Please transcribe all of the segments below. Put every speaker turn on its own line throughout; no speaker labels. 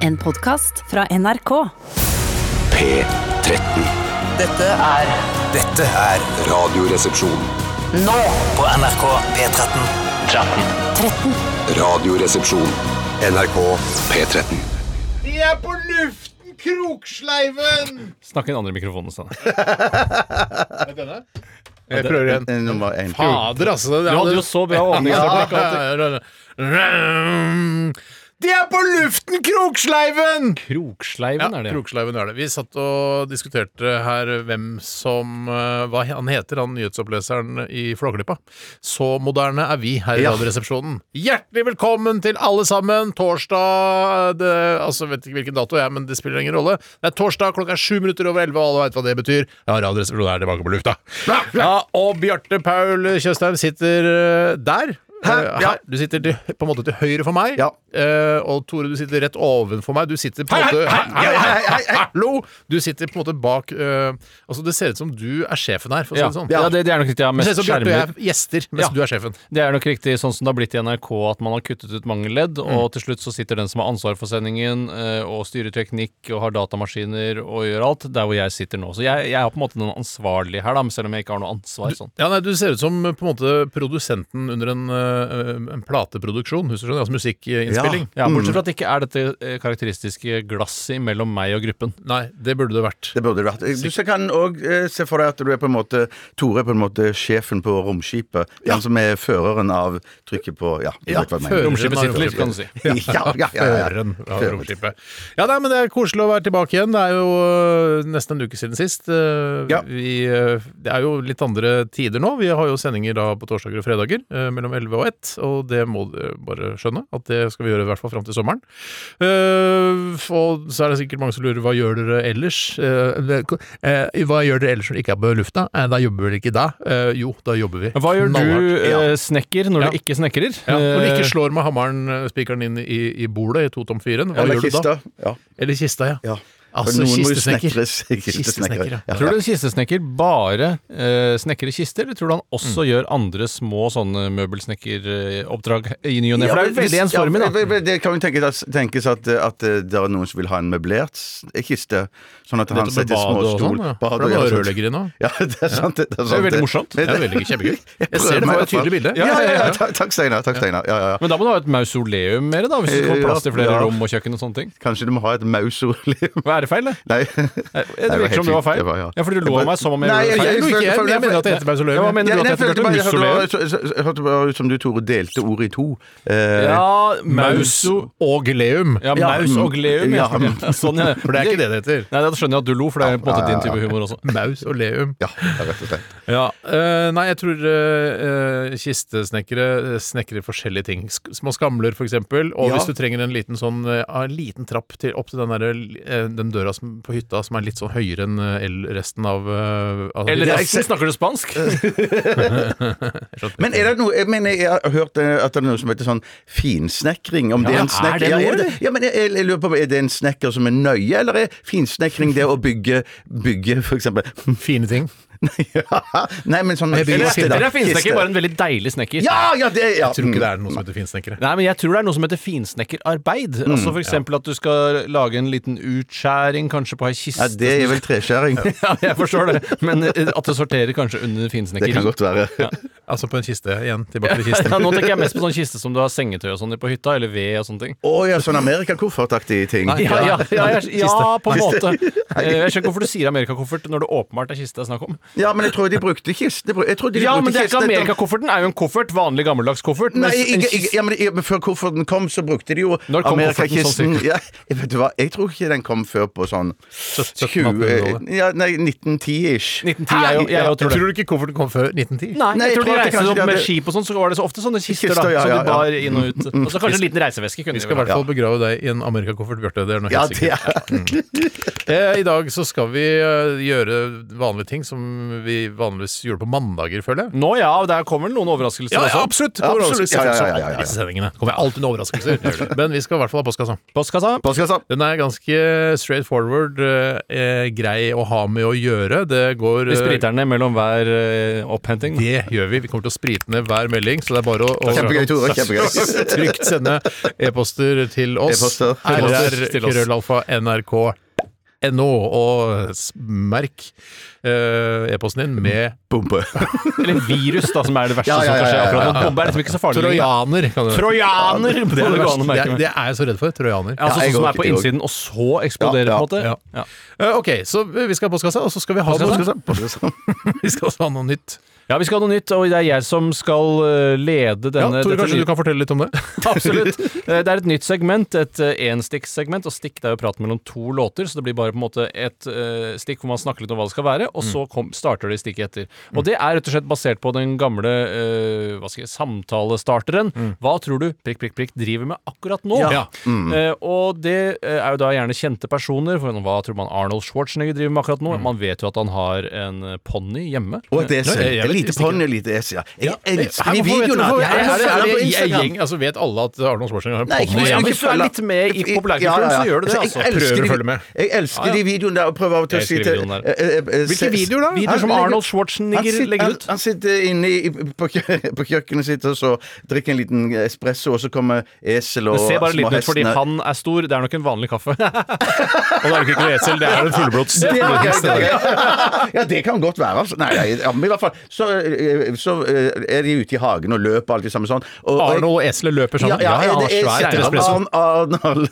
En podkast fra NRK.
P13.
Dette er
Dette er Radioresepsjon.
nå på NRK P13. 13.
Radioresepsjon. NRK P13.
De er på luften, kroksleiven!
Snakk i den andre mikrofonen, Steinar.
Er det denne? Jeg prøver igjen.
Nummer én.
Fader, altså. det-
Du hadde jo så bra åpningsøyeblikk.
De er på luften, kroksleiven!
Kroksleiven er det.
Kroksleiven er det. Vi satt og diskuterte her hvem som eh, Hva han heter, han nyhetsoppleseren i Flåklypa. Så moderne er vi her i
Ja.
Radioresepsjonen. Hjertelig velkommen til alle sammen! Torsdag det, Altså, vet ikke hvilken dato jeg er, men det spiller ingen rolle. Det er torsdag, klokka er sju minutter over elleve, og alle veit hva det betyr. Ja, Radioresepsjonen er tilbake på lufta. Ja, og Bjarte Paul Tjøstheim sitter eh, der. Eh,
Ja.
Her. Du sitter til, på en måte til høyre for meg,
Ja.
Eh, og Tore, du sitter rett ovenfor meg. Du sitter på en måte
hei, hei, hei, hei.
Hallo! Du sitter på en måte bak eh, Altså Det ser ut som du er sjefen her, for å si
Ja,
det sånn.
ja det, det er nok riktig. Ja,
Det ser
mest
ut som Bjarte og jeg
skjermer.
er gjester, mens
Ja.
du er sjefen.
Det er nok riktig sånn som det har blitt i NRK, at man har kuttet ut mange ledd,
Mm.
og til slutt så sitter den som har ansvar for sendingen, eh, og styrer teknikk og har datamaskiner og gjør alt, der hvor jeg sitter nå. Så jeg, jeg er på en måte den ansvarlige her, da, men selv om jeg ikke har noe ansvar sånn.
Ja, nei, Du ser ut som eh, på en måte produsenten under en, eh, en plateproduksjon, hvis du skjønner, altså musikkinnspilling. Mm.
Ja, bortsett fra at det ikke er dette eh, karakteristiske glasset mellom meg og gruppen.
Nei, det burde det vært.
Det burde det vært. Du så kan òg se for deg at du er på en måte Tore er på en måte sjefen på romskipet. Den som er føreren av trykket på Ja, du
Ja,
vet hva jeg mener.
Romskipet
Romskipet sitter
har
litt, kan du si.
Ja, ja, ja, ja, ja.
Føreren av romskipet. Ja, nei, men Det er koselig å være tilbake igjen. Det er jo øh, nesten en uke siden sist. Øh,
Ja.
Vi, øh, det er jo litt andre tider nå. Vi har jo sendinger da på torsdager og fredager øh, mellom 11 og 1. Og det må dere bare skjønne, at det skal vi gjøre i hvert fall fram til sommeren. Eh, og så er det sikkert mange som lurer hva gjør dere ellers? Eh, det- eh, hva gjør dere ellers når dere ikke er på lufta? Eh, da jobber vi vel ikke da? Eh, jo, da jobber vi.
Hva gjør du,
Knallhardt.
eh, snekker, når
Ja.
du ikke snekrer?
Ja, når du
Eh,
ikke slår med hammeren, eh, spikeren inn i, i bordet i 2-tom-4-en, hva
Eller
gjør du da?
kista. Ja.
Eller kista, ja.
ja.
Altså,
noen må jo
kistesnekker.
snekres.
Kistesnekker, ja.
ja.
Tror du en kistesnekker bare eh, snekrer kister, eller tror du han også
Mm.
gjør andre små sånne møbelsnekkeroppdrag i ny og ne? For det er jo veldig ensformig,
Ja,
da.
men det kan jo tenkes, tenkes at, at eh, det er noen som vil ha en møblert s- kiste, sånn at
Dette
han
med
setter
bad
små
og
stol
sånn, ja.
bad
For det er
og- ja,
bare
sånn.
rørleggere nå.
Ja, det er sant. Det er, sant,
veldig morsomt.
Det er veldig kjempegøy. Jeg
prøver
ser det var et
meg i hvert fall.
tydelig bilde.
Ja, ja, ja,
ja.
ta- Takk, Steinar. Takk, Steinar. Ja, ja, ja.
Men da må du ha et mausoleum mer, da, hvis du skal
Eh,
få plass til flere
ja.
rom og kjøkken og sånne ting.
Kanskje du må ha et mausoleum?
Hva er det feil, det?
Nei.
Eh, Det
var helt
virker som det var
fint.
feil.
Det var, ja.
Ja, fordi du
Det
lo
var-
av meg som om jeg
Nei,
gjorde
jeg-
feil.
jeg-
jeg-
jeg- jeg- mener at det heter mausoleum.
Ja, hva
Ja,
mener du
men
at
jeg
det
følte
heter
bare- jeg hørte bare
mausoleum?
så- så- så- hørte bare ut som du, Tore, delte ordet i to. Eh,
Ja,
Mauso
mauso
og leum.
Ja,
Ja,
maus
mm,
og leum. Ja.
ja.
Sånn, ja.
For det er ikke det det heter.
Nei, da skjønner jeg at du lo, for det er på en måte din type humor også.
Mm.
Maus og leum.
ja, rett og slett.
Ja, eh, nei, jeg tror eh, eh, kistesnekkere eh, snekrer forskjellige ting. Sk små skamler, for eksempel. Og
Ja.
hvis du trenger en liten sånn eh, en liten trapp til, opp til den, der, eh, den døra som, på hytta som er litt sånn høyere enn eh, el- resten av, eh, av
Eller
jeg
resten,
ser-
snakker du spansk?
Eh, Men er det noe Jeg mener, jeg har hørt eh, at det er noe som heter sånn finsnekring. Om det er en
er
snekker
det noe,
ja, ja, men jeg, jeg, jeg lurer på om er det en snekker som er nøye, eller er finsnekring det å bygge, bygge for eksempel
Fine ting.
ja, Nei, men sånn
bygger
Eller
kiste, da.
eller er finsnekker
Kiste.
bare en veldig deilig snekker?
Ja, ja, det ja.
Tror ikke det er noe som heter finsnekkere.
Nei, men jeg tror det er noe som heter finsnekkerarbeid.
Mm,
altså for eksempel at du skal lage en liten utskjæring, kanskje på ei kiste.
Ja, det er vel treskjæring.
Ja, jeg forstår det, men eh, at det sorterer kanskje under
Det
finsnekkeri.
kan godt være.
Altså på en kiste igjen. Tilbake til
Ja,
kisten.
nå tenker jeg mest på sånn kiste som du har sengetøy og sånn i på hytta, eller ved og sånne ting.
Å ja, sånn amerikakoffertaktig ting.
Ja, ja, ja, jeg- ja på en
Kiste.
måte. Eh, Jeg skjønner ikke hvorfor du sier amerikakoffert når det åpenbart er kiste det er snakk om.
Ja, men jeg tror de brukte kiste. Jeg tror de
Ja,
brukte
men det er ikke
kiste-
amerikakofferten, er jo en koffert. Vanlig gammeldags koffert.
Nei,
mens en
ikke, ikke,
kiste-
ja, men, ja, men før kofferten kom, så brukte de jo
Når kom
amerikakisten.
kofferten, sånn
Ja, jeg vet du hva, jeg tror ikke den kom før på sånn 20,
1700-tallet.
ja, nei, 1910-ish.
1910, jeg, jo- jeg, jo tror det.
du ikke kofferten kom før 1910?
Nei, jeg tror de
Nei, jeg tror at det
reiste
kanskje
opp
de
med
hadde-
skip og sånn, så var det så ofte sånne kister, da,
Kister, ja, ja,
som de
ja. Mm.
bar inn og ut. Og så kanskje en liten reiseveske kunne
Vi
de
skal i
vel
hvert
ha.
fall begrave deg i en amerikakoffert, Bjarte. Det er noe
Ja,
helt
det
sikkert.
er
Eh, I dag så skal vi eh, gjøre vanlige ting som vi vanligvis gjorde på mandager, føler jeg. Sånn
Nå ja, der kommer det noen overraskelser også.
absolutt!
Ja,
Overraskelse.
absolutt. Ja, ja, ja, ja, ja, ja.
Disse sendingene kommer alltid med overraskelser. Men vi skal i hvert fall ha postkassa.
Postkassa.
Postkassa.
Den er ganske straight forward, eh, eh, grei å ha med å gjøre. Det går eh,
Vi spriter den ned mellom hver eh, opphenting.
Det gjør vi. Vi de kommer til å sprite ned hver melding, så det er bare å, å
Kjempegøy, Tore. Kjempegøy.
trygt sende e-poster til oss.
E-poster.
E-poster til oss.
rr.krøllalfa.nrk.no, og s- merk eh, e-posten din med
Bombe.
Eller virus, da, som er det verste
Ja, ja, ja,
som kan skje.
ja, ja,
akkurat nå.
ja.
Bombe er liksom ikke så farlig. lenger.
Trojaner. Kan du.
Trojaner! Det er det går an å
det,
merke
er,
med.
det er jeg så redd for. Trojaner.
Altså,
Ja, jeg
sånn som
går
er på
ikke, jeg går
innsiden, og så eksploderer,
Ja,
på en måte.
ja.
Ja.
Eh, ok, så vi skal ha postkassa, og så skal vi ha, noe, vi skal også ha noe nytt.
Ja, vi skal ha noe nytt, og det er jeg som skal eh, lede
Ja,
denne
Tore,
dette
kanskje
nye-
du kan fortelle litt om det?
Absolutt. Eh, Det er et nytt segment, et enstikksegment. Og stikk det er jo prat mellom to låter, så det blir bare på en måte et eh, stikk hvor man snakker litt om hva det skal være, og så kom, starter det stikket etter. Og det er rett og slett basert på den gamle eh, hva skal jeg, samtalestarteren. Hva tror du prikk, prikk, prikk driver med akkurat nå?
Ja.
Eh, og det eh, er jo da gjerne kjente personer. For hva tror man Arnold Schwarzenegger driver med akkurat nå? Man vet jo at han har en ponni hjemme.
Og et esel.
Nei, jeg
Et
vet
lite
ikke.
ponni og et lite esel. ja. Jeg elsker
Her,
de
hvorfor vet-
videoene!
hvorfor-
Jeg
er det-
elsker
er
dem på
det-
Instagram.
gjeng- altså, Vet alle at Arnold Schwarzenegger har en
Nei, ikke
podden
hvis-
Ja,
hjemme?
men hvis du er litt med i populærkulturen, så gjør du det,
jeg
altså.
elsker
Prøver å
de-
følge med.
Jeg elsker
Ja, ja.
de videoene der, og prøver av og til å
Jeg
si
elsker
til
videoene der.
eh, eh, eh,
Hvilke
se-
videoer da?
Videoer som
Han legger-
Arnold
Han
Schwarzenegger
sit-
legger
han-
ut.
Han sitter inne i, på, kjø- på kjøkkenet sitt og så drikker en liten espresso, og så kommer esel og
Det ser bare litt ut fordi
hestene.
han er stor, det er nok en vanlig kaffe.
Og det er jo ikke noe esel, det er en fullblods.
Det var gøy, det var gøy. Ja, det kan godt være. Altså. Nei, nei, ja, men i hvert fall så, eh, så eh, er de ute i hagen og løper og alt det samme sånn. Og, og-
Arnold og eselet løper
ja,
sammen.
ja,
han
det
har
er
svær
esel.
espresso.
Arn- Arnold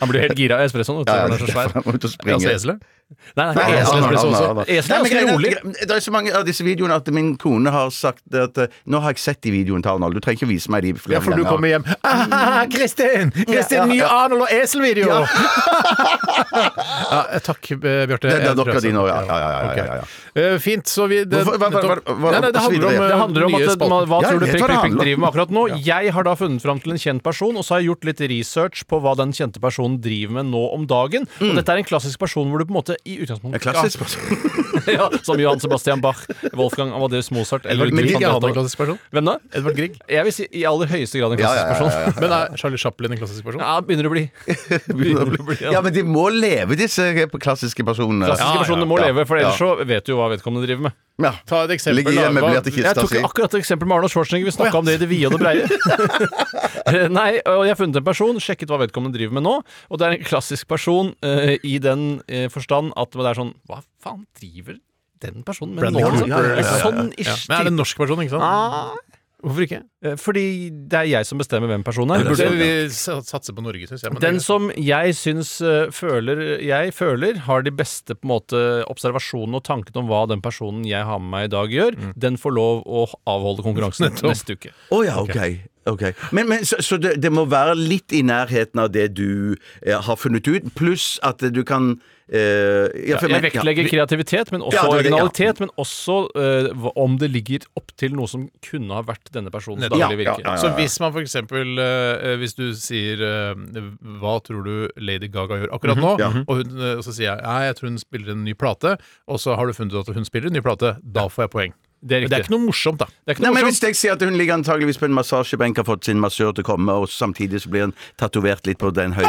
Han blir helt gira av espressoen. vet du, for
Ja, ja,
den er
det er
så svær.
derfor han må ut og springe.
Altså eselet?
Nei, nei,
Nei,
han er
Arnold,
espresso
Arnold,
også.
Arnold.
Esel
Nei,
er ganske
men greia
rolig.
er at- Det er så mange av disse videoene at min kone har sagt at eh, Nå har jeg sett de videoene til Arnold, du trenger ikke vise meg de flere
Ja, for du kommer hjem ah, Kristin! Kristin,
Ja, ja,
ny
ja.
Arnold og esel-video! Ja. eh, takk, eh, Bjarte.
Det- det er
Jeg tror
dere
jeg
dine
sa-
også, ja, ja, ja, ja, ja, ja.
Ok. Eh, fint, så vi det,
Hvorfor- hva- hva- hva-
nettopp-
hva-
Nei, nei, det handler om,
osv.
Det handler om
nye
at
spalten.
man, hva
Ja, jeg
tror du
vet hva
prikk,
det
prikk, prikk
handler om.
driver med akkurat nå? Jeg har da funnet fram til en kjent person, og så har jeg gjort litt research på hva den kjente personen driver med nå om dagen. Og dette er en klassisk person hvor du på en måte i utgangspunktet
Mm. Klassisk person.
ja, Som Johan Sebastian Bach, Wolfgang Amadeus Mozart Edvard
Men
Grieg,
ikke
han
han
vet
en
om-
klassisk person?
Hvem da?
Edvard Grieg?
Jeg vil si i aller høyeste grad en klassisk
ja, ja,
person.
Men er Charlie Chaplin en klassisk person?
Ja, begynner å bli. Begynner å bli, ja.
Ja, men de må leve, disse eh, klassiske personene.
Klassiske
ja,
personer sånn må
ja.
leve, for ellers
Ja.
så vet du jo hva vedkommende driver med.
Ja.
Ta et eksempel,
Ligger i
da.
en
Hva-
møblerte
Jeg
kiste
tok
si.
akkurat et eksempel med Arnold Schwarzenegger. Vi snakka om det i det vide og det breie. Eh, Nei, og jeg har funnet en person, sjekket hva vedkommende driver med nå, og det er en klassisk person eh, i den eh, forstand at det er sånn Hva faen driver den personen med nå?
Bradley
liksom?
Cooper,
En
ja, ja, ja.
Sånn
Ja.
ish.
Men er det
type.
en norsk person, ikke sant?
Ah,
Hvorfor ikke?
eh, Fordi det er jeg som bestemmer hvem personen er.
Burde vi sa- satse på Norge, syns jeg. men det-
Den som jeg syns eh, føler jeg føler, har de beste på en måte observasjonene og tankene om hva den personen jeg har med meg i dag, gjør,
Mm.
den får lov å avholde konkurransen neste uke.
Å ja, ok. ok. Men, men, så så det, det må være litt i nærheten av det du eh, har funnet ut, pluss at du kan eh, ja, for-
Jeg
men- ja,
vektlegger
vi-
kreativitet, men også
Ja, det er det, ja.
originalitet, men også eh, hva- om det ligger opp til noe som kunne ha vært denne personens
Nettopp.
daglige
Ja,
virke.
ja, ja.
Så hvis man for eksempel eh, Hvis du sier eh, Hva tror du Lady Gaga gjør akkurat
Mhm,
nå? og, hun, eh, så sier jeg Nei, jeg tror hun spiller en ny plate, og så har du funnet ut at hun spiller en ny plate, da får jeg poeng.
Det er
Men det er
riktig.
ikke noe morsomt, da.
Det er ikke
Nei,
noe
men
morsomt.
Hvis jeg sier at hun ligger antageligvis på en massasjebenk, har fått sin massør til å komme, og samtidig så blir hun tatovert litt på den høyre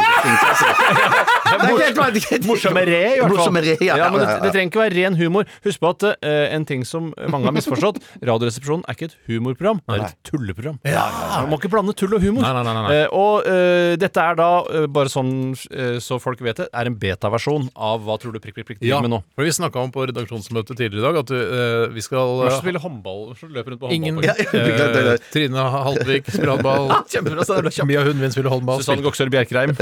skinka si. Det er helt vanlig.
Ah! Morsomme re, i hvert fall.
Morsomme re, ja,
Ja, men det,
ja, ja, ja.
det trenger ikke være ren humor. Husk på at eh, en ting som mange har misforstått Radioresepsjonen er ikke et humorprogram, det er et tulleprogram. Man må ikke blande tull og humor.
Nei, nei, nei, nei.
Eh, og eh, dette er da, eh, bare sånn eh, så folk vet det, er en betaversjon av Hva tror du prikk, prikk, prikk driver med nå?
for Vi snakka om på redaksjonsmøtet tidligere i dag at eh, vi skal
Hva
eh,
slags spiller håndball? Hva slags løper rundt på
Ingen
håndball?
eh, Trine Haltvik spiller håndball.
Kjempebra, så det ble kjapt.
Mia Hundvin spiller håndball.
Susanne Goksør Bjerkreim.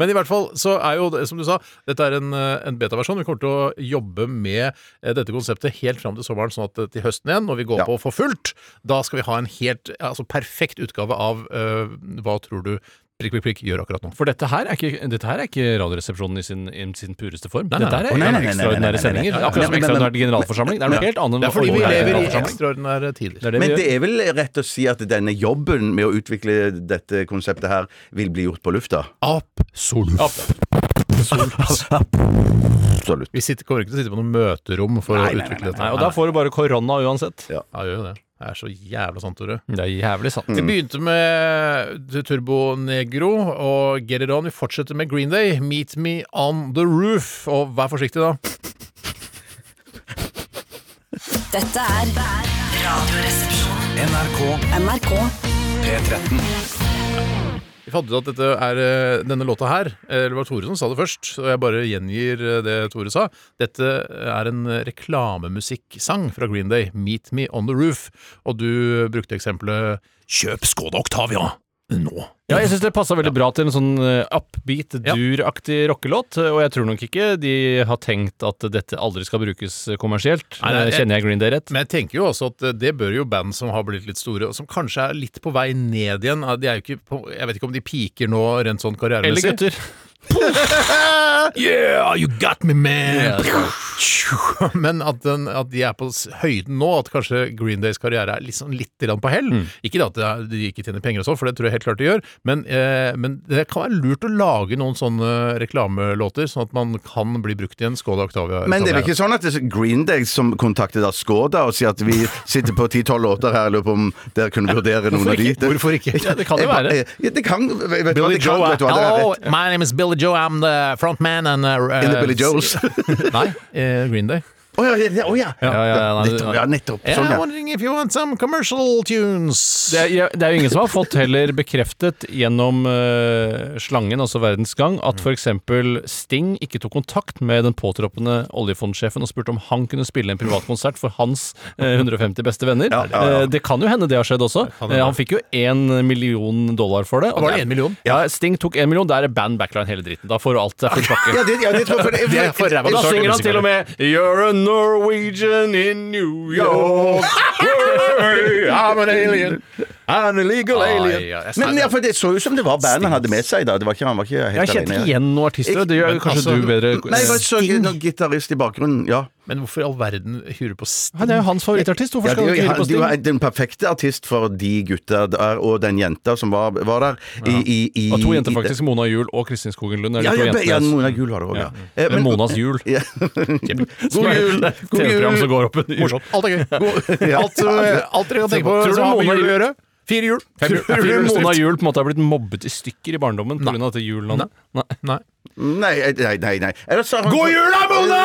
Men i hvert fall så er jo, det- som du sa, dette er en, eh, en betaversjon. Vi kommer til å jobbe med eh, dette konseptet helt fram til sommeren, sånn at eh, til høsten igjen, når vi går
Ja.
på for fullt, da skal vi ha en helt altså perfekt utgave av eh, Hva tror du prikk, prikk, prikk gjør akkurat nå.
For dette her er ikke, dette her er ikke Radioresepsjonen i sin, i sin pureste form.
nei,
Dette her er
nei, nei, nei, nei, nei,
ekstraordinære
nei, nei, nei,
sendinger.
nei, nei,
Akkurat som
nei, nei, nei.
ekstraordinær generalforsamling. Det er noe helt annet enn
Det er fordi vi
ordinær
lever i
generalforsamling.
ekstraordinære tider.
Det er det
Men
vi
det
gjør.
er vel rett å si at denne jobben med å utvikle dette konseptet her vil bli gjort på lufta?
Absolutt.
Absolutt.
Vi sitter, kommer ikke til å sitte på noe møterom for å utvikle dette.
Nei, og da får du bare korona uansett.
Ja, gjør jo det. Det er så jævla sant, Tore.
Det er jævlig sant.
Vi begynte med Turbo Negro og Get It On. Vi fortsetter med Green Day, Meet Me On The Roof. Og vær forsiktig, da.
Dette er Radioresepsjonen.
NRK
NRK.
P13.
Vi fant ut at dette er, eh, denne låta her eh, Eller det var Tore som sa det først, og jeg bare gjengir eh, det Tore sa. Dette er en eh, reklamemusikksang fra Green Day, 'Meet Me On The Roof'. Og du brukte eksempelet 'Kjøp Skoda Octavia nå'.
Ja, jeg syns det passa veldig bra til en sånn eh, upbeat, dur-aktig rockelåt. eh, Og jeg tror nok ikke de har tenkt at dette aldri skal brukes kommersielt.
Nei, nei,
Eh,
jeg-
Kjenner jeg Green Day rett?
Men jeg tenker jo også at eh, det bør jo band som har blitt litt store, og som kanskje er litt på vei ned igjen eh, de er jo ikke på, Jeg vet ikke om de piker nå rent sånn
Eller
karrieremessig.
gutter.
Yeah, you got me, man! Men at, den, at de er på s- høyden nå, at kanskje Green Days karriere er liksom litt grann på hell.
Mm.
Ikke da at det er- de ikke tjener penger og sånn, for det tror jeg helt klart de gjør, men, eh, men det kan være lurt å lage noen sånne eh, reklamelåter, sånn at man kan bli brukt igjen. Skål, Octavia.
Men det er
Octavia.
vel ikke sånn at det er Green Day som kontakter da Skoda og sier at vi sitter på 10-12 låter her, jeg lurer på om dere kunne vurdere noen av de?
Hvorfor ikke?
Ja,
det kan jo
jeg bare-
være.
Ja, det kan, vet du hva, det
Billy
kan-
Joe
vet du hva, det er
Hello,
rett.
my name is Billy Joe. I'm the frontman and uh,
In the Billy Joes.
Nei, eh, Green Day.
Å ja, ja, å ja.
Ja, ja, ja, nei,
Nettopp. Ja, nettopp. Sånn,
I'm
ja.
wondering if you want some commercial tunes.
Det er, ja, det er jo ingen som har fått heller bekreftet gjennom eh, slangen, altså Verdens Gang, at f.eks. Sting ikke tok kontakt med den påtroppende oljefondsjefen og spurte om han kunne spille en privatkonsert for hans eh, 150 beste venner. Eh, det kan jo hende det har skjedd også. Eh, han fikk jo én million dollar for det. og
Var det
er-
en million?
Ja, Sting tok én million. Der er band backline hele dritten. Da får du alt. Det er full pakke.
Ja, det, ja, det tror jeg for det,
er for ræva
Og da
Starter
synger han til og med You're a Norwegian in New York I'm an alien I'm an illegal alien
Men ja, for det så ut som det var bandet han hadde med seg da. Det var ikke, han var ikke helt
Jeg kjente ikke
alene.
igjen noen artister. Det gjør
Men
kanskje
altså-
du bedre. Eh,
Nei, jeg bare så noen gitarist i bakgrunnen. Ja.
Men hvorfor i all verden hyrer du på Sting?
Han er jo hans favorittartist. Hvorfor
Ja,
skal
det,
du ikke hyre på
det
Sting?
var den perfekte artist for de gutta der, og den jenta som var, var der. I, i, i,
Og to jenter,
i-
faktisk. Mona Juel og Kristin Skogen Lund. er de
Ja,
to
ja,
jentene
ja,
hans.
Mona Gul var det òg, ja.
Ja.
Eh,
Men Monas jul.
Ja.
Som
God
er-
jul!
det er et TV-program som går opp en jul.
Morsomt. Alt er gøy.
Ja.
Alt, eh, alt dere kan tenke på
Tror du
som har med
Mona-
jul å gjøre. Fire jul.
Jeg
Fire
tror
jul
Mona
bestemt.
Juel på en måte har blitt mobbet i stykker i barndommen pga. dette jullandet. Nei.
Nei.
Nei, eh, nei, nei. nei. Ellers har han-
God jul da, Mona!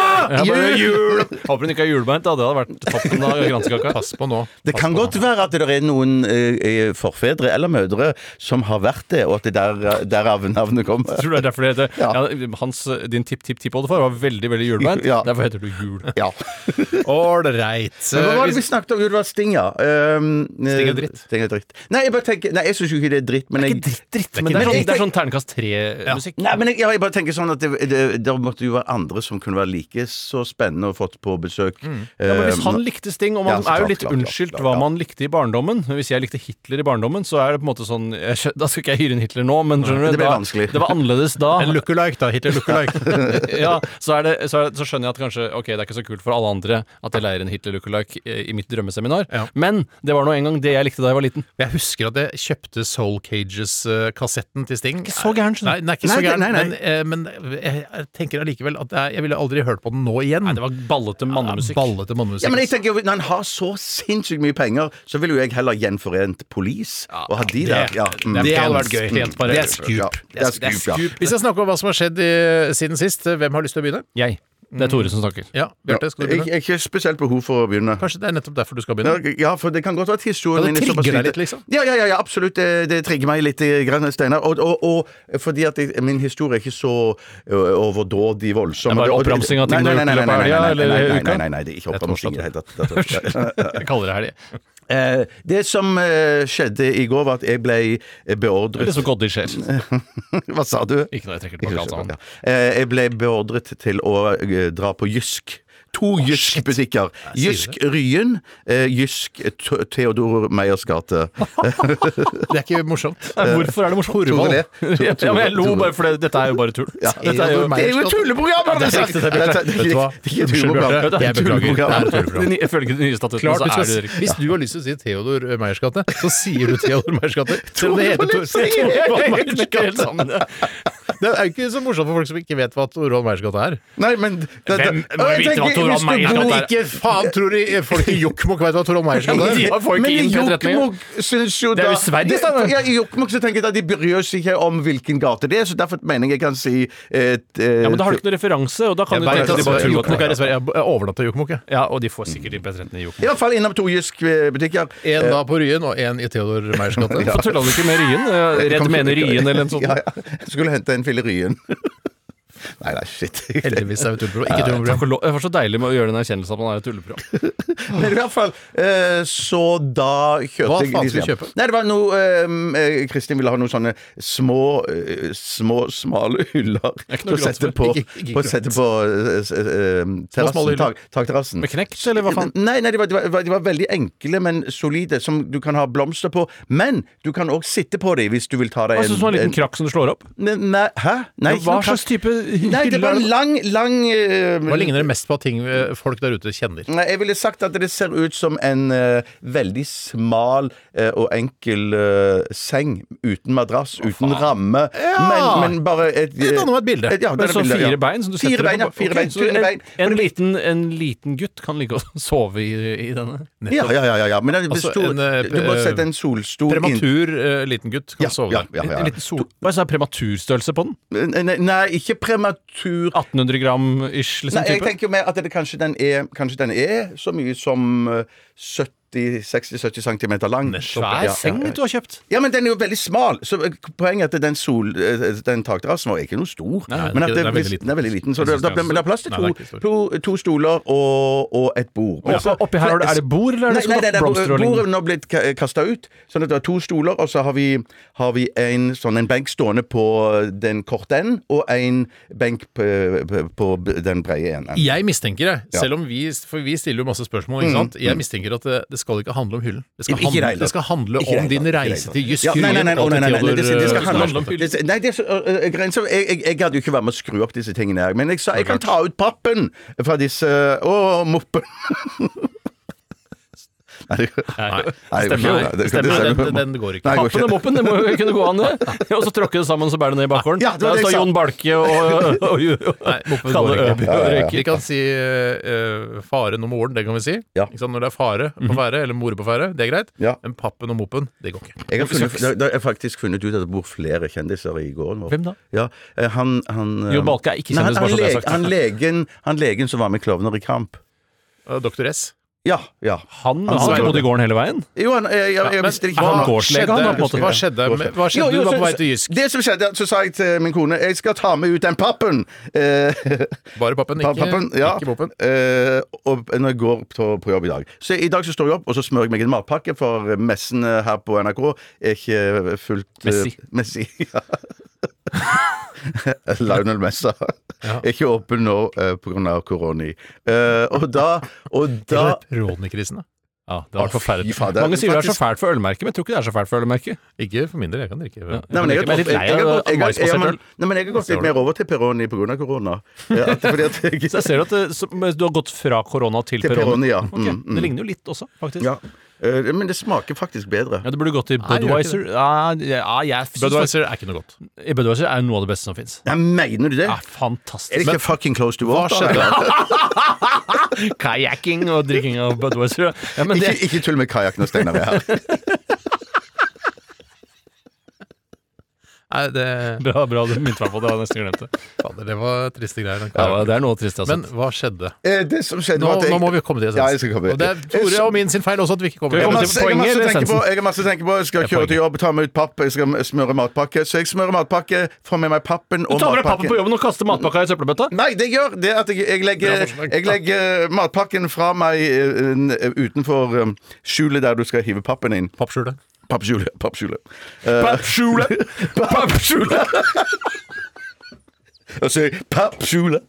Jeg bare,
Jul!
jul! Håper hun ikke er julebeint, da. Det hadde vært toppen av granskaka.
Pass på nå.
Det kan godt være at det er noen eh, eh, forfedre eller mødre som har vært det, og at det der, derav navnet kommer.
Tror du det er derfor det heter
Ja.
ja. Hans, Din tipp-tipp-tippoldefar var veldig veldig julebeint.
Ja.
Derfor heter du Jul.
Ja.
Ålreit.
Men
Eh,
hva var det vi snakket om? Jo, det var Sting, ja. Um,
Sting er dritt.
Sting er dritt. Nei, jeg bare tenker Nei, jeg syns jo ikke det er dritt, men jeg
dritt, men det er sånn, det er sånn terningkast tre-musikk.
Nei, men jeg, ja, jeg bare tenker sånn at det, det, det måtte jo være andre som kunne være like så spennende og fått på besøk.
Ja, men Hvis
Um,
han likte Sting, og man
Ja, så
er jo
klart,
litt
klart, klart,
unnskyldt
klart,
hva
ja.
man likte i barndommen Men Hvis jeg likte Hitler i barndommen, så er det på en måte sånn jeg, skjø- Da skal ikke jeg hyre inn Hitler nå, men skjønner du
det ble
da-
vanskelig.
Det var annerledes da.
En lookalike, da. Hitler lookalike.
ja, så, er det, så, er, så skjønner jeg at kanskje Ok, det er ikke så kult for alle andre at jeg leier en Hitler lookalike eh, i mitt drømmeseminar,
Ja.
men det var nå engang det jeg likte da jeg var liten.
Jeg husker at jeg kjøpte Soul Cages-kassetten til Sting.
Ikke så gæren,
Nei,
skjønner du.
den er ikke så
Nei,
gæren,
nei, nei.
men, eh, men jeg jeg tenker allikevel at jeg, jeg ville aldri hørt på den nå igjen.
Nei, det var ballete mannemusikk.
Ballete mannemusikk.
ja, men jeg tenker, jo, Når han har så sinnssykt mye penger, så ville jo jeg heller gjenforent Police og ha de der. Ja, mm.
Det hadde
pent-
vært gøy.
pent parallell.
Det er
Ja,
skup.
det er skup, ja.
Vi skal snakke om hva som har skjedd i, eh, siden sist. Hvem har lyst til å begynne?
Jeg. Det er Tore som snakker.
Ja, Bjarte, skal du
Jeg,
begynne?
jeg har ikke spesielt behov for å begynne.
Kanskje det er nettopp derfor du skal begynne?
Ja, for det kan godt være at
Ja,
historien
det
min er såpass
trigger deg
lite-
litt, liksom.
Ja, ja, ja, ja absolutt. Det, det trigger meg litt, eh, grann, Steinar. Og, og, og fordi at jeg, min historie er ikke så ø, overdådig
Det er
voldsom.
bare
Og- og-
oppramsing av ting du
Nei, nei,
har gjort i
nei,
løpet av
nei,
helga,
nei, nei, nei,
eller
nei,
uka?
Nei, nei, nei, det er ikke oppramsing i det hele tatt. Det er-
Jeg kaller det her det.
Eh, Det som eh, skjedde i går, var at jeg ble eh,
Det er
beordret
så godt det skjer.
Hva sa du?
Ikke når jeg trekker tilbake alt annet.
Eh, Jeg ble beordret til å eh, dra på Jysk. To Jysk-butikker. Jysk Ryen, eh, Jysk T- Theodor Meyers
Det
gate.
er ikke morsomt.
Eh,
Nei, Hvorfor er Eh, det morsomt?
Torvald.
Ja, men jeg lo bare for det, dette er jo bare tull. Dette er jo,
Det er jo et tulleprogram! har du
Det er
sagt!
riktig, det er
Dette-
riktig.
det er
Vet
ikke-
du hva?
det er ikke et
Unnskyld,
tulleprogram.
Bjarte.
Det er
Jeg
et tulleprogram.
beklager. Det er et tulleprogram.
Den- Ifølge de nye statuttene
Klart,
så er
hvis,
det
du,
det riktige.
hvis du har lyst til å si Theodor Meyers gate, så sier du Theodor Meyers gate. Selv om det heter Tor-
Thorvald Meyers gate.
Thorvald Meyers gate. Det er jo ikke så morsomt for folk som ikke vet hva Roald Meyers gate er.
Nei, men det, det,
Hvem må
Jeg
vite hva
tenker,
Torvald
hvis du
Meyers
bor
gate er?
ikke-
Ikke faen tror de folk i Jokkmokk vet hva Roald Meyers gate er!
De har folk
men i
inn på
Jokkmokk syns jo
Det er jo Sverige,
de-
Steinar.
Ja, I Jokkmokk så tenker jeg at de bryr seg ikke om hvilken gate det er, så derfor mener jeg jeg kan si et, eh,
Ja, Men da har du ikke noen referanse, og da
Jeg
kan du
bare-
tenke at de bare tror
Jokkmokk er i
at
Sverige. Jeg overnatta i Jokkmokk, jeg.
Ja, og de får sikkert inn P13 i Jokken.
I hvert fall innom to Jysk-butikker.
En da på Ryen og en i Theodor Meyers gate.
Hvorfor tulla du ikke med Ryen? Eh, Redd mener Ryen eller en sånn.
Ja, ja. Jeg skulle hente en fille Ryen. Nei, nei, shit.
Heldigvis er vi tulleprogram. Ikke
Takk
tulleprogram.
og lov. Det var så deilig med å gjøre den erkjennelsen at man er et tulleprogram.
Men i hvert fall, eh, så da kjøpte
Hva faen
de-
skulle du kjøpe?
Nei, det var noe ehm, eh, Kristin ville ha noen sånne små, eh, små smale hyller
ikke
til
noe
å
grått
sette
for.
på,
Ikke- ikke
på, å sette på eh, s- eh,
smale
terrassen,
hyller.
tak, takterrassen.
Med knekt, eller hva faen?
Nei, nei de, var, de, var, de var veldig enkle, men solide, som du kan ha blomster på. Men du kan òg sitte på dem hvis du vil ta deg
Jeg synes det var en liten krakk som du slår opp.
Nei, nei, hæ? Nei, ikke
hva
noe
slags
krakk.
type
Nei, det var en
hyller?
lang, lang eh,
Hva ligner det mest på at ting eh, folk der ute kjenner?
Nei, jeg ville sagt at det ser ut som en eh, veldig smal eh, og enkel eh, seng. Uten madrass, uten ramme.
Ja.
Men, men bare et
Jeg danner meg et bilde.
eh, ja,
Men
det er
så
et bilde,
fire
ja.
bein som du setter
Fire bein,
deg
ja.
på.
Fire
Ok,
bein,
så
fire bein.
En, en, liten, en liten gutt kan ligge og sove i, i denne.
Ja, ja, ja, ja, ja. Men det
Altså,
bestod,
en, eh,
du må sette en solstol inn
Prematur eh, liten gutt kan
Ja,
sove
ja,
der.
ja, ja.
En liten sol...
Hva er det, prematurstørrelse på den?
Nei, Nei, ikke prematur
1800 gram ish, liksom?
Nei, jeg
type?
tenker jo mer at det, kanskje, den er, kanskje den er så mye som eh, 70 60-70 cm lang.
Svær seng du har kjøpt.
Ja, men den er jo veldig smal. Så eh, poenget er at den, sol, eh, den takterrassen vår er ikke noe stor.
den er
men
ikke-
at det,
den er veldig
blir-
liten.
den er veldig liten. Så
Jeg
det,
synes
det,
den er
men det er plass til
stor.
to,
Nei, den er ikke stor.
to, to stoler og, og et bord. Men
Og så
så-
oppi her har du- er det bord, eller er det
Nei,
sånn
nei, det er
blomster og
bordet
lignende?
bordet nå blitt kasta ut. Sånn at det er to stoler, og så har vi, har vi en sånn en benk stående på den korte enden, og en benk på, på, på den brede enden.
Jeg mistenker det,
Ja. Mm,
selv om vi, for vi stiller jo masse spørsmål. Ikke sant? Jeg mistenker at det, det skal ikke handle om hyllen. Det skal
Ikke i det
handle,
hele
det skal
tatt.
handle
Ikke i det
om
hele
din
tatt.
reise til Jysk
Ja, nei, nei, nei, nei, nei, nei, nei, det, det
eh,
skal handle om
Theodor,
det, Nei, det er så, øh, øh, grenser Jeg, jeg, jeg gadd jo ikke være med å skru opp disse tingene her. Men jeg sa jeg kan ta ut pappen fra disse Å, moppen. Nei, det
Nei,
nei, det-
stemmer.
det- det-
Stemmer,
det-
den- den går ikke.
Nei, det
Pappen og moppen, det må jo kunne gå an, det. Og så tråkke det sammen, så bærer det ned i bakgården.
Ja, det
Der
var det jeg
står
sa.
Jon Balke og, og, og, og
moppen
Kalle
går ikke.
Øby og røyker.
Vi kan si eh, eh, faren og moren, det kan vi si.
Ja.
Ikke sant? Når det er fare på ferde, eller more på ferde, det er greit.
Ja.
Men pappen og moppen, det går ikke.
Jeg har, funnet, da, da har jeg faktisk funnet ut at det bor flere kjendiser i gården vår.
Hvem da?
Ja, eh, han, han eh,
Jon Balke er ikke
nei,
kjendis,
han,
bare så
han,
det er
leg,
sagt.
han, legen, han legen som var med i Klovner i kamp.
Eh, Doktor S.
Ja, ja.
Han,
Han
han
sa
har
jo
bodd i
det.
gården hele veien.
Jo, han, jeg, jeg, jeg
Men
visste det ikke.
er han
hva
går- gårdslege,
skjedde-
han da, på en måte?
Hva skjedde med Hva skjedde?
Jo, jo,
Du var på
så-
vei til Jysk.
Det som skjedde, så sa jeg til min kone Jeg skal ta med ut den pappen. Eh,
Bare pappen, ikke,
pappen ja.
ikke moppen.
Eh, og når jeg går på, på jobb i dag. Så i dag så står jeg opp og så smører jeg meg en matpakke, for messen eh, her på NRK er ikke fullt eh,
Messi.
Messi ja. Lionel Messa. Er ikke åpen nå eh, på grunn av koroni. Eh, og da, og da
Rånekrisen, da.
Ja, det var forferdelig.
fy fader.
Mange sier det er så
Faktisk-
fælt for ølmerket, men jeg tror ikke det er så fælt for ølmerket.
Ikke for min del, jeg kan drikke.
Nei, men
Jeg
jeg har
er
gått,
litt
jeg,
lei
jeg, har
av
gått- jeg, har- jeg,
maisbasert
har-
øl.
nei, men jeg har gått litt mer over til Peroni pga. korona. Ja, at- fordi at jeg-
Så jeg ser at eh, som- du har gått fra korona til,
Til Peroni, ja.
Ok,
Mm, mm.
Det ligner jo litt også, faktisk.
Ja. Eh, Men det smaker faktisk bedre.
Ja, Det burde gått til
gjør ikke
Budwiser. Ja, ja, jeg synes
Budwiser er ikke noe godt.
faktisk- Budweiser er jo noe av det beste som fins.
Nei, mener du det?
Ja,
Er det
fantastisk.
ikke fucking close to water?
Kajakking og drikking av Budwiser. Ja, men
Ikke,
det,
ikke tull med kajakken og Steinar er her.
Nei, det,
bra, bra du minte meg på det, jeg hadde nesten glemt det.
fader, det var triste greier. den
Ja,
karen.
det er noe trist, altså.
Men hva skjedde?
Eh, Det som skjedde,
Nå,
var at jeg
nå må vi komme til
Ja, jeg
essensen.
skal komme.
og det er Tore og min sin feil også at vi ikke kommer
Skal vi
Jeg
til
har
komme
masse, jeg
Poenget eller
har masse å tenke på.
essensen?
Jeg har masse å tenke på Jeg skal kjøre til jobb, ta med ut papp, jeg skal smøre matpakke. Så jeg smører matpakke, får med meg pappen
Du
og
tar med deg pappen på
matpakken.
jobben og kaster matpakka i søppelbøtta?
Nei, det jeg gjør det er at jeg, jeg, legger, jeg legger matpakken fra meg eh, n- utenfor eh, skjulet der du skal hive pappen inn.
pappskjulet.
Pappskjulet. Pappskjulet. Eh,
Pappskjule! Pappskjule!
og så sier jeg pappskjulet.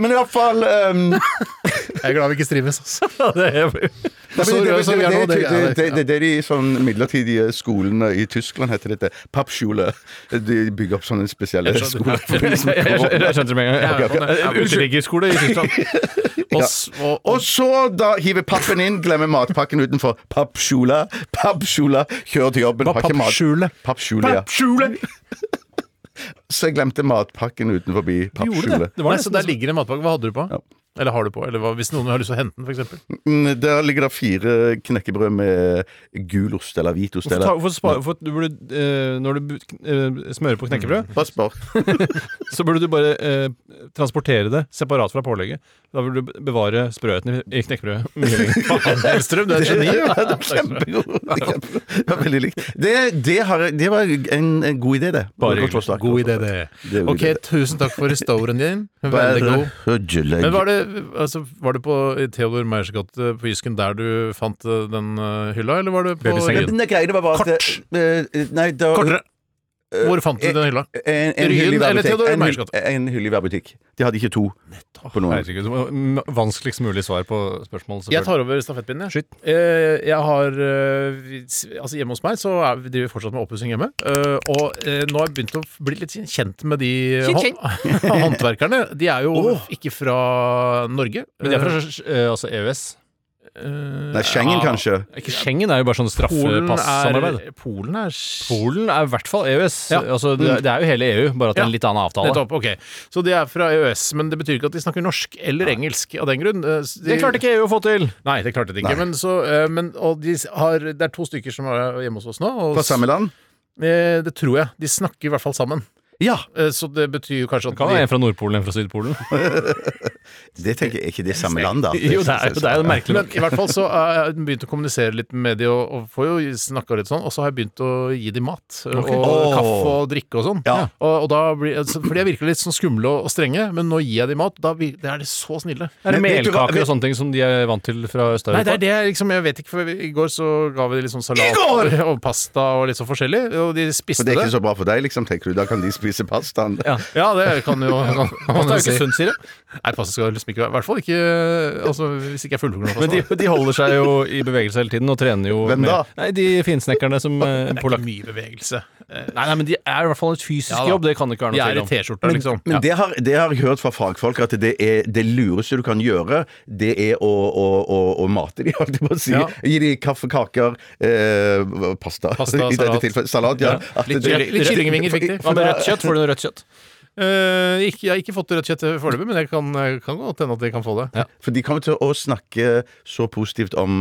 Men i hvert fall ehm,
Jeg er glad vi ikke streames, altså.
Nei, men
Så
det-
rød som vi er nå,
Det
det er det.
det- det- det- det er de sånn midlertidige skolene i Tyskland heter dette. Pappskjule. De bygger opp sånne spesielle skoler. for de som
Jeg skjønte
kommer.
jeg skjønte det med en gang.
Ja, sånn, ja.
En Uteliggerskole i Tyskland.
Og, s- og,
Og så da hiver pappen inn, glemmer matpakken utenfor. Pappskjule, pappskjule, kjører til jobben,
Hva,
pakker mat.
pappskjule?
Pappskjule, ja. Så jeg glemte matpakken utenfor
Gjorde det?
pappskjulet.
det var nesten, der ligger en matpakke. Hva hadde du på?
Ja.
Eller har du på? Eller hva, hvis noen har lyst til å hente den, f.eks.
Mm, Der ligger det fire knekkebrød med gulost eller hvitost
Hvorfor, ta,
eller
hvorfor spa- hvorfor du burde, eh, når du bu- eh, smører på knekkebrød,
Mm.
Bare spør.
så burde du bare eh, transportere det separat fra pålegget. Da vil du be- bevare sprøheten i- i knekkebrødet. mye lenger.
Hellstrøm, du er et geni!
Ja, det var kjempegod. Kjempe- Det var veldig likt. Det, det, har, jeg- det var en, en god idé, det.
Bare
Godt forslag.
God idé, det.
Det er god
Ok,
idé.
tusen takk for historien din. Veldig
Bare
god.
hødjelegg.
Men var det, altså, var det på Theodor Meyers gate på Jysken der du fant eh, den eh, hylla, eller var det på
Babyseng.
Ryen?
Nei, greia, det var bare at
Kort.
eh, Nei, det var
Kortere!
Eh,
Hvor fant du den hylla?
en, en
Ryen
hylle i hver
eller
butikk.
Theodor
En,
Meyers
hylle- en hylle i hver butikk. De hadde ikke to på noen.
Herregud, det var m- Vanskeligst mulig svar på spørsmålet.
Jeg
selvfølgelig.
tar over stafettpinnen. jeg. Eh, jeg har eh, vi- Altså Hjemme hos meg så er, vi driver vi fortsatt med oppussing hjemme. Eh, og eh, nå har jeg begynt å bli litt kjent med de
Kjent,
hånd- håndverkerne. De er jo
Åh.
ikke fra Norge.
Men det er fra eh, altså EØS.
Eh,
Nei,
ja,
Schengen, kanskje.
Ikke Schengen er jo bare sånn
Polen
straffepassamarbeid.
er, Polen er
Polen er i hvert fall EØS.
Ja.
Altså, det, det er jo hele EU, bare at det
Ja.
er en litt annen avtale.
Nettopp, ok Så de er fra EØS, men det betyr ikke at de snakker norsk eller engelsk av den grunn. Eh, s- De,
Det klarte ikke EU å få til!
Nei, det klarte de ikke. Men, så, eh, men og de s- har, det er to stykker som er hjemme hos oss nå. Og,
Fra samme land?
s- eh, det tror jeg. De snakker i hvert fall sammen.
Ja.
Eh, Så det betyr jo kanskje at
Det kan være
de
en fra Nordpolen en fra Sydpolen.
Det tenker jeg, Er ikke det samme land, da?
Jo, det er jo det er jo merkelig
men
nok.
i hvert fall så har jeg begynt å kommunisere litt med de og, og får jo snakka litt sånn. Og så har jeg begynt å gi de mat. eh, Og
Åh.
kaffe og drikke og sånn.
Ja.
Og, og da blir, altså, for de er virkelig litt sånn skumle og, og strenge, men nå gir jeg de mat. Da vir- da er de så snille.
Er det
Men vet du hva-
melkaker og sånne ting som de er vant til fra
Nei, det
Øst-Europa?
er det jeg liksom, jeg vet ikke, for i går så ga vi litt sånn salat og pasta og litt sånn forskjellig, og de
For
spiste
det
det.
er ikke så bra for deg, liksom, tenker du. Da kan de spise pastaen.
Ja.
Ja, det kan jo kan man jo
Det er jo
si.
ikke sunt, sier de.
Nei, pasta skal liksom ikke være I hvert fall ikke altså, hvis ikke jeg er fullkokt.
Men de,
pasta.
de holder seg jo i bevegelse hele tiden og trener jo
Hvem da?
Med, nei, de finsnekkerne som eh,
Det er
polak...
ikke mye bevegelse. Eh,
Nei, nei, men de er i hvert fall et fysisk
Ja da.
jobb, det kan det ikke
De
være
er i
noe tvil om.
T-skjorta, liksom.
Men det, har, det har jeg hørt fra fagfolk, at det, er, det lureste du kan gjøre, det er å, å, å, å mate de, holdt jeg på å si.
Ja.
Gi de kaffe, kaker, eh, pasta,
Pasta,
i dette
salat.
tilfellet. Salat, ja.
Ja.
At
Litt-
du-
litt kyllingvinger fikk de.
Hva med rødt kjøtt? Får du noe rødt kjøtt?
Eh, ikke, jeg har ikke fått rødt kjøtt foreløpig, men jeg kan, jeg kan godt hende at de kan få det.
For de kommer til å snakke så positivt om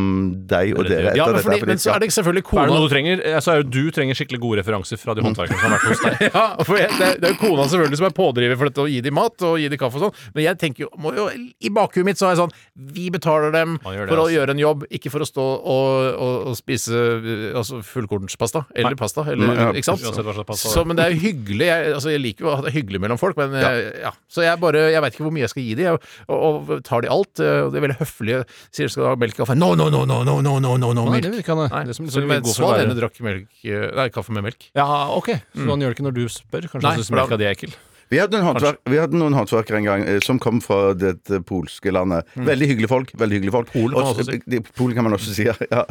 deg og dere etter
Ja, men,
dette.
fordi,
fordi-
men så er det selvfølgelig
Er det
kona
noe du trenger? Eh, Så er jo du trenger skikkelig gode referanser fra de
Mm.
håndverkerne som har vært hos deg.
Ja, for jeg, det, er, det er jo kona selvfølgelig som er pådriver for dette å gi dem mat og gi dem kaffe og sånn, men jeg tenker jo, må jo I bakhuet mitt så er jeg sånn Vi betaler dem
Man gjør det,
for å
altså.
gjøre en jobb, ikke for å stå og, og, og spise eh, altså, fullkornspasta eller pasta. Eller,
Nei, Mm, ja,
ikke sant?
uansett hva slags pasta.
Så, men det er jo hyggelig. Jeg, altså, jeg liker jo at det er hyggelig mellom folk, men eh, ja. Så jeg bare Jeg veit ikke hvor mye jeg skal gi dem, og, og, og tar de alt. eh, Og de er veldig høflige. Sier skal du ha melk og kaffe? No, no, no, no, no, no, no, no, no
Nei,
milk.
det vil ikke han,
Nei,
det som,
så
liksom,
men
går for å
så
være-
denne drakk melk, eh, nei, kaffe med melk.
Ja, ok. Mm. Så han gjør det ikke når du spør? Kanskje
Nei,
han syns
for da-
melka di er ekkel?
Vi hadde, noen håndverk, vi hadde noen håndverkere en gang eh, som kom fra dette polske landet. Veldig hyggelige folk. veldig hyggelige folk
Mm. Polen kan man også si.
Og- de- Polen kan man også si, ja. ja.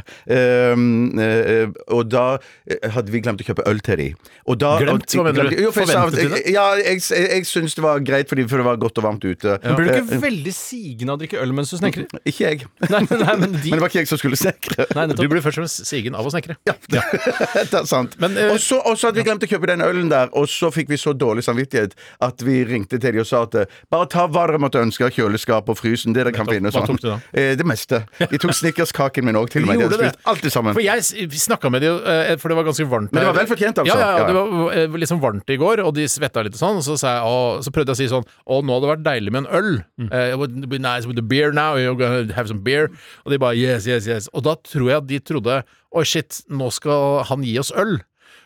Ehm, eh, og da eh, hadde vi glemt å kjøpe øl til de. Og da,
Glemt?
og-
Hva mener du?
glemte- Jo, for jeg,
Forventet du
sa- ja, jeg, jeg, jeg syns det var greit, fordi, for det var godt og varmt ute.
Men Blir du
Eh,
ikke veldig sigende av å drikke øl mens du snekrer?
ikke jeg.
Nei, nei, men de
Men det var ikke jeg som skulle snekre.
Nei,
Du
nettopp.
blir først og fremst sigen av å snekre.
Det er sant.
Men, eh,
og, så, og så hadde vi glemt å kjøpe den ølen der, og så fikk vi så dårlig samvittighet at vi ringte til de og sa at eh, bare ta hva dere måtte ønske av kjøleskap og frysen, det dere kan
Nettopp.
finne. og
Hva
sånn.
tok du da?
Eh, det meste. De tok snickerskaken min òg, til og med. De
Gjorde
hadde
det?
spist alt det sammen.
For jeg snakka med de, eh, for det var ganske varmt.
Men det var
der.
vel fortjent, altså.
Ja, ja, ja,
Ja,
det
ja.
var eh, liksom varmt i går, og de svetta litt og sånn. Og så, sa jeg, å, så prøvde jeg å si sånn Å, nå hadde det vært deilig med en øl. Eh, it would be nice with a beer now. You're gonna have some beer. Og de bare yes, yes, yes. Og da tror jeg at de trodde Oi, shit, nå skal han gi oss øl.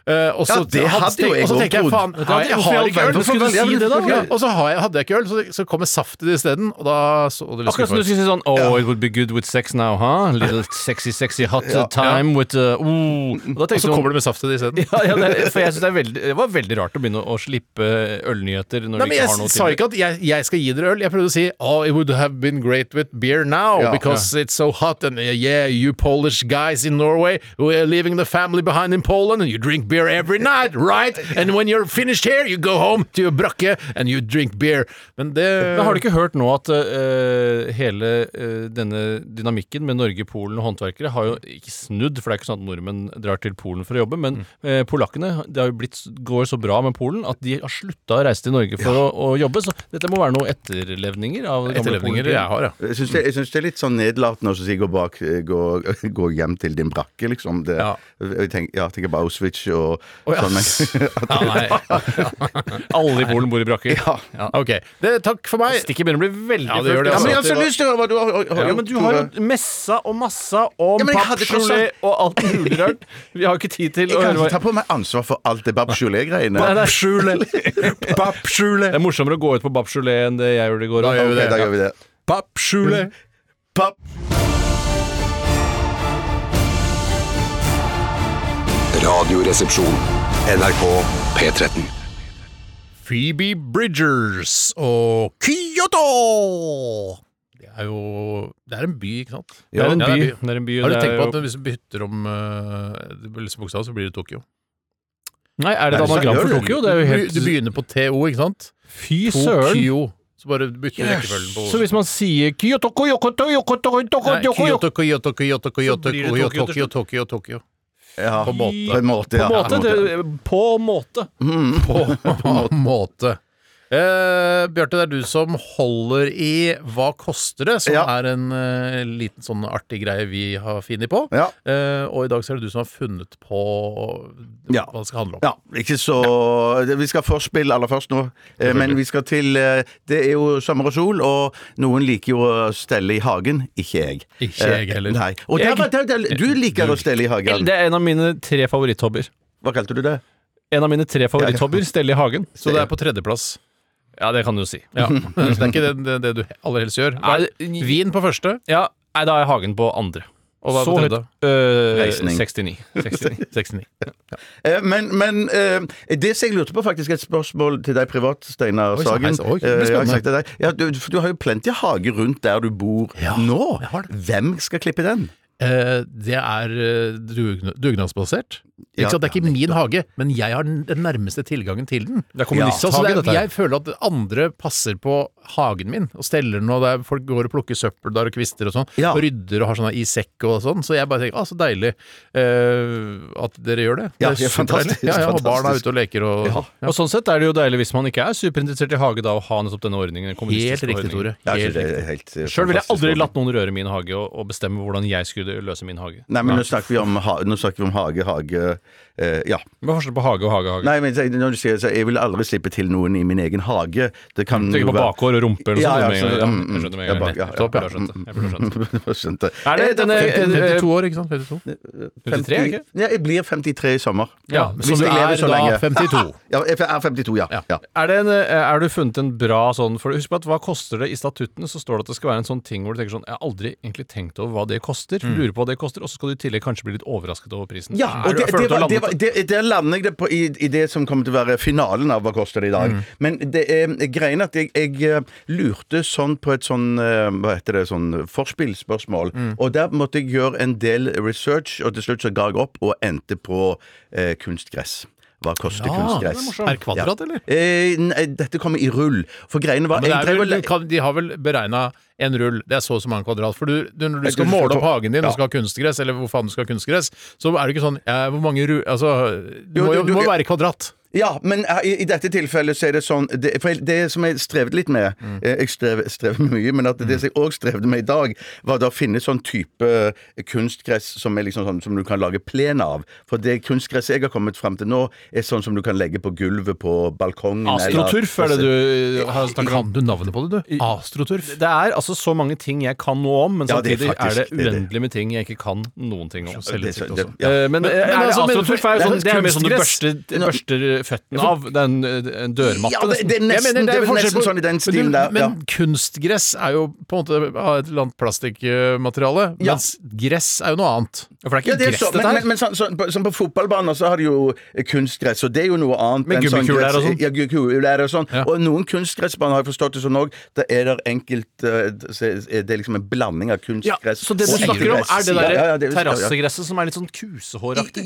Eh, og så,
Ja, det hadde jo jeg
og så
godt
tenker jeg
trodd.
faen,
Vet du
har
hva,
jeg, jeg
hvorfor i
har
all
ikke
verden
øl.
skulle du si det da?
Ja, Og så har jeg, hadde jeg ikke øl, så, så kommer saftet isteden, og da så det liksom litt
Akkurat som
skuffende
du
ut.
skulle si sånn Oh, it would be good with sex now, huh? Little sexy, sexy hot uh, time with uh, ooh. Og da
Og så
tenkte jeg sånn-
kommer det med saftet isteden.
ja, ja, det, for jeg synes det, er veldig, det var veldig rart å begynne å slippe øh, ølnyheter
Nei, men
når du ikke
Jeg
har noe
sa
til.
ikke at jeg, jeg skal gi dere øl. Jeg prøvde å si oh, it would have been great with beer now
Ja.
because it's so hot and uh, yeah, you Polish guys in Norway we're leaving the family behind in Poland and you drink beer every night, right? And when you're finished here, you go home to your brakke and you drink beer. Men det
Men har du ikke hørt nå at eh, hele eh, denne dynamikken med Norge, Polen og håndverkere har jo ikke snudd, for det er ikke sånn at nordmenn drar til Polen for å jobbe, men eh, polakkene det har jo blitt, går så bra med Polen at de har slutta å reise til Norge for å, å jobbe. Så dette må være noen etterlevninger av gamle
Etterlevninger
Polen.
jeg har, ja.
Jeg syns det, jeg synes det er litt sånn nedlatende å si gå, bak, eh, gå, gå hjem til din brakke, liksom. Det,
Ja.
Jeg tenker, ja, tenker bare Auschwitz og sånn. Men, at,
Ja, nei. Alle i Polen bor i brakker.
Ja.
Ok. Det, takk for meg.
Stikket begynner å bli veldig
Ja, det gjør det,
fullt,
ja, men jeg
altså.
har så lyst til å høre hva du har, har, har
Ja,
gjort,
men du har
Tore.
jo messa og massa om
Ja, men jeg hadde tross
pappgelé
alt-
og alt mulig rart. Vi har ikke tid til
Jeg
å
kan
høre hva
ikke ta på meg ansvar for alt det babsjolé-greiene.
Nei, det er skjule.
Pappskjule.
Det er morsommere å gå ut på Babsjolé enn det jeg gjorde i går.
Da gjør vi det.
Da gjør vi det.
Pappskjule.
Mm.
Papp.
Radioresepsjon. NRK P13.
Phoebe E Bridgers og Kyoto! Det er jo Det er en by, ikke sant?
Det er en
Ja,
by.
det er
Det er en by og
Har du
det
tenkt
er
på
jo-
at hvis du bytter om uh, lysebokstav, så blir det Tokyo?
Nei, er det
Nei,
et
så
anagram
gjør
for
det.
Tokyo? Det er jo helt
Du begynner på TO, ikke sant?
Fy søren!
Tokyo. Så bare bytter du rekkefølgen på
Så hvis man sier Kyoto, Kyoto, Kyoto,
Nei,
Kyoto, Kyoto
Kyoto, Kyoto, Kyoto, Kyoto,
blir det
Kyoto,
Tokyo til
Tokyo, Tokyo, Tokyo.
Ja.
På måte.
På en måte, ja.
På måte, det, på måte.
Mm. På en måte. Eh, Bjarte, det er du som holder i Hva koster det?, som
Ja.
er en eh, liten sånn artig greie vi har funnet på.
Ja.
Eh, og i dag så er det du som har funnet på
Ja.
hva det skal handle om.
Ja, ikke så Vi skal først spille aller først nå, eh, men vi skal til eh, Det er jo sommer og sol, og noen liker jo å stelle i hagen. Ikke jeg.
Ikke jeg
Eh,
heller.
Nei. Og der,
Jeg-
var- der, der, du liker å stelle i hagen.
Det er en av mine tre favoritthobbyer.
Hva kalte du det?
En av mine tre favoritthobbyer, stelle i hagen.
Så det er på tredjeplass.
Ja, det kan du jo si.
Ja. så det er ikke det, det, det du aller helst gjør.
Nei,
Vin på første.
Ja, nei, da er hagen på andre.
Og hva er på
Så
tredje?
Øh,
Reisning.
69. 69.
69.
Eh, Men, men eh, det som jeg lurte på, faktisk, er et spørsmål til deg privat, Steinar
Oi, så
Sagen.
heis. Oi, det blir
Eh, jeg har
spennende.
sagt til deg. Ja, du, for du har jo plenty hage rundt der du bor nå.
jeg har det.
Hvem skal klippe den?
Eh, det er eh, dugna- dugnadsbasert.
Ja,
Ikke sant? Det er ikke min hage, men jeg har den den nærmeste tilgangen til den.
Det er
Så
kommunisthage,
så det
dette
er,
her.
jeg føler at andre passer på hagen min og steller den, og det er, folk går og plukker søppel der og kvister og sånn,
Ja.
og rydder og har sånne i sekk og sånn. Så jeg bare tenker ah, så deilig eh, at dere gjør det.
Ja,
det
det
superdeilig.
er fantastisk,
Ja, ja, og barna er
fantastisk.
ute og leker og
Ja.
Og sånn sett er det jo deilig hvis man ikke er superinteressert i hage, da, å ha nettopp denne ordningen. den
Helt
kommunistiske
riktig,
ordningen.
Tore.
Ja,
Helt
det
riktig.
er helt eh,
Sjøl ville jeg
fantastisk
aldri
ordning.
latt noen røre min hage og, og bestemme hvordan jeg skulle løse min hage.
Nei, men nå snakker vi om, ha nå snakker vi om hage, hage eh, Ja.
Hva er forskjellen på hage og hage? hage?
Nei, men jeg- når du sier så, jeg vil aldri slippe til noen i min egen hage. Det kan
Tenker på bakhår og rumpe eller
Ja,
noe
ja,
sånt.
sånn, mm,
jeg skjønner med
ja,
en gang.
bak- ja, ja.
Topp, jeg skjønte. Jeg burde
Mm.
skjønt.
Skjønte.
Er det
Eh,
denne-
er
eh,
52 år, ikke sant? 52.
53, er det ikke?
Ja, jeg blir 53 i sommer.
Ja,
Hvis
Så
jeg
du
lever
er
så
da
lenge.
52.
Ja, jeg er 52, ja. ja.
Er, det en, eh, er du funnet en bra sånn For husk på at hva koster det? I statuttene så står det at det skal være en sånn ting hvor du tenker sånn Jeg har aldri egentlig tenkt over hva det koster. Lurer på hva det koster, og så skal du i tillegg kanskje bli litt overrasket over prisen.
Mm. Ja,
Er
og
du-
det,
føler du
det,
at du har
var, det,
landet
var, det, der lander jeg det på i, i det som kommer til å være finalen av Hva koster det i
Mm.
dag. Men det er greien at jeg, jeg eh, lurte sånn på et sånn eh, Hva heter det, sånn forspillspørsmål.
Mm.
Og der måtte jeg gjøre en del research, og til slutt så ga jeg opp og endte på eh, kunstgress. Hva koster kunstgress?
morsomt.
Er kvadrat, eller?
Eh, nei, dette kommer i rull. For greiene var
Men det
jeg
er
drev og
vel,
le-
kan, de har vel beregna en rull, det er så og så mange kvadrat. For du, du, når du skal
du
måle
skal
opp
få-
hagen din
ja.
og skal ha kunstgress, eller hvor faen du skal ha kunstgress, så er det ikke sånn
eh,
ja, Hvor mange ru... Altså, du
Jo,
må
du-
jo
du-
det må være i kvadrat.
Ja, men eh, i, i dette tilfellet så er det sånn Det, for det som jeg strevde litt med
Mm.
eh, Jeg strev, strev med mye, men at det som jeg òg strevde med i dag, var da å finne sånn type kunstgress som, er liksom sånn, som du kan lage plen av. For det kunstgresset jeg har kommet fram til nå, er sånn som du kan legge på gulvet på balkongen.
på-
eller-
Astroturf er det du eh, har snakket
Kan
om?
du navnet på det, du? Astroturf.
Det er altså så mange ting jeg kan noe om, men
Ja,
samtidig
det er
er,
faktisk-
det
det er det.
uendelig med ting jeg ikke kan noen ting om.
Det,
Selvtillit
det,
også.
ja.
Eh, Men, eh,
men
er det
altså, men- det er
astroturf er jo sånn, det er jo mer sånn du
kunstgress.
børster, børster føttene av. Det er en, eh, en dørmatte.
Ja, det, det
Jeg
er nesten,
mener,
det er vel
forskjell
nesten
på-
sånn i den
men,
stilen
du-
der.
Men
ja.
kunstgress er jo på en måte av et eller annet plastikkmateriale,
Ja.
mens gress er jo noe annet. For det er ikke
Ja, det er
gress,
så, men
dette her.
men, men sånn- sånn på, sånn på fotballbaner så har de jo kunstgress, og det er jo noe annet.
Med
enn sånn
gummikuler
gress-
og sånn.
Ja, gummikuler og sånn.
Ja.
Og noen kunstgressbaner har jeg forstått det sånn òg. Da er det enkelt eh, så er Det er liksom en blanding av
Ja,
kunstgress
så det du
og
snakker om, er
gress.
det der
Ja, ja, det-
terrassegresset som er litt sånn kusehåraktig?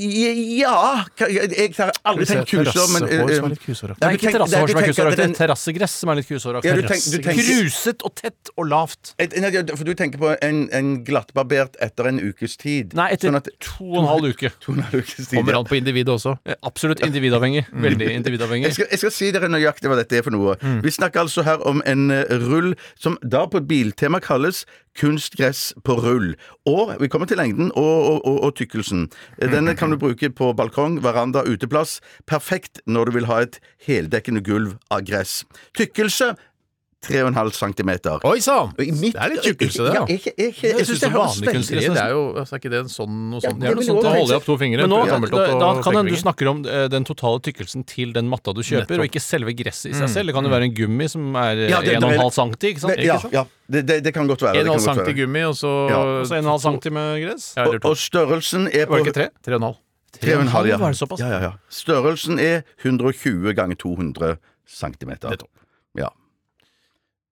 Ja ka- Jeg jeg har aldri tenkt kusår, men eh,
Terrassehår som er
eh,
litt kusåraktig.
Det
Nei,
er
du
ikke
tenker-
terrassehår
du
som er
tenker at
kusehåraktig,
den-
det er terrassegress som er litt kusehåraktig.
Ja, du tenker- du tenker-
Kruset og tett og lavt.
Et- nei, ja, For du tenker på en, en glattbarbert etter en ukes tid?
Nei, etter
Sånn at-
to og en halv uke.
To og en halv ukes tid.
Kommer
ja.
an på individet også. Mm.
Eh, Absolutt individavhengig. Veldig individavhengig.
Jeg skal, jeg skal si dere nøyaktig hva dette er for noe. Vi snakker altså her om en eh, rull som da på biltema kalles kunstgress på rull. Og vi kommer til lengden og, og, og, og tykkelsen. Eh, Denne kan du bruke på balkong, veranda, uteplass. Perfekt når du vil ha et heldekkende gulv av gress. Tykkelse 3,5 cm.
Oi sann!
Og i midt-
Det er litt tjukkelse, det.
Ja,
da.
jeg, jeg, jeg, jeg,
Det ser
synes det
ut som
høres
vanlig
veldig
kunstgress.
Det er jo altså, Er ikke det en sånn noe sånt?
det er
noe sånt.
vel
Da
også-
holder jeg opp to fingre.
Men nå,
prøver
da,
tommeltott og
da kan jeg, du
pekefinger.
snakker om eh, den totale tykkelsen til den matta du kjøper, og ikke selve gresset
Mm.
i seg selv. Det kan jo være en gummi som er eh,
Ja, det- det
1,5 cm,
er-
ikke sånn. sant?
Det, ja, ja det, det, det kan godt være. det
En
kan
halv
godt
cm
være.
gummi, og så
Ja,
Og så 1,5 cm gress?
Ja, eller
Og,
to.
og størrelsen er
Var
på
det ikke tre?
Tre og en halv.
Tre og en halv, ja.
Var det såpass?
Ja, ja, ja. Størrelsen er 120 ganger 200 centimeter.
Nettopp.
Ja.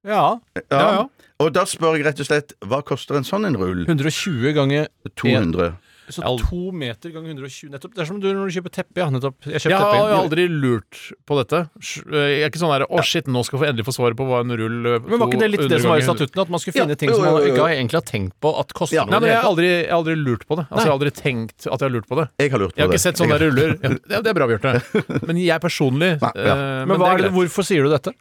Ja.
Ja.
ja.
Og da spør jeg rett og slett hva koster en sånn en rull?
120 ganger
200.
Så
Al-
to meter ganger 120 Nettopp. Det er som du når du kjøper teppe, ja. Nettopp. Jeg kjøpte
Jeg
teppe.
har jo aldri lurt på dette. Sj- Jeg er ikke sånn der, å shit, nå skal jeg få endelig få svaret på hva en rull eh,
Men var ikke det litt det som var i
200 ganger-
statutten? At man skulle finne
Ja,
ting
jo,
som
jo,
man
jo, jo.
ikke har egentlig har tenkt på at koster
Ja,
noe?
Nei, men
i
jeg har
det hele tatt.
aldri, jeg har aldri lurt på det. Altså, jeg har aldri tenkt at jeg har lurt på det.
Jeg har lurt på det.
Jeg har ikke sett sånne ruller. Ja, det er- det er bra, Bjarte. Men jeg personlig
Nei,
eh,
ja.
men
det
hva
er
er det,
greit.
hvorfor sier du dette?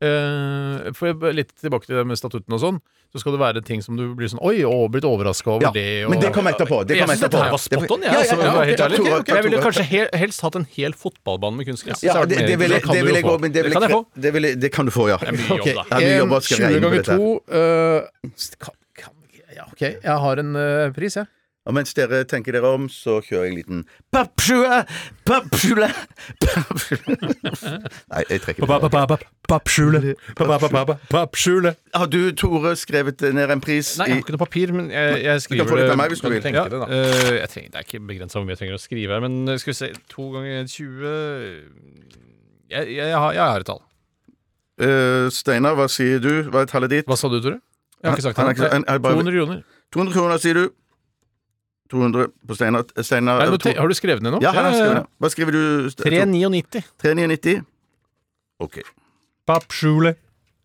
Eh, for jeg- litt tilbake til det med statutten og sånn, så skal det være ting som du blir sånn Oi, og blitt overraska over
Ja,
det og
men det kommer etterpå. Det
Jeg
kommer
synes dette
etterpå.
her
var spot on, jeg.
Ja, ja,
altså,
ja,
for å være helt
ok,
ærlig.
Tore, Tore,
jeg ville
Tore.
kanskje he helst hatt en hel fotballbane med kunstgress.
Ja,
Så er
det, det,
mer-
vil, jeg-
det kan
det
du
vil
jo
jeg
få.
gå, men det vil
Det kan jeg
jeg,
få.
det, vil, jeg- det kan du få, ja.
er mye jobb, da.
Ok, ja, mye
En
jobb, jeg skal regne
20
på
ganger
dette her.
2 eh, kan, kan, Ja, OK. Jeg har en eh, pris, jeg.
Og mens dere tenker dere om, så kjører jeg en liten Pappskjule! Pappskjule! Pappskjule. Nei, jeg trekker det. tilbake.
Pappskjule. Pappskjule.
Har du, Tore, skrevet ned en pris?
Nei, jeg
i-
har ikke noe papir, men jeg, jeg
kan
skriver
få litt av meg hvis du vil.
tenke
Ja.
det, da. Eh, jeg trenger, det er ikke begrensa hvor mye jeg trenger å skrive her, men eh, skal vi se To ganger 20 Jeg, jeg, jeg, har, jeg har et tall.
Eh, Steinar, hva sier du? Hva er tallet ditt?
Hva sa du, Tore?
Jeg har ikke sagt
Han-
det.
han har ikke- han- han bare-
200 kroner.
200 kroner, sier du. 200 på Steinar. Steinar
Nei,
eh,
men
to-
te- Har du skrevet ned noe?
Ja, han har
Ja, ja, ja.
skrevet det. Hva skriver du? Ste-
399.
399? OK.
Pappskjule.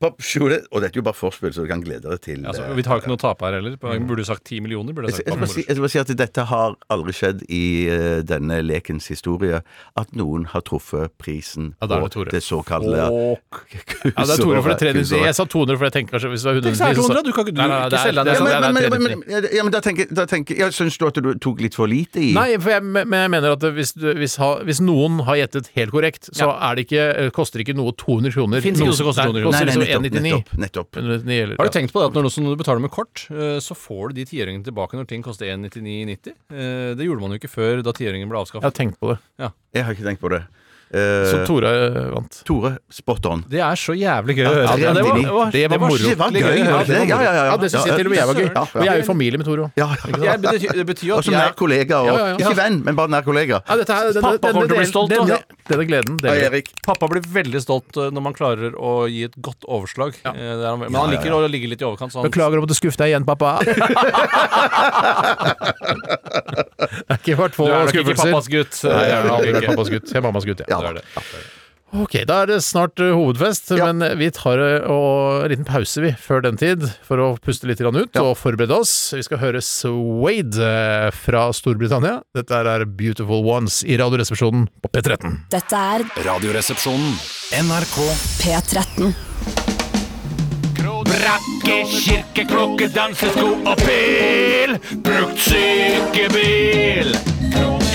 Pappskjole. Og dette er jo bare forspill, så du kan glede deg til
Altså,
eh,
vi har jo ikke noe å tape her heller. Jeg burde jo sagt 10 millioner. Burde jeg
Jeg skal, jeg,
sagt.
skal bare si, jeg skal bare si at dette har aldri skjedd i eh, denne lekens historie, at noen har truffet prisen
Ja, da er det Tore.
det såkalte
Ja, det er Tore for det 300. Jeg sa 200 for jeg tenker kanskje hvis det var 100
Tenk så er det 200, du kan ikke- du
Nei, nei,
ikke
det er-
selge deg
det er
selv.
sant,
ja, men,
det er
men,
399.
men, men, ja, men da tenker, da tenker jeg Syns du at du tok litt for lite i?
Nei, for jeg, men jeg mener at hvis, du- hvis, ha, hvis noen har gjettet helt korrekt, så er det ikke, eh, koster ikke noe 200 kroner.
Finnes ikke noe som koster 200 kroner.
Nei,
nei,
koster
nettopp,
liksom 199.
nettopp, nettopp.
199 eller-
Har du tenkt på det at når, du- når du betaler med kort, eh, så får du de tiøringene tilbake når ting koster 1,99,90? Eh, Det gjorde man jo ikke før da tiøringen ble
Jeg har
avskaffet.
tenkt på det.
Jeg har ikke tenkt på det. Eh,
Så Tore eh, vant.
Tore, spot on.
Det er så jævlig gøy å høre.
Ja, det var-
det var,
det var moro.
skikkelig
Det var
å
gøy,
høre.
var det? Ja, ja, ja, ja.
Ja, det syns jeg til og med jeg var gøy.
Ja,
Og jeg er jo i
ja.
familie med Tore òg.
Ja,
Jeg- det betyr- det betyr jo
Og
at
som nær
jeg
kollega. Og,
Ja, ja, ja.
Ikke venn, men bare nær kollega.
Ja, dette her- denne-
Pappa kommer
denne
til å bli
delen-
stolt,
denne-
altså.
Denne gleden
Ja,
deler vi.
Erik.
Pappa blir veldig stolt eh, når man klarer å gi et godt overslag. Eh, det er han- Men han liker å ligge litt i overkant. Så han,
Beklager om å skuffe deg igjen, pappa. det har ikke vært
du
få
er nok ikke pappas
skuffelser.
gutt. eh,
Nei,
det er
jeg
du
er
nok
aldri
ikke.
pappas gutt. Jeg er mammas gutt, ja.
Ja,
Det er
da.
det. Ok, da er det snart eh, hovedfest,
Ja.
men vi tar eh, og, en liten pause vi før den tid for å puste litt grann ut og forberede oss. Vi skal høre Swade eh, fra Storbritannia. Dette her er Beautiful Ones i Radioresepsjonen på P13.
Dette er
Radioresepsjonen.
NRK
P13.
Brakke, kirke, klokke, dansesko og pil Brukt sykebil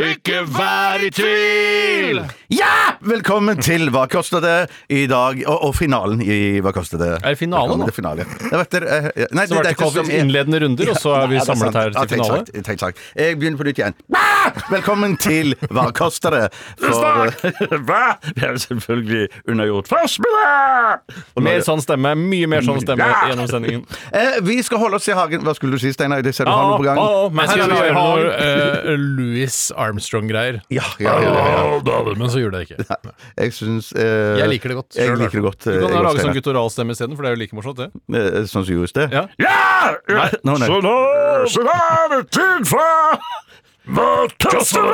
Ikke vær i tvil
Ja! Velkommen til Hva koster det i dag? Og, og finalen i Hva koster det?
Er det finale
Velkommen
nå?
til finale. Det vet dere, eh, eh, nei,
Så har det
dette som
vært innledende runder, og så er vi
Nei, det
samlet
sant.
her
Ja,
til
tenkt
finale.
sagt, tenkt sagt. Jeg begynner på nytt igjen. Ah! Velkommen til Hva koster det? For, Hva? Det er selvfølgelig undergjort først med det! Og nå-
Mer sånn stemme, mye mer sånn stemme
Ja!
gjennom sendingen.
Eh, vi skal holde oss i hagen. Hva skulle du si, Steinar? Det ser du har noe på gang.
Å, å, men
Jeg
skal
skulle
vi
gjøre
ha-
noe eh, Louis Armstrong-greier.
Ja, ja, ja, ja, ja.
Å, David, Men så gjorde jeg det ikke.
Jeg syns eh,
Jeg liker det godt.
Jeg
Selv,
liker det godt.
Du
eh,
kan da
jeg godt,
lage sånn
Steinar.
guttoralstemme isteden, for det er jo like morsomt, det.
Eh, Sånn som gjorde i sted?
Ja.
Nei, nå, nei.
Så da er det tid for Hva koster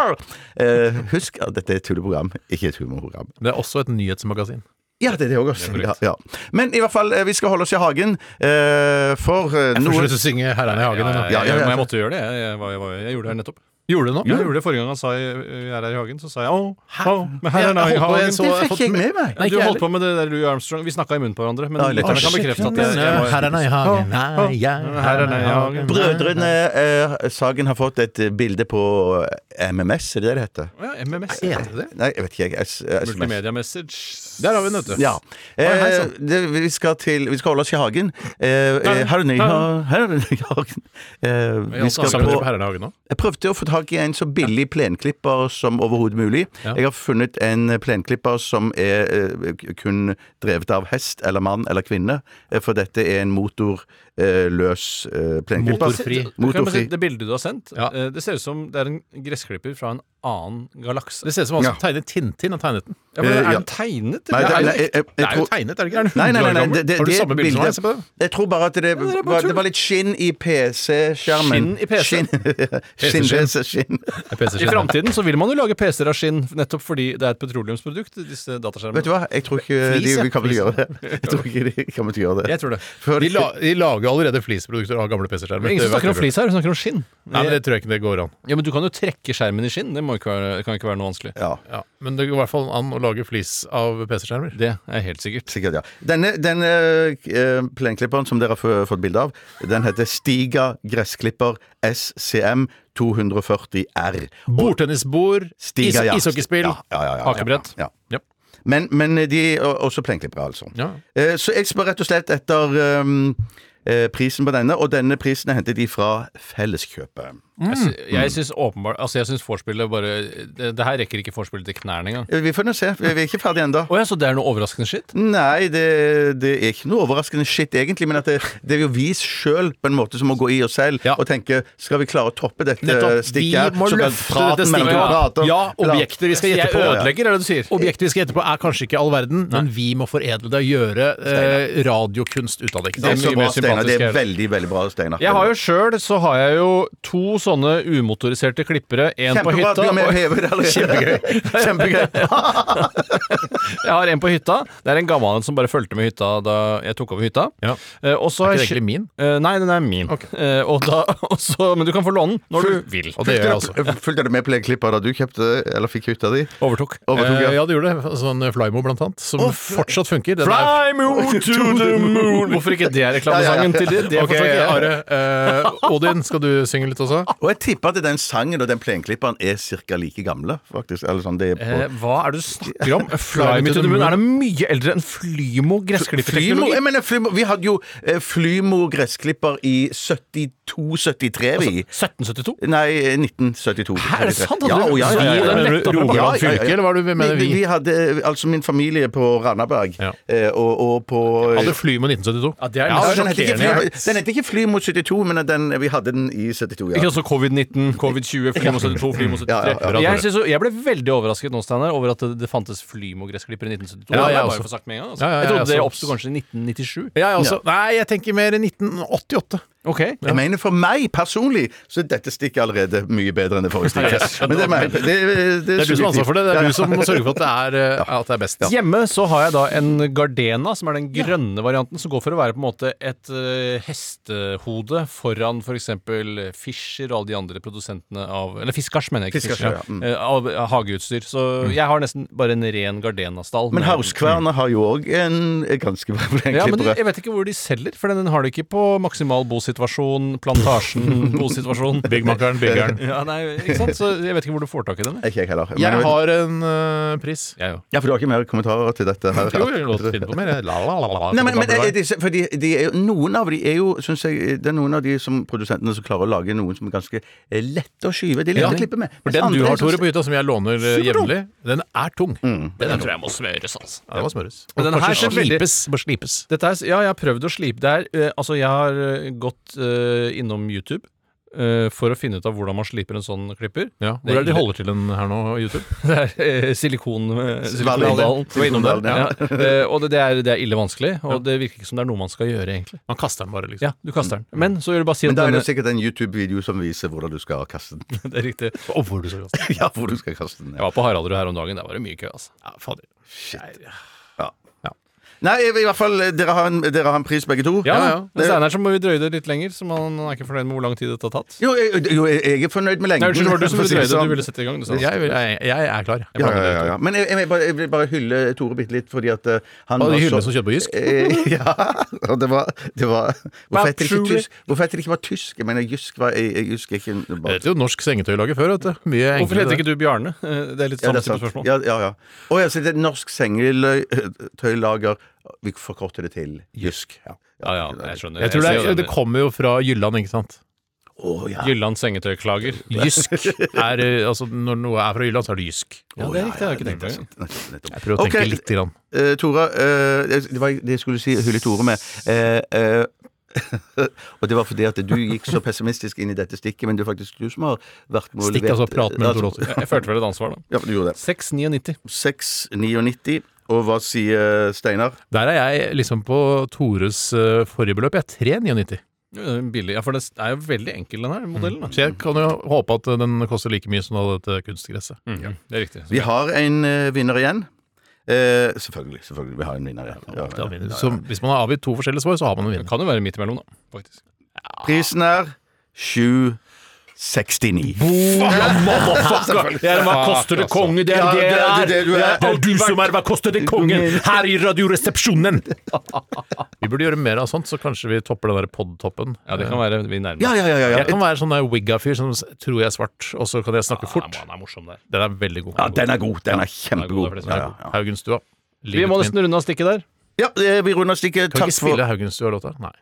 Eh, husk at dette er et tulleprogram, ikke et humorprogram.
Det er også et nyhetsmagasin.
Ja, det er det òg, altså. Ja, ja. Men i hvert fall, eh, vi skal holde oss i hagen, eh, for eh,
Noe...
noe
Slutt å synge 'Herrene i hagen'.
Jeg,
eller?
ja, ja, ja.
jeg måtte gjøre det. Jeg, jeg, var- jeg, var- jeg gjorde det her nettopp.
Gjorde du det nå?
Jeg gjorde det forrige gang han sa jeg, jeg er her i hagen, så sa jeg å,
Hæ?
å, men her er
Jeg- jeg
jeg i
holdt på, jeg
hagen.
så-
Det fikk jeg med meg.
Nei, du
ikke
holdt på med det der Louis Armstrong. Vi snakka i munnen på hverandre, men
Ja, litt.
lytterne
Å,
kan
shit,
bekrefte at
jeg,
jeg, jeg var
Herrene i hagen, nei, jeg,
Herrene i hagen.
Brødrene eh, Sagen har fått et eh, bilde på eh, MMS, er det det det heter?
ja, MMS.
Heter det det?
Nei, jeg vet ikke. Jeg, S- eh, SMS.
Multimedia-message.
Der har vi den, vet du.
Ja.
hei,
Eh,
sann.
det, vi, skal til, vi skal holde oss i hagen. Eh, eh, her er ny ha- her er ny hagen. Eh, vi skal
Skal vi
på
på Herrene i hagen nå?
Jeg prøvde å få tak i en så billig plenklipper som overhodet mulig.
Ja.
Jeg har funnet en plenklipper som er eh, kun drevet av hest eller mann eller kvinne, eh, for dette er en motorløs eh, plenklipper.
Motorfri.
Motorfri.
Det bildet du har sendt,
Ja.
eh, det ser ut som det er en gressklipper fra en annen galakse.
Det ser ut som han som
Ja.
tegner Tintin har tegnet den.
Ja, for
Eh,
er
ja.
den tegnet? eller? Er
Nei, det- nei, jeg- jeg-
Det
jeg
er jo
tror-
tegnet, er det ikke? Er den
Nei,
100
nei, nei,
år
nei,
gammel?
det- det-
Har du
det
samme bilde som meg? Se på det.
Jeg tror bare at det,
det er bare
var,
tull.
det var litt skinn i PC-skjermen.
Skinn i PC?
Skinn, PC, skinn.
I framtiden så vil man jo lage PC-er av skinn, nettopp fordi det er et petroleumsprodukt, disse dataskjermene.
Vet du hva, jeg tror ikke de,
Flis, ja,
vi kommer til
flis.
å gjøre det. Jeg tror ikke de kommer til å gjøre det.
Jeg tror det.
For-
De, la, de lager allerede flisprodukter av gamle PC-skjermer.
Ingen
Det
som snakker
vet
om
jeg.
flis her, vi snakker om skinn.
Nei, men Det tror jeg ikke det går an.
Ja, men du kan jo trekke skjermen i skinn. Det må ikke være, kan ikke være noe vanskelig.
Ja.
Ja. Men det går i hvert fall an å lage flis av PC-skjermer.
Det er helt sikkert.
Sikkert, ja. Denne, denne eh, plenklipperen som dere har få- fått bilde av, den heter Stiga gressklipper SCM 240R.
Bordtennisbord,
Stiga,
is
ja.
ishockeyspill,
Ja, ja, ja, ja.
Hakebrett.
Ja.
Ja.
Men, men de er også plenklippere, altså.
Ja.
Eh, Så jeg spør rett og slett etter ehm, eh, prisen på denne, og denne prisen er hentet ifra Felleskjøpet.
Jeg sy-
Mm.
Jeg syns åpenbart Altså, jeg syns vorspielet bare det, det her rekker ikke vorspielet til knærne engang.
Eh, Vi får nå se. Vi vi er ikke ferdige ennå.
Å ja, så det er noe overraskende shit?
Nei, det, det er ikke noe overraskende shit, egentlig. Men at det, det er jo vi sjøl på en måte som må gå i oss selv
Ja.
og tenke Skal vi klare å toppe dette
Nettopp. Vi
stikket? her?
må
Så kan
løfte
praten
dette
mellom
stikket.
to prate om-
Ja, objekter vi skal
Jeg
gjette på.
ødelegger, er det du sier?
Objektet vi skal gjette på, er kanskje ikke all verden, men vi må foredle det og gjøre eh, radiokunst ut av det.
Det
Ikke
er
sant?
mye
så bra,
mer
Steinar. Det er
sympatisk her.
veldig, veldig bra, Steinar.
Jeg har jo sjøl så har jeg jo to sånne umotoriserte klippere. Én på
Kjempebra at du
hytta.
er med og
og-
hever det allerede. Kjempegøy.
Jeg har en på hytta. Det er en gammel en som bare fulgte med hytta da jeg tok over hytta.
Ja.
Eh, og så har
Er ikke det egentlig
jeg kjø-
min?
Eh, nei, den er min. Eh, og da, og så, men du kan få låne den når du vil.
Og det gjør jeg altså.
Fulgte du med på klippa da du kjøpte eller fikk hytta di?
Overtok.
Overtok,
Eh,
ja.
ja, det gjorde det. Sånn
eh,
Flymo, blant annet, som fortsatt funker. Den er-
moon to the moon Hvorfor ikke det er reklamesangen til det? det
Ok,
forstår ikke jeg.
Are. eh, Odin, skal du synge litt også?
Og jeg tipper at den sangen og den plenklipperen er ca. like gamle, faktisk. Eller sånn, det er på
Eh, hva er det du snakker om? Fly me to the moon er det mye eldre enn Flymo
Flymo,
gressklipperteknologi.
jeg mener Flymo Vi hadde jo eh, Flymo gressklipper i 72-73
Altså-
vi
1772?
Nei, eh, 1972
Hæ, er det sant? Hadde
Ja,
du-
og ja,
så
ja, ja,
gir
ja.
det en lett opp-
Rogaland
Ja, ja, ja.
fylke, eller hva er det du mener
Vi,
vi?
vi hadde, eh, altså min familie på Randaberg
Ja.
eh, og, og på
Hadde Flymo 1972?
Ja, det er
Ja,
litt
den heter ikke
sjokkerende.
Flymo- den heter ikke Flymo 72, men den, vi hadde den i 72,
Ikke
ja.
også covid-19, covid-20, Flymo 72, Flymo 73.
Ja, ja, ja.
Jeg, synes jo, jeg ble veldig overrasket nå, Steinar, over at det, det fantes Flymo-gressklipper i 1972.
Ja,
Det må
jeg
jeg
også.
bare få sagt med en gang. Altså.
Ja, ja, ja,
jeg trodde
jeg
det
også.
oppsto kanskje i 1997.
Ja, jeg også. Nei, jeg tenker mer 1988.
Ok.
Jeg mener For meg personlig så er dette stikket allerede mye bedre enn det forrige stikket. Men det er, meg, det, eh, det,
Det er du som har ansvar for det. Det er du som må sørge for at det er, eh, at det er best.
Hjemme så har jeg da en Gardena, som er den grønne varianten, som går for å være på en måte et eh, hestehode foran f.eks. For Fischer og alle de andre produsentene av Eller Fiskars, mener jeg. ikke
Fiskars,
Fischer,
ja, mm.
eh, Av av hageutstyr. Så jeg har nesten bare en ren Gardena-stall.
Men
med-
Hauskverna har jo òg en ganske bra
Ja, men
plenklippere.
jeg vet ikke hvor de selger, for den har de ikke på Maksimal Bo sitt situasjon, plantasjen, bosituasjon.
Byggmakeren, byggeren.
Ja, nei, ikke sant? Så jeg vet ikke hvor du får tak i den. jeg.
Ikke jeg heller. Men-
Jeg har en eh, pris.
Jeg jo.
Ja, for du har ikke mer kommentarer til dette? her?
Jo, jeg låter finne på mer. jeg. La, la, la, la, la.
Nei, men, men er disse, fordi de er jo, Noen av de er jo synes jeg, Det er noen av de som produsentene som klarer å lage noen som er ganske eh, lette å skyve. De er lette å klippe med.
For
Mens
den
andre
du
er
har,
sånn-
Tore, på hytta, som jeg låner eh, jevnlig, den er tung.
Mm. Den her tror jeg må smøres, altså.
Den må smøres.
Men den
Og
her
kanskje
ser veldig-
slipes. Må slipes.
Dette er, ja, jeg har prøvd å slipe det her. Eh, altså, jeg har eh, gått eh, innom YouTube eh, for å finne ut av hvordan man sliper en sånn klipper.
Ja, hvor
Det
er det de
ille.
holder til den her nå, YouTube?
Det er eh, silikon... eh, Silikondalen.
Du var innom der.
Ja. Eh, og det, det, er, det er ille vanskelig, og det virker ikke som det er noe man skal gjøre, egentlig.
Man kaster den bare, liksom.
Ja, du kaster den. Men så gjør du bare si
Men
at
da er
denne
det sikkert en YouTube-video som viser hvordan du skal kaste den.
Det er riktig.
Og hvor du skal kaste den.
ja, hvor du skal kaste den.
Jeg
Ja.
var på Haraldrud her om dagen, der var det mye kø, altså.
Ja, fader.
Nei, i hvert fall, eh, dere har en, dere har en pris begge to.
Ja, ja.
Det-
Steinar som drøye det litt lenger, så man er ikke fornøyd med hvor lang tid dette har tatt.
Jo, jeg, jo, jeg jeg er fornøyd med lengden.
Nei, unnskyld, det var du som
for å si det
drøyde.
sånn.
Du ville sette i gang, du sa.
Jeg, vil- jeg, jeg er klar. Jeg
Ja,
blander
ja, ja,
det ut.
ja. Men jeg, jeg, vil bare- jeg vil bare hylle Tore bitte litt, fordi at eh, han
Og
var
de
så-
hyllene som kjøper på Jysk.
Eh, ja, og det var, det var hvorfor, heter det ikke
Naturlig.
tysk, hvorfor heter det ikke bare tysk? Jeg mener, jysk var jeg, jeg husker ikke
Jeg vet jo norsk sengetøylager før, vet du. Mye enklere.
Hvorfor heter
det.
ikke du Bjarne? Eh, Det er litt
ja,
samme
det er
type
sant.
spørsmål.
Sånn Ja, ja, ja. Å, ja, så det er norsk sengetøylager Vi forkorter det til jysk. Ja.
Ja, ja, jeg skjønner.
Jeg tror det,
Jeg ser
er,
jo
det
den.
kommer jo fra Jylland, ikke sant?
Å, ja.
Jylland sengetøyklager.
Jysk er eh, Altså, når noe er fra Jylland, så er det jysk.
Ja, det er riktig, jeg har ikke tenkt på det.
Nettopp, nettopp.
Jeg prøver å tenke
Ok,
litt. Grann.
eh, Tora, eh, det det var det jeg skulle si hylle Tore med. Eh, eh, og det var fordi at du gikk så pessimistisk inn i dette stikket, men det er faktisk du som har vært med å
Stikk,
levere-
altså. Prat mellom to låter.
Jeg følte vel et ansvar, da.
Ja, du gjorde det.
6990.
6,99. Og hva sier Steinar?
Der er jeg liksom på Tores eh, forrige beløp. Jeg er 3,99.
Eh, Billig. Ja, for det er jo veldig enkel, den her modellen. da.
Så jeg kan jo håpe at den koster like mye som da dette kunstgresset.
Mm, Ja, det er riktig.
Vi har en eh, vinner igjen. Eh, selvfølgelig. selvfølgelig, Vi har en vinner igjen. Ja, ja, ja, ja.
Så hvis man har avgitt to forskjellige svar, så har man en
Det
vinner.
kan jo være midt imellom, da. Faktisk.
Prisen er 769.
Det er Hva koster det konge? Det
Ja, det er det du er.
Og du som er Mm. Hva koster det kongen? Her i Radioresepsjonen!
Vi burde gjøre mer av sånt, så kanskje vi topper den der podtoppen.
Ja, det kan være vi nærmer
Ja, ja, ja. ja,
Jeg
ja.
kan være sånn der wigga-fyr som s- tror jeg er svart, og så kan jeg snakke fort.
Han er morsom der.
Den er veldig god.
ja den er god. Den er
den er god,
kjempegod.
det er sånn-
Ja, ja, ja.
Haugenstua.
Vi må nesten runde av stikket der.
ja, eh, vi runder stikket.
Kan vi
Takk
ikke
for
spille Haugenstua-låta? Nei.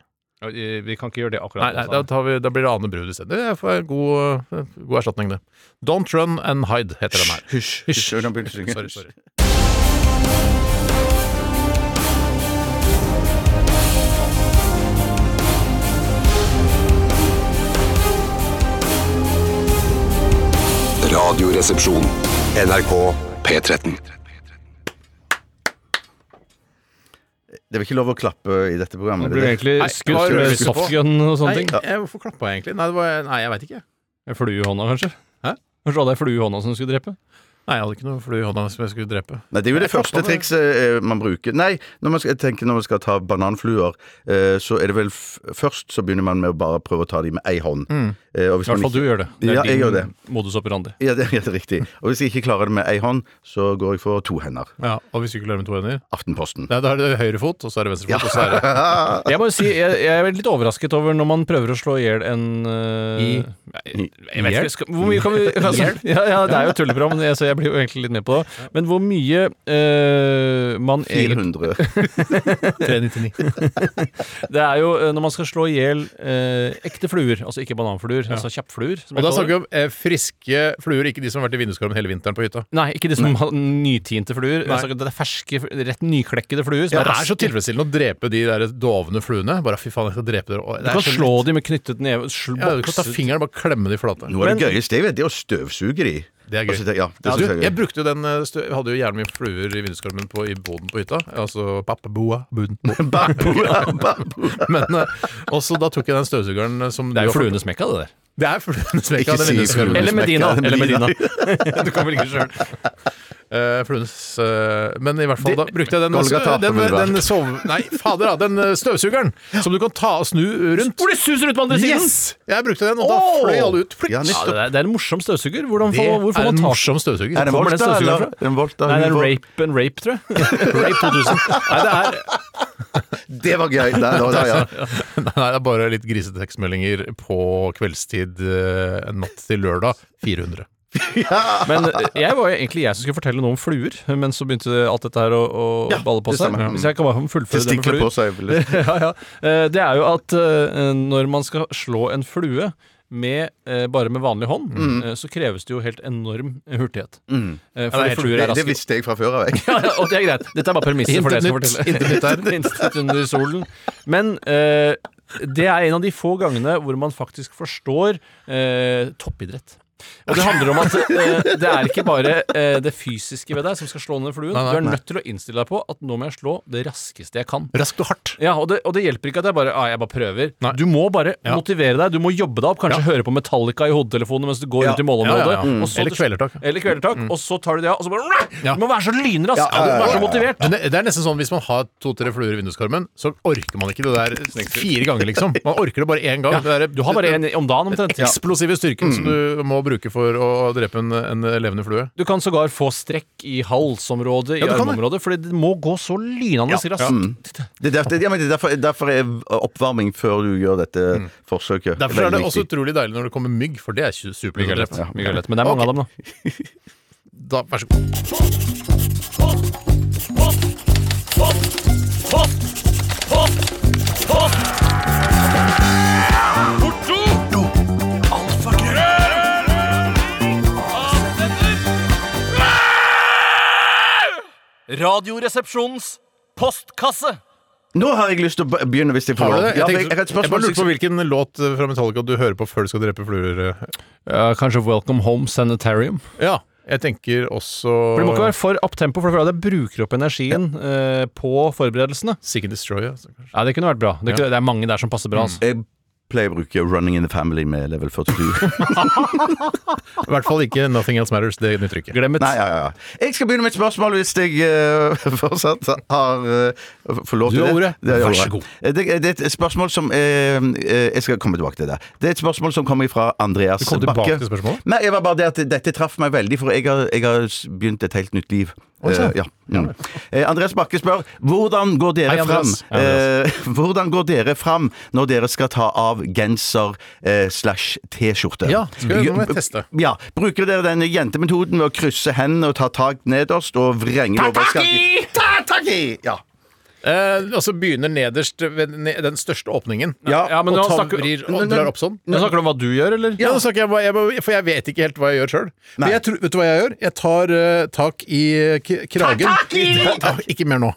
Ja, eh, Vi kan ikke gjøre det
Nei,
akkurat
nei
nå,
da,
Steinar.
tar vi, da blir det Ane Brud isteden. Det er for en god, eh, god erstatning, det. Don't Run and Hide heter den her.
Hysj. hysj, nå begynner jeg å synge.
Sorry, sorry.
Radioresepsjon. NRK P13.
Det er ikke lov å klappe i dette programmet.
Det blir
det?
egentlig
Nei,
skutt
hva er
med
det du skutt på?
softgun og sånne
Nei,
ting.
jeg, hvorfor klappa jeg egentlig? Nei, det var, nei jeg veit ikke.
En flue i hånda, kanskje?
Hæ?
Kanskje du hadde ei flue i hånda som du skulle drepe?
Nei, jeg hadde ikke noe flue i hånda som jeg skulle drepe.
Nei, det er jo det første
klappet.
trikset eh, man bruker. Nei, når man skal, jeg tenker når man skal ta bananfluer, eh, så er det vel f først så begynner man med å bare prøve å ta dem med ei hånd. Eh, og hvis
I hvert
man
fall du
ikke-
gjør det. Det er
Ja, jeg
din
gjør det.
modus operandi.
Ja, det er helt riktig. Og hvis jeg ikke klarer det med ei hånd, så går jeg for to hender.
Ja, og hvis du ikke klarer med to hender
Aftenposten.
Nei, da er det høyre fot, og så er det venstre fot, og så er det
Jeg må jo si, jeg, jeg er litt overrasket over når man prøver å slå i hjel en øh,
I-
jeg, jeg vet ikke, skal, Hvor mye kan vi altså, ja, ja, Det er jo et tulleprogram, men jeg- så jeg blir jo egentlig litt med på det. Men hvor mye øh, man egentlig
400.
399.
Det er jo øh, når man skal slå i hjel øh, ekte fluer, altså ikke bananfluer, altså kjappfluer. som
Og
jeg
da
kaller
snakker
det.
vi om eh, friske fluer, ikke de som har vært i vinduskarmen hele vinteren på hytta.
Nei, ikke de som har nytinte fluer. Jeg
Nei.
snakker om Det er ferske, rett nyklekkede fluer. Som
Det
er
er
raske.
så tilfredsstillende å drepe de der dovne fluene. Bare fy faen, jeg skal drepe dere. Å,
Du
det er
kan
så
slå
lett.
dem med knyttet neve. Sl
ja, Du kan ta
bokse-
fingeren og bare klemme de flate.
Noe av det gøyeste jeg vet, det er å støvsuge de.
Det er gøy.
Altså, det, ja, det
Ja, du,
synes jeg
jeg
er gøy.
brukte jo den eh, stø- Jeg hadde jo gjerne mye fluer i vinduskarmen på, i boden på hytta. Altså pappeboa. Buden.
Bambua, bambua.
Men eh, også da tok jeg den støvsugeren eh, som
Det er jo
du har-
fluenes mekka, det der.
Det er fluenes mekka.
Ikke
den
si
vinduskarmen.
fluenes
Eller Medina.
mekka,
Eller
Medina.
Medina. du kan vel ikke sjøl.
Eh, fluenes eh, Men i hvert fall, da brukte jeg den eh,
Golgata,
den,
må det være.
den sov... Nei, fader, da. Den eh, støvsugeren som du kan ta og snu rundt.
Hvor det suser ut på andre siden!
Yes! Jeg brukte den, og da
Åh!
fløy alle ut. Flikt.
Ja,
Ja, det,
nettopp.
er, det er en morsom støvsuger. Hvordan
Det
får, hvor får
er
man
en
tak
morsom støvsuger.
Er det en
Hvor er det
Volta,
støvsugeren
eller?
fra?
En Volta
Nei, det er en
Hugo?
rape and rape, tror jeg. rape 2000. Nei, det er
Det var gøy! Nei, nå, ja, ja.
Nei, det er bare litt grisetekstmeldinger på kveldstid eh, natt til lørdag. 400.
Men eh, jeg var jo egentlig jeg som skulle fortelle noe om fluer, men så begynte alt dette her å, å balle på
det
seg.
stemmer.
Hvis jeg kan bare fullføre det med
Testikler
fluer.
på seg. vel.
ja, ja. Eh, Det er jo at eh, når man skal slå en flue med, eh, bare med vanlig hånd, eh, så kreves det jo helt enorm hurtighet. Eh,
Ja, det er
Fordi
helt-
fluer
Mm. Det,
er
det
raske.
visste jeg fra før av, jeg.
Ja, ja, og det er greit. Dette er bare premisset for det jeg skal
Intet
fortelle.
nytt, intet nytt her.
Intet under solen. Men eh, det er en av de få gangene hvor man faktisk forstår eh, toppidrett. Og det handler om at eh, det er ikke bare eh, det fysiske ved deg som skal slå ned fluen.
nei,
Du er
nei.
nødt til å innstille deg på at nå må jeg slå det raskeste jeg kan.
Raskt og hardt.
Ja, og det, og det hjelper ikke at jeg bare, ah, jeg bare prøver.
Nei.
Du må bare
Ja.
motivere deg. Du må jobbe deg opp. Kanskje høre på Metallica i hodetelefonene mens du går
Ja.
rundt i målområdet.
Ja, Mm. ja, ja.
og så
Eller
til slutt-
kvelertak.
Eller kvelertak. Og så tar du det av, og så bare Du må være så lynrask!
Ja, ja,
Du må
ja,
være
ja,
så motivert!
Men det, det er nesten sånn hvis man har to-tre fluer i vinduskarmen, så orker man ikke det der fire ganger, liksom. Man orker det bare én gang. Det der,
Du har bare en om dagen, omtrent.
eksplosive styrken som du må bruke for å drepe en, en levende flue.
Du kan sågar få strekk i halsområdet, i
Ja, du kan det.
armområdet, fordi det må gå så lynende raskt.
Det er derfor, ja, men det er derfor, derfor er oppvarming før du gjør dette forsøket.
Mm. Derfor er det
veldig
også
viktig.
utrolig deilig når det kommer mygg, for det er ikke superlett.
Mye lett. Mye lett. Men det er mange av dem, da.
Da, vær så god.
Radioresepsjonens postkasse!
Nå har jeg lyst til å be- begynne, hvis jeg får
Har du
lov.
det?
Ja, for
Jeg,
jeg, jeg har et
tenkte, jeg bare
spørsmål.
lurte på hvilken låt eh, fra Metallica du hører på før du skal drepe fluer. eh,
kanskje Welcome Home Sanitarium.
Ja, jeg tenker også
For Det må ikke være for opptempo, for det bruker opp energien eh, på forberedelsene.
Seek and Destroy. Altså, kanskje.
Ja, Det kunne vært bra. Det,
Ja.
kunne, det er mange der som passer bra. Altså.
jeg pleier å bruke Running in the Family med level 42.
I hvert fall ikke Nothing Else Matters. Det nytter ikke.
Glem et
Nei, ja, ja, ja. Jeg skal begynne med et spørsmål hvis jeg eh, fortsatt har uh, Får lov
Du har
til det.
ordet.
Det har jeg
Vær så
ordet.
god.
Eh, Det, det er et spørsmål som eh, eh, Jeg skal komme tilbake til det. Det er et spørsmål som kommer fra
Du
Andreas
kom tilbake
Bakke.
til spørsmålet?
Nei, jeg var bare det at dette traff meg veldig, for jeg har, jeg har s- begynt et helt nytt liv. Eh, ja. Mm. Eh, Andreas Bakke spør hvordan går dere
Hei,
fram
Andreas. Hei,
eh, Hvordan går dere fram når dere skal ta av genser eh, slash T-skjorte?
Ja, skal jeg- nå må jeg teste.
Ja, Bruker dere denne jentemetoden ved å krysse hendene og ta tak nederst og vrenge det over skallen? Tataki! Ja.
Eh, altså begynner nederst ved ne den største åpningen.
Ja,
ja, men
og
nå
tar,
snakker-
vrir
Nå-
og
nå-
drar opp sånn.
Nå snakker du om hva du gjør, eller?
Ja, nå snakker jeg, bare- jeg, bare- for jeg vet ikke helt hva jeg gjør sjøl. Men jeg tror, vet du hva jeg gjør? Jeg tar eh, tak i eh, k kragen. Ja, ikke mer nå.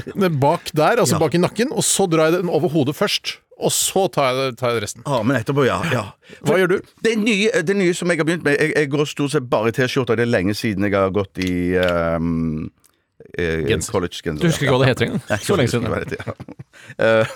Men bak der, altså bak i nakken, og så drar jeg den over hodet først. Og så tar jeg, tar jeg resten.
Armen etterpå, ja. ja.
Hva gjør du?
Det nye, det nye som jeg har begynt med Jeg, jeg går stort sett bare i T-skjorte. Det er lenge siden jeg har gått i um,
Genser.
College-genser.
Du husker ikke hva det heter engang? Så lenge siden.
Eh,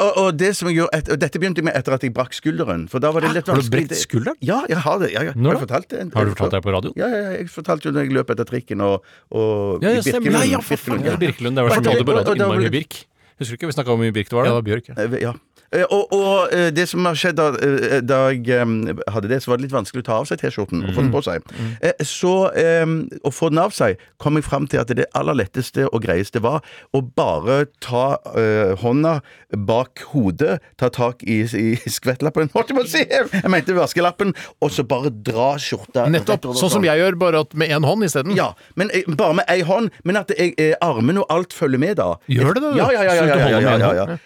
og, og det som jeg gjorde et, og Dette begynte jeg med etter at jeg brakk skulderen. For da var det litt
Har du
vanskelig.
brekt skulderen?
Ja, jeg har det. Ja, ja.
Når
Har jeg
da?
fortalt det?
Har du fortalt det på radio?
Ja, ja, ja, jeg fortalte jo når jeg løp etter trikken og, og
Ja,
i
ja, stemmer.
Birkelund.
Nei, ja, for faen.
Birkelund,
Ja, Birkelund, det var så
Og-
mye du berørte
og- og da
innmari
ble-
mye Birk. Husker du ikke? Vi snakka om hvor mye Birk det var. da?
Bjørk. Ja.
Eh, Ja. Eh, Og, og eh, det som har skjedd da, eh, da jeg eh, hadde det, så var det litt vanskelig å ta av seg T-skjorten og få den på seg.
Mm.
Eh, Så eh, å få den av seg kom jeg fram til at det aller letteste og greieste var å bare ta eh, hånda bak hodet, ta tak i, i skvettlappen holdt jeg, på å si. jeg mente vaskelappen, og så bare dra skjorta
Nettopp. Sånn som jeg gjør, bare at med én hånd isteden.
ja, men eh, bare med ei hånd. Men at jeg, eh, armene og alt følger med, da.
Gjør det det, da?
Ja, ja, ja. ja,
Så
ja,
du
ja,
holder
ja,
med
ja,
en
ja.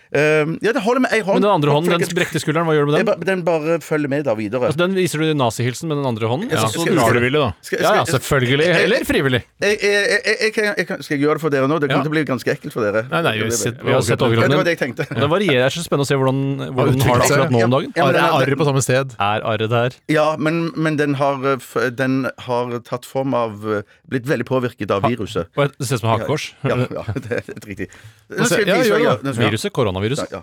Ehm, ja det holder med ei hånd.
Men den andre hånden, den
Folkens,
brekte skulderen, hva gjør du med den?
jeg ba- Den bare følger med da videre.
Altså, den viser du nazihilsen med den andre hånden,
Ja.
og så drar du
da.
Skal-
Ja, ja,
skal-
selvfølgelig. Eller frivillig.
Jeg, jeg, jeg, jeg, kan- jeg, kan- skal jeg gjøre det for dere nå? Det kommer
Ja.
til å bli ganske ekkelt for dere.
Nei, nei, vi
Det blir-
sitter-
Vi har sett
ja, det var
overkroppen
det
din.
jeg tenkte.
Og Det varierer. Det er så spennende å se hvordan, hvordan den har det akkurat nå om dagen.
Ja, men
Arret
den
er
har-
arret på samme sted.
Er arret der?
Ja, men, men den, har, eh, f- den har tatt form av eh, Blitt veldig påvirket av viruset.
Å, Det ser ut som hakekors.
Ja, ja det er helt riktig. Nå
se-
skal jeg
ja, gjør
vise hva jeg
det.
gjør. Nå skal jeg-
Viruset, koronaviruset.
Ja.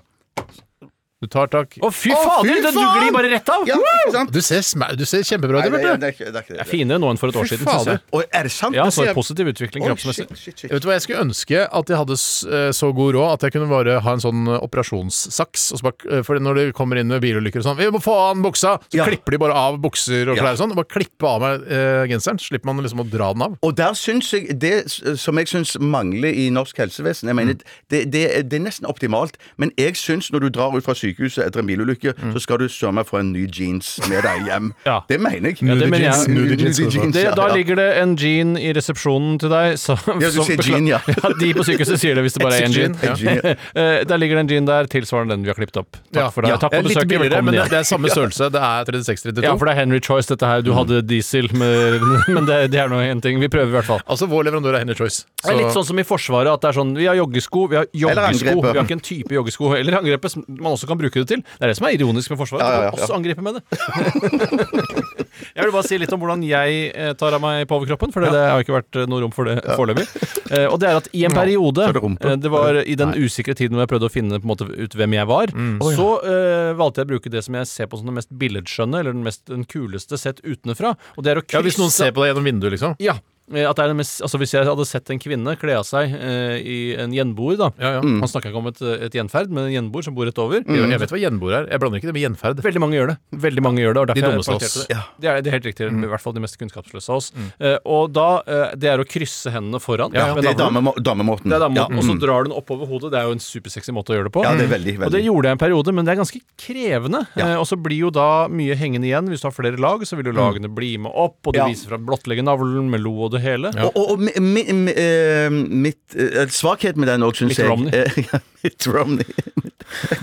Du tar tak.
Å, fy fader! den- Du glir bare rett av!
Ja, ikke sant?
Du ser, sma- du ser kjempebra ut,
Nei, det,
Bjarte.
det, er ikke- det er ikke
Det
det.
er finere nå enn for et år
Fy
siden. synes jeg.
fader.
Oi, er det sant?
Ja,
Det
så
ser-
en positiv utvikling
Oi,
kroppsmessig.
shit, shit, shit.
Vet du hva, Jeg skulle ønske at jeg hadde s- eh, så god råd at jeg kunne bare ha en sånn eh, operasjonssaks. Og så bare, eh, for når det kommer inn med bilulykker og sånn 'Vi må få av den buksa!' Så
Ja.
klipper de bare av bukser og
Ja.
klær og sånn. Bare klippe av meg eh, genseren. Slipper man liksom å dra den av.
Og der syns jeg Det s- som jeg syns mangler i norsk helsevesen jeg mener,
Mm.
det, det, er- det er nesten optimalt, men jeg syns når du drar ut fra sykehuset etter en bilulykke, så skal du søren meg få en ny jeans med deg hjem.
Mm. Ja.
Det mener jeg.
Ja, det mener jeg.
Nudie
Nudie jeans,
jeans,
altså.
Det,
ja,
da
ja.
ligger det en jean i resepsjonen til deg. Som,
Ja, du
som
sier
beklager-
jean, ja.
De på sykehuset sier det hvis det bare er én
Jean,
jean. Ja.
En jean, ja.
Eh, der ligger det en jean der tilsvarende den vi har klippet opp. Takk for det. Takk for
Eh, Litt
besøket.
billigere,
Velkommen
men det,
igjen.
det er samme størrelse. Det er 36-32.
Ja, for det er Henry Choice, dette her. Du hadde diesel, men, men det, det er nå en ting. Vi prøver i hvert fall.
Altså, vår leverandør er Henry Choice.
Det er litt sånn som i Forsvaret, at det er sånn Vi har joggesko, vi har joggesko
angrepet.
Vi har ikke en type joggesko eller angrepet som man også kan bruke det til. Det er det som er ironisk med Forsvaret.
Ja, ja, ja,
Du
ja.
kan også angripe med det. jeg vil bare si litt om hvordan jeg eh, tar av meg på overkroppen, for det, det har ikke vært eh, noe rom for det foreløpig. Eh, Og det er at i en periode,
er det rumpe.
eh, det var i den usikre tiden hvor jeg prøvde å finne på en måte ut hvem jeg var,
Mm.
så eh, valgte jeg å bruke det som jeg ser på som det mest billedskjønne, eller den, mest, den kuleste sett utenfra, og det er å
Ja,
krysse
Hvis noen ser på deg gjennom vinduet, liksom.
ja. eh, At det er den mest, altså hvis jeg hadde sett en kvinne kle av seg eh, i en gjenboer, da
Ja, ja.
Mm.
Han snakker ikke om et, et gjenferd, men en gjenboer som bor rett over.
Jeg jeg vet hva gjenbord er. Jeg blander ikke det med gjenferd.
Veldig mange gjør det. Veldig mange gjør det, og
De
derfor jeg
dummeste av
poengterte
oss. Mm.
Det. Det, er, det er helt riktig.
Mm.
I hvert fall de mest kunnskapsløse av oss. Eh, og da eh, Det er å krysse hendene foran.
Ja, ja.
med
Det er
navlen.
damemo- damemåten.
Det er da må-
Ja. Mm.
Og så drar du den oppover hodet. Det er jo en supersexy måte å gjøre det på.
Ja, det er veldig,
Mm. Og det
veldig.
gjorde jeg en periode, men det er ganske krevende.
Ja.
Eh, og så blir jo da mye hengende igjen. Hvis du har flere lag, så
Mm.
vil jo lagene bli med opp, og du
Ja.
viser fra blottlegge navlen med lo og det hele.
Og, og, og mi, mi, mi, eh, mitt eh, Svakhet med den òg, syns
Mitt
jeg
Romney.
eh, ja, Mitt Romney.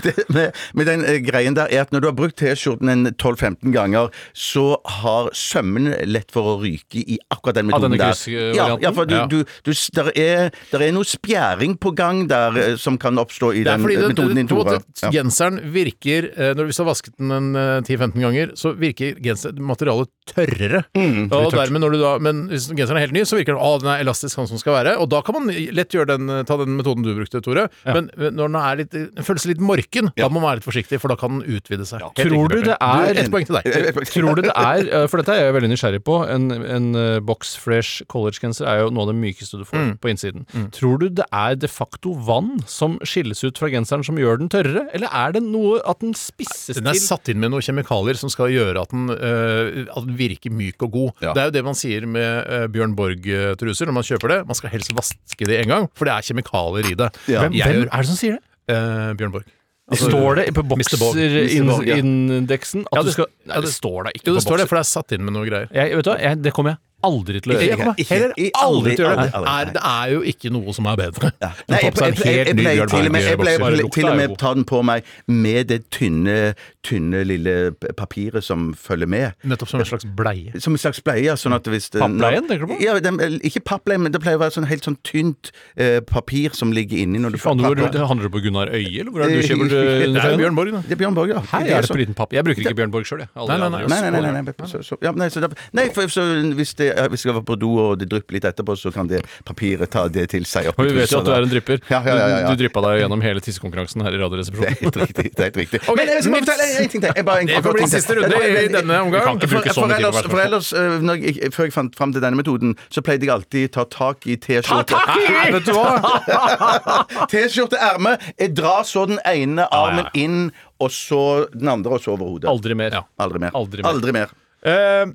Det, med, med den eh, greien der er at når du har brukt T-skjorten en 12-15 ganger, så har sømmene lett for å ryke i akkurat den
Av
metoden
denne
der.
kryssvarianten?
Ja, ja, for du,
Ja.
du, du, s- der, er, der er noe spjæring på gang der eh, som kan oppstå i
Det er
den
fordi
eh,
den,
metoden din,
på en
Tore.
måte,
Ja.
Genseren virker eh, når Hvis du har vasket den en, eh, 10-15 ganger, så virker genser, materialet tørrere.
Mm,
og dermed når du da, men hvis genseren er helt ny, så virker den å, den er elastisk sånn som den skal være. Og da kan man lett gjøre den, eh, ta den metoden du brukte, Tore. Men eh, når den er litt, den føles litt morken, da må man være litt forsiktig, for da kan den utvide seg. Helt
Tror
riktig,
du det
Bjarte.
er-
Ett poeng til
Eh,
deg.
Eh, Tror du det er, eh, for dette er jeg veldig nysgjerrig på, en, en eh, box fresh collegegenser er jo noe av det mykeste du får
Mm.
på innsiden. Tror du det er de facto vann som skilles ut fra genseren som gjør den tørrere, eller er det noe at den spisses
Den er
til?
satt inn med noen kjemikalier som skal gjøre at den, eh, at den virker myk og god.
Ja.
Det er jo det man sier med eh, Bjørn Borg-truser når man kjøper det. Man skal helst vaske det en gang, for det er kjemikalier i det.
Ja.
Hvem,
Jeg
hvem
gjør-
er det som sier det?
Eh, Bjørn Borg.
står det på
Mr. Borg.
Borg, ja.
boksindeksen at
Ja,
du
det-
skal
ja,
Nei, det
det-
står da ikke
Jo,
på
det står det,
boksen.
for det er satt inn med noe greier.
Jeg, vet du hva, jeg, det kommer jeg aldri til å gjøre.
Ikke-
Jeg kommer
ikke-
heller
ikke-
aldri til å gjøre det.
aldri-
Det er, det er jo ikke noe som er bedre. Du
Nei,
får
jeg,
på
jeg,
seg en helt
jeg, jeg
ny
pleier
Bjørn
til og med, jeg
Borg-bokser.
pleier,
Bare
pleier,
lukta
til og
er
med
god.
ta den på meg med det tynne, tynne lille p- papiret som følger med.
Nettopp som en slags bleie.
Som en slags bleie. ja, Sånn at hvis det-
Pappbleien, tenker du på?
Ja, den, ikke pappbleie, men det pleier å være sånn helt sånn tynt eh, papir som ligger inni når du
Faen, du,
pappa-
handler du på Gunnar Øye, eller hvor er det du
Det
kjøper
Det er
er jo
undertøyene?
Bjørn Borg, da.
Det er Bjørn Borg, ja.
Her
Det er
er det
sånn-
på liten papp. Jeg bruker ikke Bjørn Borg sjøl, jeg.
Nei,
Aldri,
nei, nei.
aldri.
Nei, nei, nei. nei, nei. Så, så, ja, nei så da, nei, for så, hvis, det, hvis jeg var på do og det drypper litt etterpå, så kan det papiret ta det til seg. opp i
Og vi vet jo
trusa
at du
da.
er en drypper.
Ja, ja, ja, ja,
Du, du
ja.
dryppa deg jo gjennom hele tissekonkurransen her i
Det er
Radioresepsjonen.
helt riktig. Det er helt riktig.
Ok,
Men eh, jeg skal bare
mitt-
fortelle en- en ting til. Jeg bare- en
Det får
kort
bli
ting til. Eh,
siste runde
Jeg- jeg-
i denne omgang.
Vi kan ikke
For,
bruke sånne ting
for
på
ellers,
hvert
for
spørsmål.
ellers øh, når jeg, før jeg fant fram til denne metoden, så pleide jeg alltid ta tak i T-skjorte.
Nei, Vet du hva?
T-skjorteerme. Jeg drar så den ene armen inn, og så den andre, og så over hodet.
Aldri mer. Ehm,
Aldri mer.
Aldri mer.
Eh,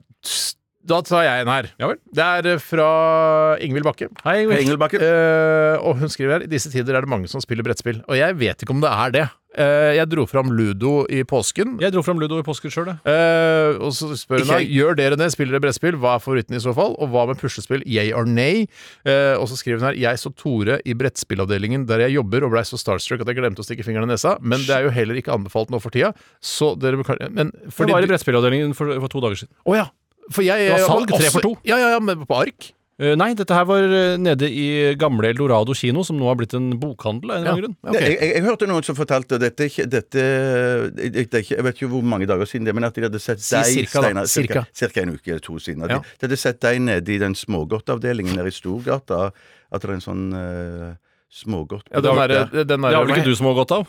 Da tar jeg en her.
Ja vel.
Det er eh, fra Ingvild Bakke.
Hei,
Hei,
Ingvild.
Engelbakken.
Eh, og hun skriver her I disse tider er det mange som spiller brettspill. Og jeg vet ikke om det er det. Eh, jeg dro fram ludo i påsken.
Jeg dro fram Ludo i påsken sjøl, jeg.
Eh, og så spør hun
Ikke
da
jeg.
Gjør dere det, spiller dere brettspill, hva er favoritten i så fall? Og hva med puslespill, yay or nay? Eh, og så skriver hun her Jeg så Tore i brettspillavdelingen der jeg jobber og blei så starstruck at jeg glemte å stikke fingeren i nesa, men det er jo heller ikke anbefalt nå for tida, så dere må kan- Men
For det
fordi
var i
du-
brettspillavdelingen for, for to dager siden.
Å ja. For jeg
Det var salg,
også-
tre for to.
Ja, ja, ja, men på ark.
Eh, nei, dette her var eh, nede i gamle Eldorado kino, som nå har blitt en bokhandel. av en eller annen grunn.
Ja, ok.
Jeg, jeg, jeg hørte noen som fortalte og dette, er ikke- dette det, det, er ikke- Jeg vet ikke hvor mange dager siden det er, men at de hadde sett deg
cirka, da.
Steinar,
Cirka.
cirka, cirka en uke eller to siden. At
Ja.
de, de hadde sett deg nede i den smågodtavdelingen nede i Storgata. At det er en sånn uh, smågodt
Ja, den derre
Det har vel ikke du som har godt av?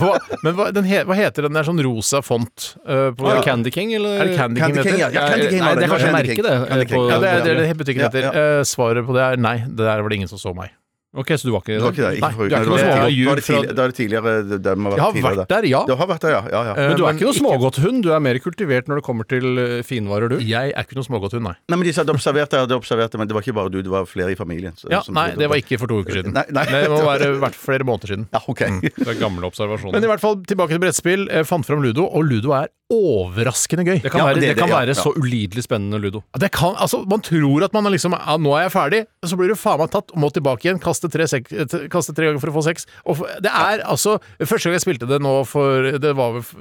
Hva, men hva, den he, hva heter den der sånn rosa font? eh, på,
Er det Candy King, eller?
Er det Candy King,
Candy
den
King, ja.
heter?
ja Candy King
Nei,
var
det er kanskje
Candy
merket,
King.
det, Eh,
Candy
på-
King.
Ja, det er det, er
ja.
det butikken heter.
Ja,
Eh, svaret på det er nei. Det der var det ingen som så meg.
Ok, så du var ikke
Det var ikke det. Ikke
Nei,
forrige
det er
uke.
ikke noe
Det
smågodt.
var- var det tidlig- Da er det tidligere. Det,
Jeg
det må ha vært
har
tidligere.
vært Eh, der, ja.
Det har vært der, ja. ja, ja.
Men du er ikke noe
ikke-
smågodthund, du er mer kultivert når det kommer til eh, finvarer, du.
Jeg er ikke noe smågodthund, nei.
Nei, men de sa hadde observert det, hadde observert det, men det var ikke bare du, det var flere i familien. så-
Ja,
som
nei,
trodde
det var ikke for to uker siden.
Nei, nei.
Det Mm. må være i hvert fall flere måneder siden.
Ja, ok.
Det er gamle observasjoner.
Men i hvert fall tilbake til brettspill. Jeg fant fram Ludo, og Ludo er overraskende gøy.
det kan
Ja,
være,
det-
det,
det-
kan
ja,
være
ja.
så ulidelig spennende, Ludo.
Det kan, altså, man tror at man er liksom ja, 'Nå er jeg ferdig', så blir du faen meg tatt og må tilbake igjen. Kaste tre, sek, eh, t- kaste tre ganger for å få seks. Og f- det er altså Første gang jeg spilte det nå for Det var vel f-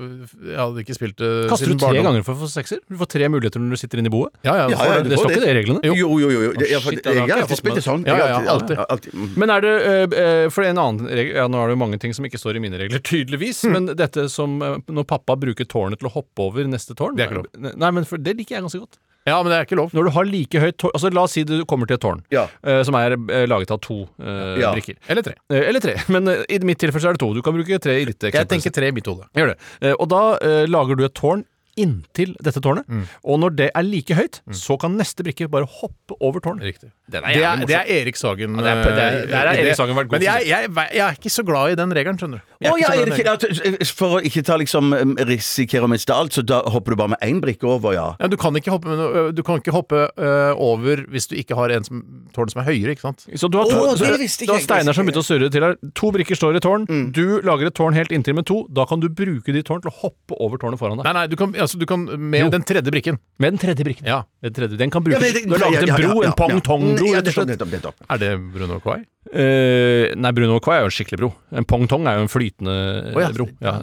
Jeg hadde ikke spilt det
Kaster du
siden
tre
barndommen.
ganger for å få sekser? Du får tre muligheter når du sitter inne i boet.
Ja, ja,
Ja, ja,
for-
du
det
får
står ikke det i reglene.
Jo, jo, jo. jo. Det, jeg,
shit,
jeg,
ja, det har ikke
har
jeg
alltid
fått
spilt
med.
det sånn.
Ja,
Jeg har
ja, alltid.
ja, alltid. Mm.
Men er det eh, eh, For en annen regel Ja, nå er det jo mange ting som ikke står i mine regler, tydeligvis,
Hmm.
men dette som eh, når pappa bruker tårnet til å hoppe over neste tårn
Det er ikke
Nei, men for, det liker jeg ganske godt.
ja, men det er ikke lov.
Når du har like høyt tårn Altså, la oss si du kommer til et tårn
Ja.
eh, som er eh, laget av to eh,
Ja.
brikker.
Eller tre.
Eh, Eller tre, men eh, i mitt tilfelle så er det to. Du kan bruke tre i ditt
Jeg
eksempel.
tenker tre i mitt hode.
Gjør det. Eh, Og da eh, lager du et tårn inntil dette tårnet,
Mm.
og når det er like høyt, så kan neste brikke bare hoppe over tårnet.
Riktig. Det
Den
er,
jævlig
det
morsom.
er Erik Sagen.
Ja, det er- det er-
eh,
der har
idé.
Erik Sagen vært god
Men jeg,
til
jeg, jeg er ikke så glad i den regelen, skjønner du. Jeg
Å,
er ikke
ja,
så glad i den
Erik,
regelen.
ja, t- for å ikke ta liksom em, risikere å miste alt, så da hopper du bare med én brikke over, ja.
Ja, du kan ikke hoppe, med noe- ø, du kan ikke hoppe ø, over hvis du ikke har en som, tårn som er høyere, ikke sant?
Så du har,
Å,
tårn- så-
det visste ikke Mm.
du har
jeg,
steiner
det
som
visste
begynte å surre til deg. To brikker står i tårn. Du lager et tårn helt inntil med to. Da kan du bruke de tårn til å hoppe over tårnet foran deg.
Nei, nei, du kan, altså, du kan med
Jo.
den tredje brikken.
Med den tredje brikken.
Ja.
Den, tredje, den kan
Ja,
brukes.
men det-
du har laget
ja,
en
ja,
bro,
ja,
en
ja.
pong-tong-bro,
Ja,
rett og slett.
nettopp, nettopp, nettopp.
Er det Bruno Kwai?
Eh, nei, Bruno Quay er jo en skikkelig bro. En pong-tong er jo en flytende eh, bro. Ja.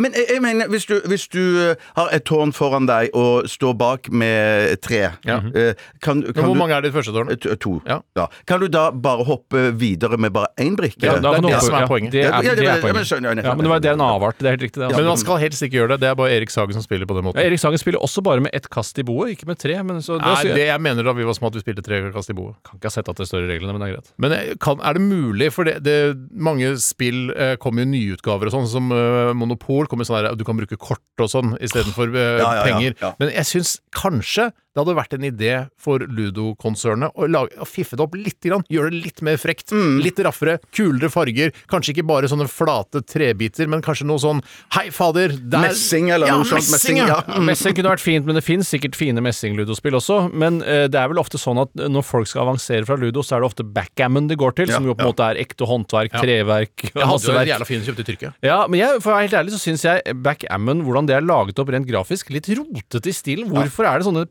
Men eh, jeg, jeg mener, hvis du, hvis du eh, har et tårn foran deg og står bak med tre eh, kan, kan
Men hvor
du-
mange er det i første tårn?
Eh, to- To.
Ja.
Kan du da bare hoppe videre med bare én brikke?
Ja,
det
da
er
kan du
det
hoppe-
som er
ja,
poenget.
Det
Ja,
er,
ja, det-
det
ja,
er
men
poenget.
skjønner jeg nettopp.
Ja, men det, var, det er en avart. Det er helt riktig. Det, altså.
Men man skal helst ikke gjøre det. Det er bare Erik Sagen som spiller på den måten.
Ja, Erik Sagen spiller også bare med ett kast i boet, ikke med tre. Men så, da,
Nei,
sier jeg-
det jeg mener da vi var små at vi spilte tre kast i boet.
kan ikke ha sett at det står i reglene, men det er greit.
Men eh, kan, er det mulig, for det, det, mange spill eh, kommer jo i nyutgaver og sånn, som eh, Monopol kommer sånn der, du kan bruke kort og sånn istedenfor eh,
Ja, ja, ja,
penger.
ja.
Men jeg syns kanskje det hadde vært en idé for Ludo-konsernet å, lage- å fiffe det opp litt, grann, gjøre det litt mer frekt,
Mm.
litt raffere, kulere farger, kanskje ikke bare sånne flate trebiter, men kanskje noe sånn hei, fader, der
Messing eller
ja,
noe sånt.
Messing, ja.
ja. Mm.
Messing kunne vært fint, men det fins sikkert fine messingludospill også. Men eh, det er vel ofte sånn at når folk skal avansere fra ludo, så er det ofte backgammon det går til, som jo på en måte er ekte håndverk, treverk,
Jeg hadde jo en
masseverk.
jævla fin kjøpt i Tyrkia.
Ja, men jeg, for å være helt ærlig så syns jeg backgammon, hvordan det er laget opp rent grafisk, litt rotete i stilen. Hvorfor er det sånne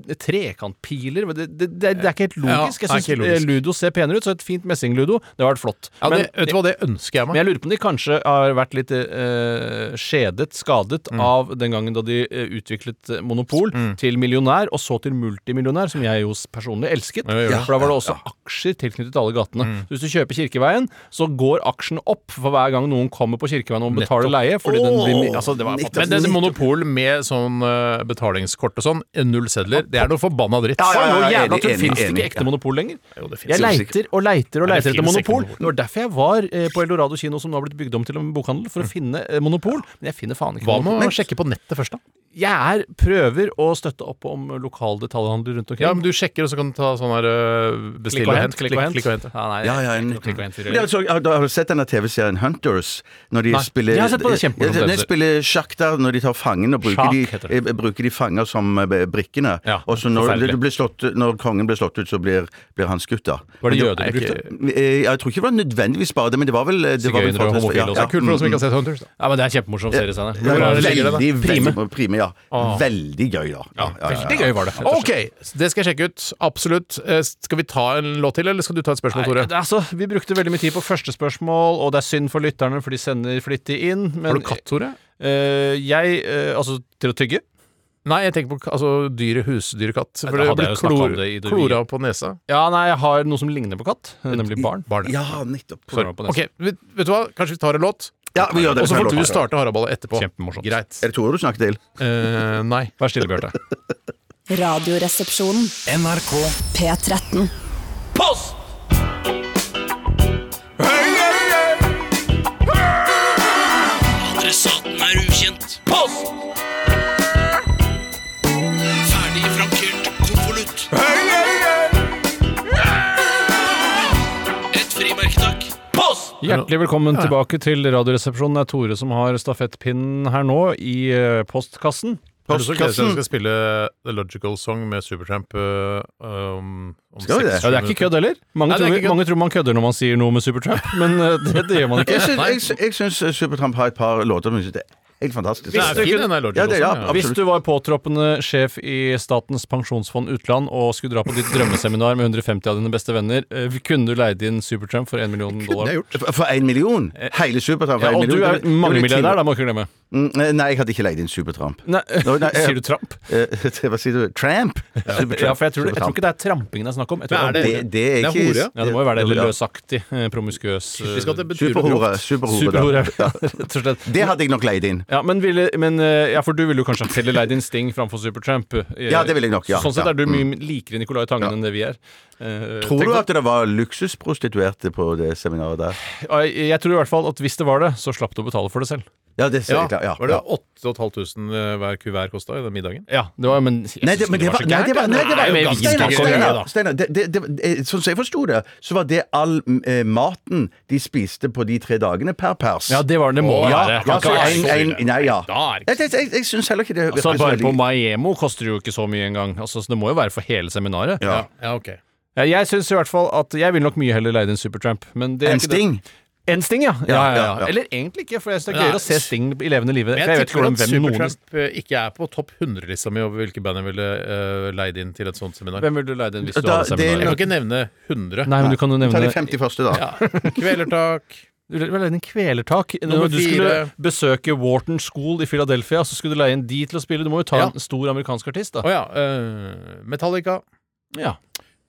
trekantpiler? Det, det, det, det er ikke helt
Ja,
logisk.
det er
Jeg
ikke helt
syns
logisk.
ludo ser penere ut, så et fint messingludo, det hadde vært flott.
Ja,
Men-
det, vet du hva, det ønsker jeg meg.
Men jeg lurer på om de kanskje har vært litt eh, skjedet, skadet,
Mm.
av den gangen da de eh, utviklet eh, Monopol til millionær, og så til multimillionær, som jeg jo s- personlig elsket.
ja, Mm.
for da var det også aksjer tilknyttet alle gatene. Så hvis du kjøper Kirkeveien, så går aksjen opp for hver gang noen kommer på Kirkeveien og betaler leie. Fordi den blir, mi- altså, det var
Nettopp.
Men dette monopol med sånn eh, betalingskort og sånn, eh, null sedler, det er noe forbanna dritt.
Ja, ja,
Faen,
ja,
noe
ja,
jævla
enig,
tull.
enig,
Fins det
enig,
ikke ekte monopol lenger?
Jo, det finnes
Jeg
jo
leiter og leiter og
Nei, det
leiter etter
finnes ikke
monopol.
monopol.
Det var derfor jeg var eh, på Eldorado kino, som nå har blitt bygd om til en bokhandel, for å finne eh, monopol. Men jeg finner faen ikke
Mm. Hva med å
monopol.
sjekke på nettet først, da?
Jeg er, prøver å støtte opp om lokal detaljhandel rundt omkring.
Ja, men Du sjekker, og så kan du ta sånn her øh, bestille
klikk og hent.
Klikk, klikk og hent. ja.
Ja, nei,
Ja, ja, en-
klikk- klikk og hent.
Men det er altså, har du- har du sett denne TV-serien Hunters? Når de
Nei,
spiller
jeg har sett på det, kjempemorsom
Ja, de-
TV-serie.
De spiller sjakk der når de tar fangen, og bruker,
Sjakk
de,
heter
eh, bruker de fanger som eh, brikkene.
Ja,
og så når,
forferdelig.
det blir slått, når kongen blir slått ut, så blir, blir han skutt, da.
Var det
Men
jøder du
Nei,
brukte?
ikke-
Eh, Jeg tror ikke det var nødvendigvis bare det, men det var vel eh, det var vel
Sigøynere og
faktisk-
homofile
ja,
også.
ja.
Det er kult
For noen som ikke har sett Hunters, da.
Ja, men Det er en kjempemorsom serie. Steinar.
Ja,
Hvor er det
veldig,
ligger den, da? Ah.
veldig, prime, ja. Veldig gøy, da. Ja, ja, ja, ja.
Veldig gøy var det. rett og slett.
Ok, det skal jeg sjekke ut. Absolutt. Eh, Skal vi ta en låt til, eller skal du ta et spørsmål,
Nei,
Tore?
det, er altså, vi brukte veldig mye tid på første spørsmål, og det er synd for lytterne, for de sender flittig inn. Men
Har du katt, Tore?
eh, jeg eh, Altså, til å tygge?
Nei, jeg tenker på k- altså, dyre husdyrkatt. For
da
det
hadde
blir
jeg jo snakket om
klor-
det i det
klora på nesa.
Ja, nei, jeg har noe som ligner på katt, nemlig barn.
Ja, nettopp.
Sorry. På nesen.
Ok, vet, vet du hva? Kanskje vi tar en låt,
Ja, vi gjør det.
og så får
Følg
du
opp.
starte haraballet etterpå.
Kjempemorsomt.
Greit.
Er det Tore du snakker til?
Eh, nei.
Vær stille, Bjarte.
Radioresepsjonen. NRK P13.
Post! Hey, hey, hey.
Hjertelig velkommen tilbake til Radioresepsjonen. Det er Tore som har stafettpinnen her nå, i eh, postkassen.
Har du så glede til at
Postkassen.
vi skal spille The Logical Song med Supertramp øh, om, om
Skal vi det?
seks
Ja, Det er ikke kødd heller. Mange,
Nei, det er
tror,
ikke kødd.
mange tror man kødder når man sier noe med Supertramp, men eh, det, det gjør man ikke.
Jeg syns- Jeg syns- jeg syns eh, Supertramp har et par låter som jeg syns er helt fantastisk.
Det er fin, den der Logical
Ja, det- ja,
Song.
absolutt.
Hvis du var påtroppende sjef i Statens pensjonsfond utland og skulle dra på ditt drømmeseminar med 150 av dine beste venner, eh, kunne du leid inn Supertramp for 1 million dollar?
For- For én million?
Eh.
Hele Supertramp? for
Ja,
en
og du
million.
er
Det blir- det blir
mangemilliardær, da, må du ikke glemme.
ti- Mm, Nei, jeg hadde ikke leid inn Supertramp.
Nei,
Nå, nei, jeg-
Sier du tramp?
Eh, Hva sier du? Tramp? Supertramp.
Ja, for jeg tror, jeg tror ikke
Supertramp.
det er trampingen det er snakk om. Jeg tror
Men er
det,
det, det er
Det er
ikke
hore, ja.
ja, det må jo være det
Ja.
løsaktig, eh, promiskuøs eh,
Vi skal til Betyr og
Superhore.
Grovt.
Superhore.
Superhore,
da.
ja, rett og slett.
Det hadde jeg nok leid inn.
Ja, men, ville, men eh, ja, for du ville jo kanskje heller leid inn Sting framfor Supertramp. eh,
Ja, det ville jeg nok, ja.
Sånn sett
Ja, Mm.
er du mye likere Nicolai Tangen enn det vi er. Eh,
Tror
tenk
du
deg-
at det var luksusprostituerte på det seminaret der?
Jeg, jeg tror i hvert fall at hvis det var det, så slapp du å betale for det selv.
Ja, det ser
Ja,
jeg klart. Ja,
var det 8500 eh, hver kuvert kosta i den middagen?
Ja, det var, men jeg
Nei, det,
synes
men
ikke
det var,
så
nei,
gærent,
det var, nei, det
er
var
jo
nei,
ganske
Steinar,
gærent.
Steinar, Steinar, det- det- det- eh, Sånn som jeg forsto det, så var det all eh, maten de spiste på de tre dagene per pers.
Ja, det var det må
ja,
være.
ja, altså, en, en, nei, ja.
Da er det
Jeg, jeg, jeg, jeg syns heller ikke det virker
Altså,
så
bare på
veldig-
Maiemo koster det jo ikke så mye engang. Altså, så det må jo være for hele seminaret.
Ja.
Ja, ok.
Ja, Jeg synes i hvert fall at jeg ville nok mye heller leid en Supertramp. Men det er
En
ikke det.
sting.
En Sting, ja. Ja, ja,
ja, ja.
ja. Eller egentlig ikke, for jeg synes det er
Nei.
gøyere å se Sting i levende live.
Men
For jeg vet ikke
tipper
hvordan
at
hvem noen
Supertramp eh, ikke er på topp 100-lista mi over hvilke band jeg ville eh, leid inn til et sånt seminar.
Hvem ville du leid en hvis du
Da-
hadde
det er
Jeg
seminar?
kan ikke nevne 100.
Nei, men du kan jo
Ta de
nevne
50 første, da.
Kvelertak.
Du leide inn Kvelertak.
Nummer
Når du skulle
fire.
besøke Wharton School i Philadelphia, så skulle du leie inn de til å spille. Du må jo ta
Ja.
en stor amerikansk artist,
Å
da.
ja. eh, Metallica.
Ja.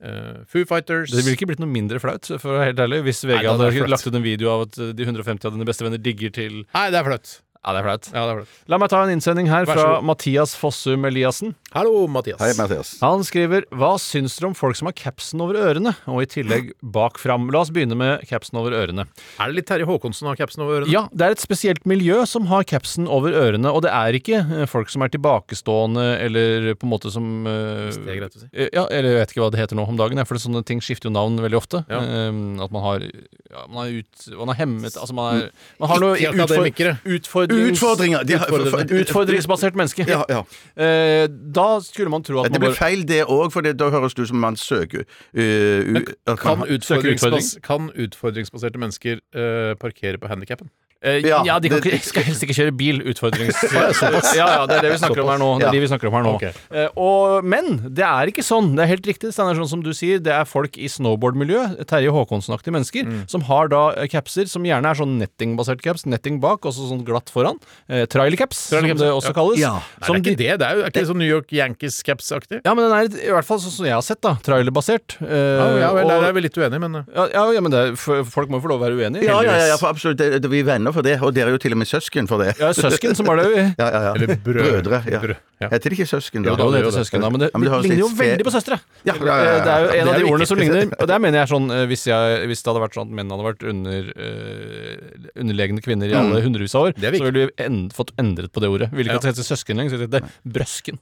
eh, Foo Fighters.
Det ville ikke blitt noe mindre flaut, for å være helt ærlig, hvis VG
Nei, det hadde vært
hadde
flaut.
lagt ut en video av at eh, de 150 av dine beste venner digger til
Nei, det er flaut.
Ja, det er flaut.
Ja, det er flaut.
La meg ta en innsending her
Vær så
fra
god.
Mathias Fossum Eliassen.
Hallo, Mathias.
Hei, Mathias.
Han skriver Hva syns dere om folk som har capsen over ørene, og i tillegg bak fram? La oss begynne med capsen over ørene.
er det litt Terje Håkonsen av capsen over ørene?
Ja, det er et spesielt miljø som har capsen over ørene, og det er ikke eh, folk som er tilbakestående eller på en måte som eh,
det er greit å si.
eh, Ja, eller jeg vet ikke hva det heter nå om dagen, ja, for det er sånne ting skifter jo navn veldig ofte.
Ja.
Eh, at man har ja, man er ut, man er hemmet Altså man er
Mm.
man har noe
Ikke akademikere.
utfordrings,
Utfordringer! De har- for- for-
utfordringsbasert menneske.
Ja, ja.
Eh, da skulle man tro at
Det
man bare
blir feil, det òg, for det- da høres det ut som man søker øh, u- at man-
Kan,
Søker utfordring.
utfordringsbas kan utfordringsbaserte mennesker eh, parkere på handikappen?
Eh,
Ja,
ja, de kan
det-
ikke, skal helst ikke kjøre bil. Utfordrings... ja, ja, det er det vi snakker om her nå. Det
Ja.
er de vi snakker om her nå.
Ok.
Eh, og, men det er ikke sånn. Det er helt riktig. Steinar, sånn som du sier, det er folk i snowboardmiljø, Terje Håkonsen-aktige mennesker,
Mm.
som har da eh, capser som gjerne er sånn nettingbasert caps. Netting bak, og så sånn glatt foran. Eh, trailercaps,
Trailercaps,
som det også kalles.
Ja.
Nei, det er
Som
ikke
de-
det. Det er jo er ikke det sånn New York Yankees-caps-aktig.
Ja, men den er i hvert fall sånn som jeg har sett, da. Trailerbasert. Eh,
Ja, ja, vel,
og-
der er vi litt uenige, men eh,
ja, ja, ja, men det, er- f- folk må jo få lov å være uenige.
Ja, ja, ja, ja,
heldigvis.
for absolutt. Det, det, vi er venner for det, og dere er jo til og med søsken for det.
ja, søsken som var det. vi-
Ja, ja, ja.
Eller brødre.
brødre ja.
Brød- ja.
Heter det ikke søsken, da?
Jo, da, det heter søsken, da, men det,
Ja, men det høres
ligner jo
litt fe-
veldig på søstre.
Ja, ja, ja, ja.
Det er jo en
Ja, det
av de
er jo
ordene
ikke-
som ligner. Og der mener jeg sånn eh, Hvis, jeg, hvis det hadde vært sånn at menn hadde vært under, eh, underlegne
Mm.
kvinner i alle hundrevis av år,
er viktig.
så ville vi end, fått endret på det ordet. Ville ikke at det heter søsken lenger, så ville det hette brøsken.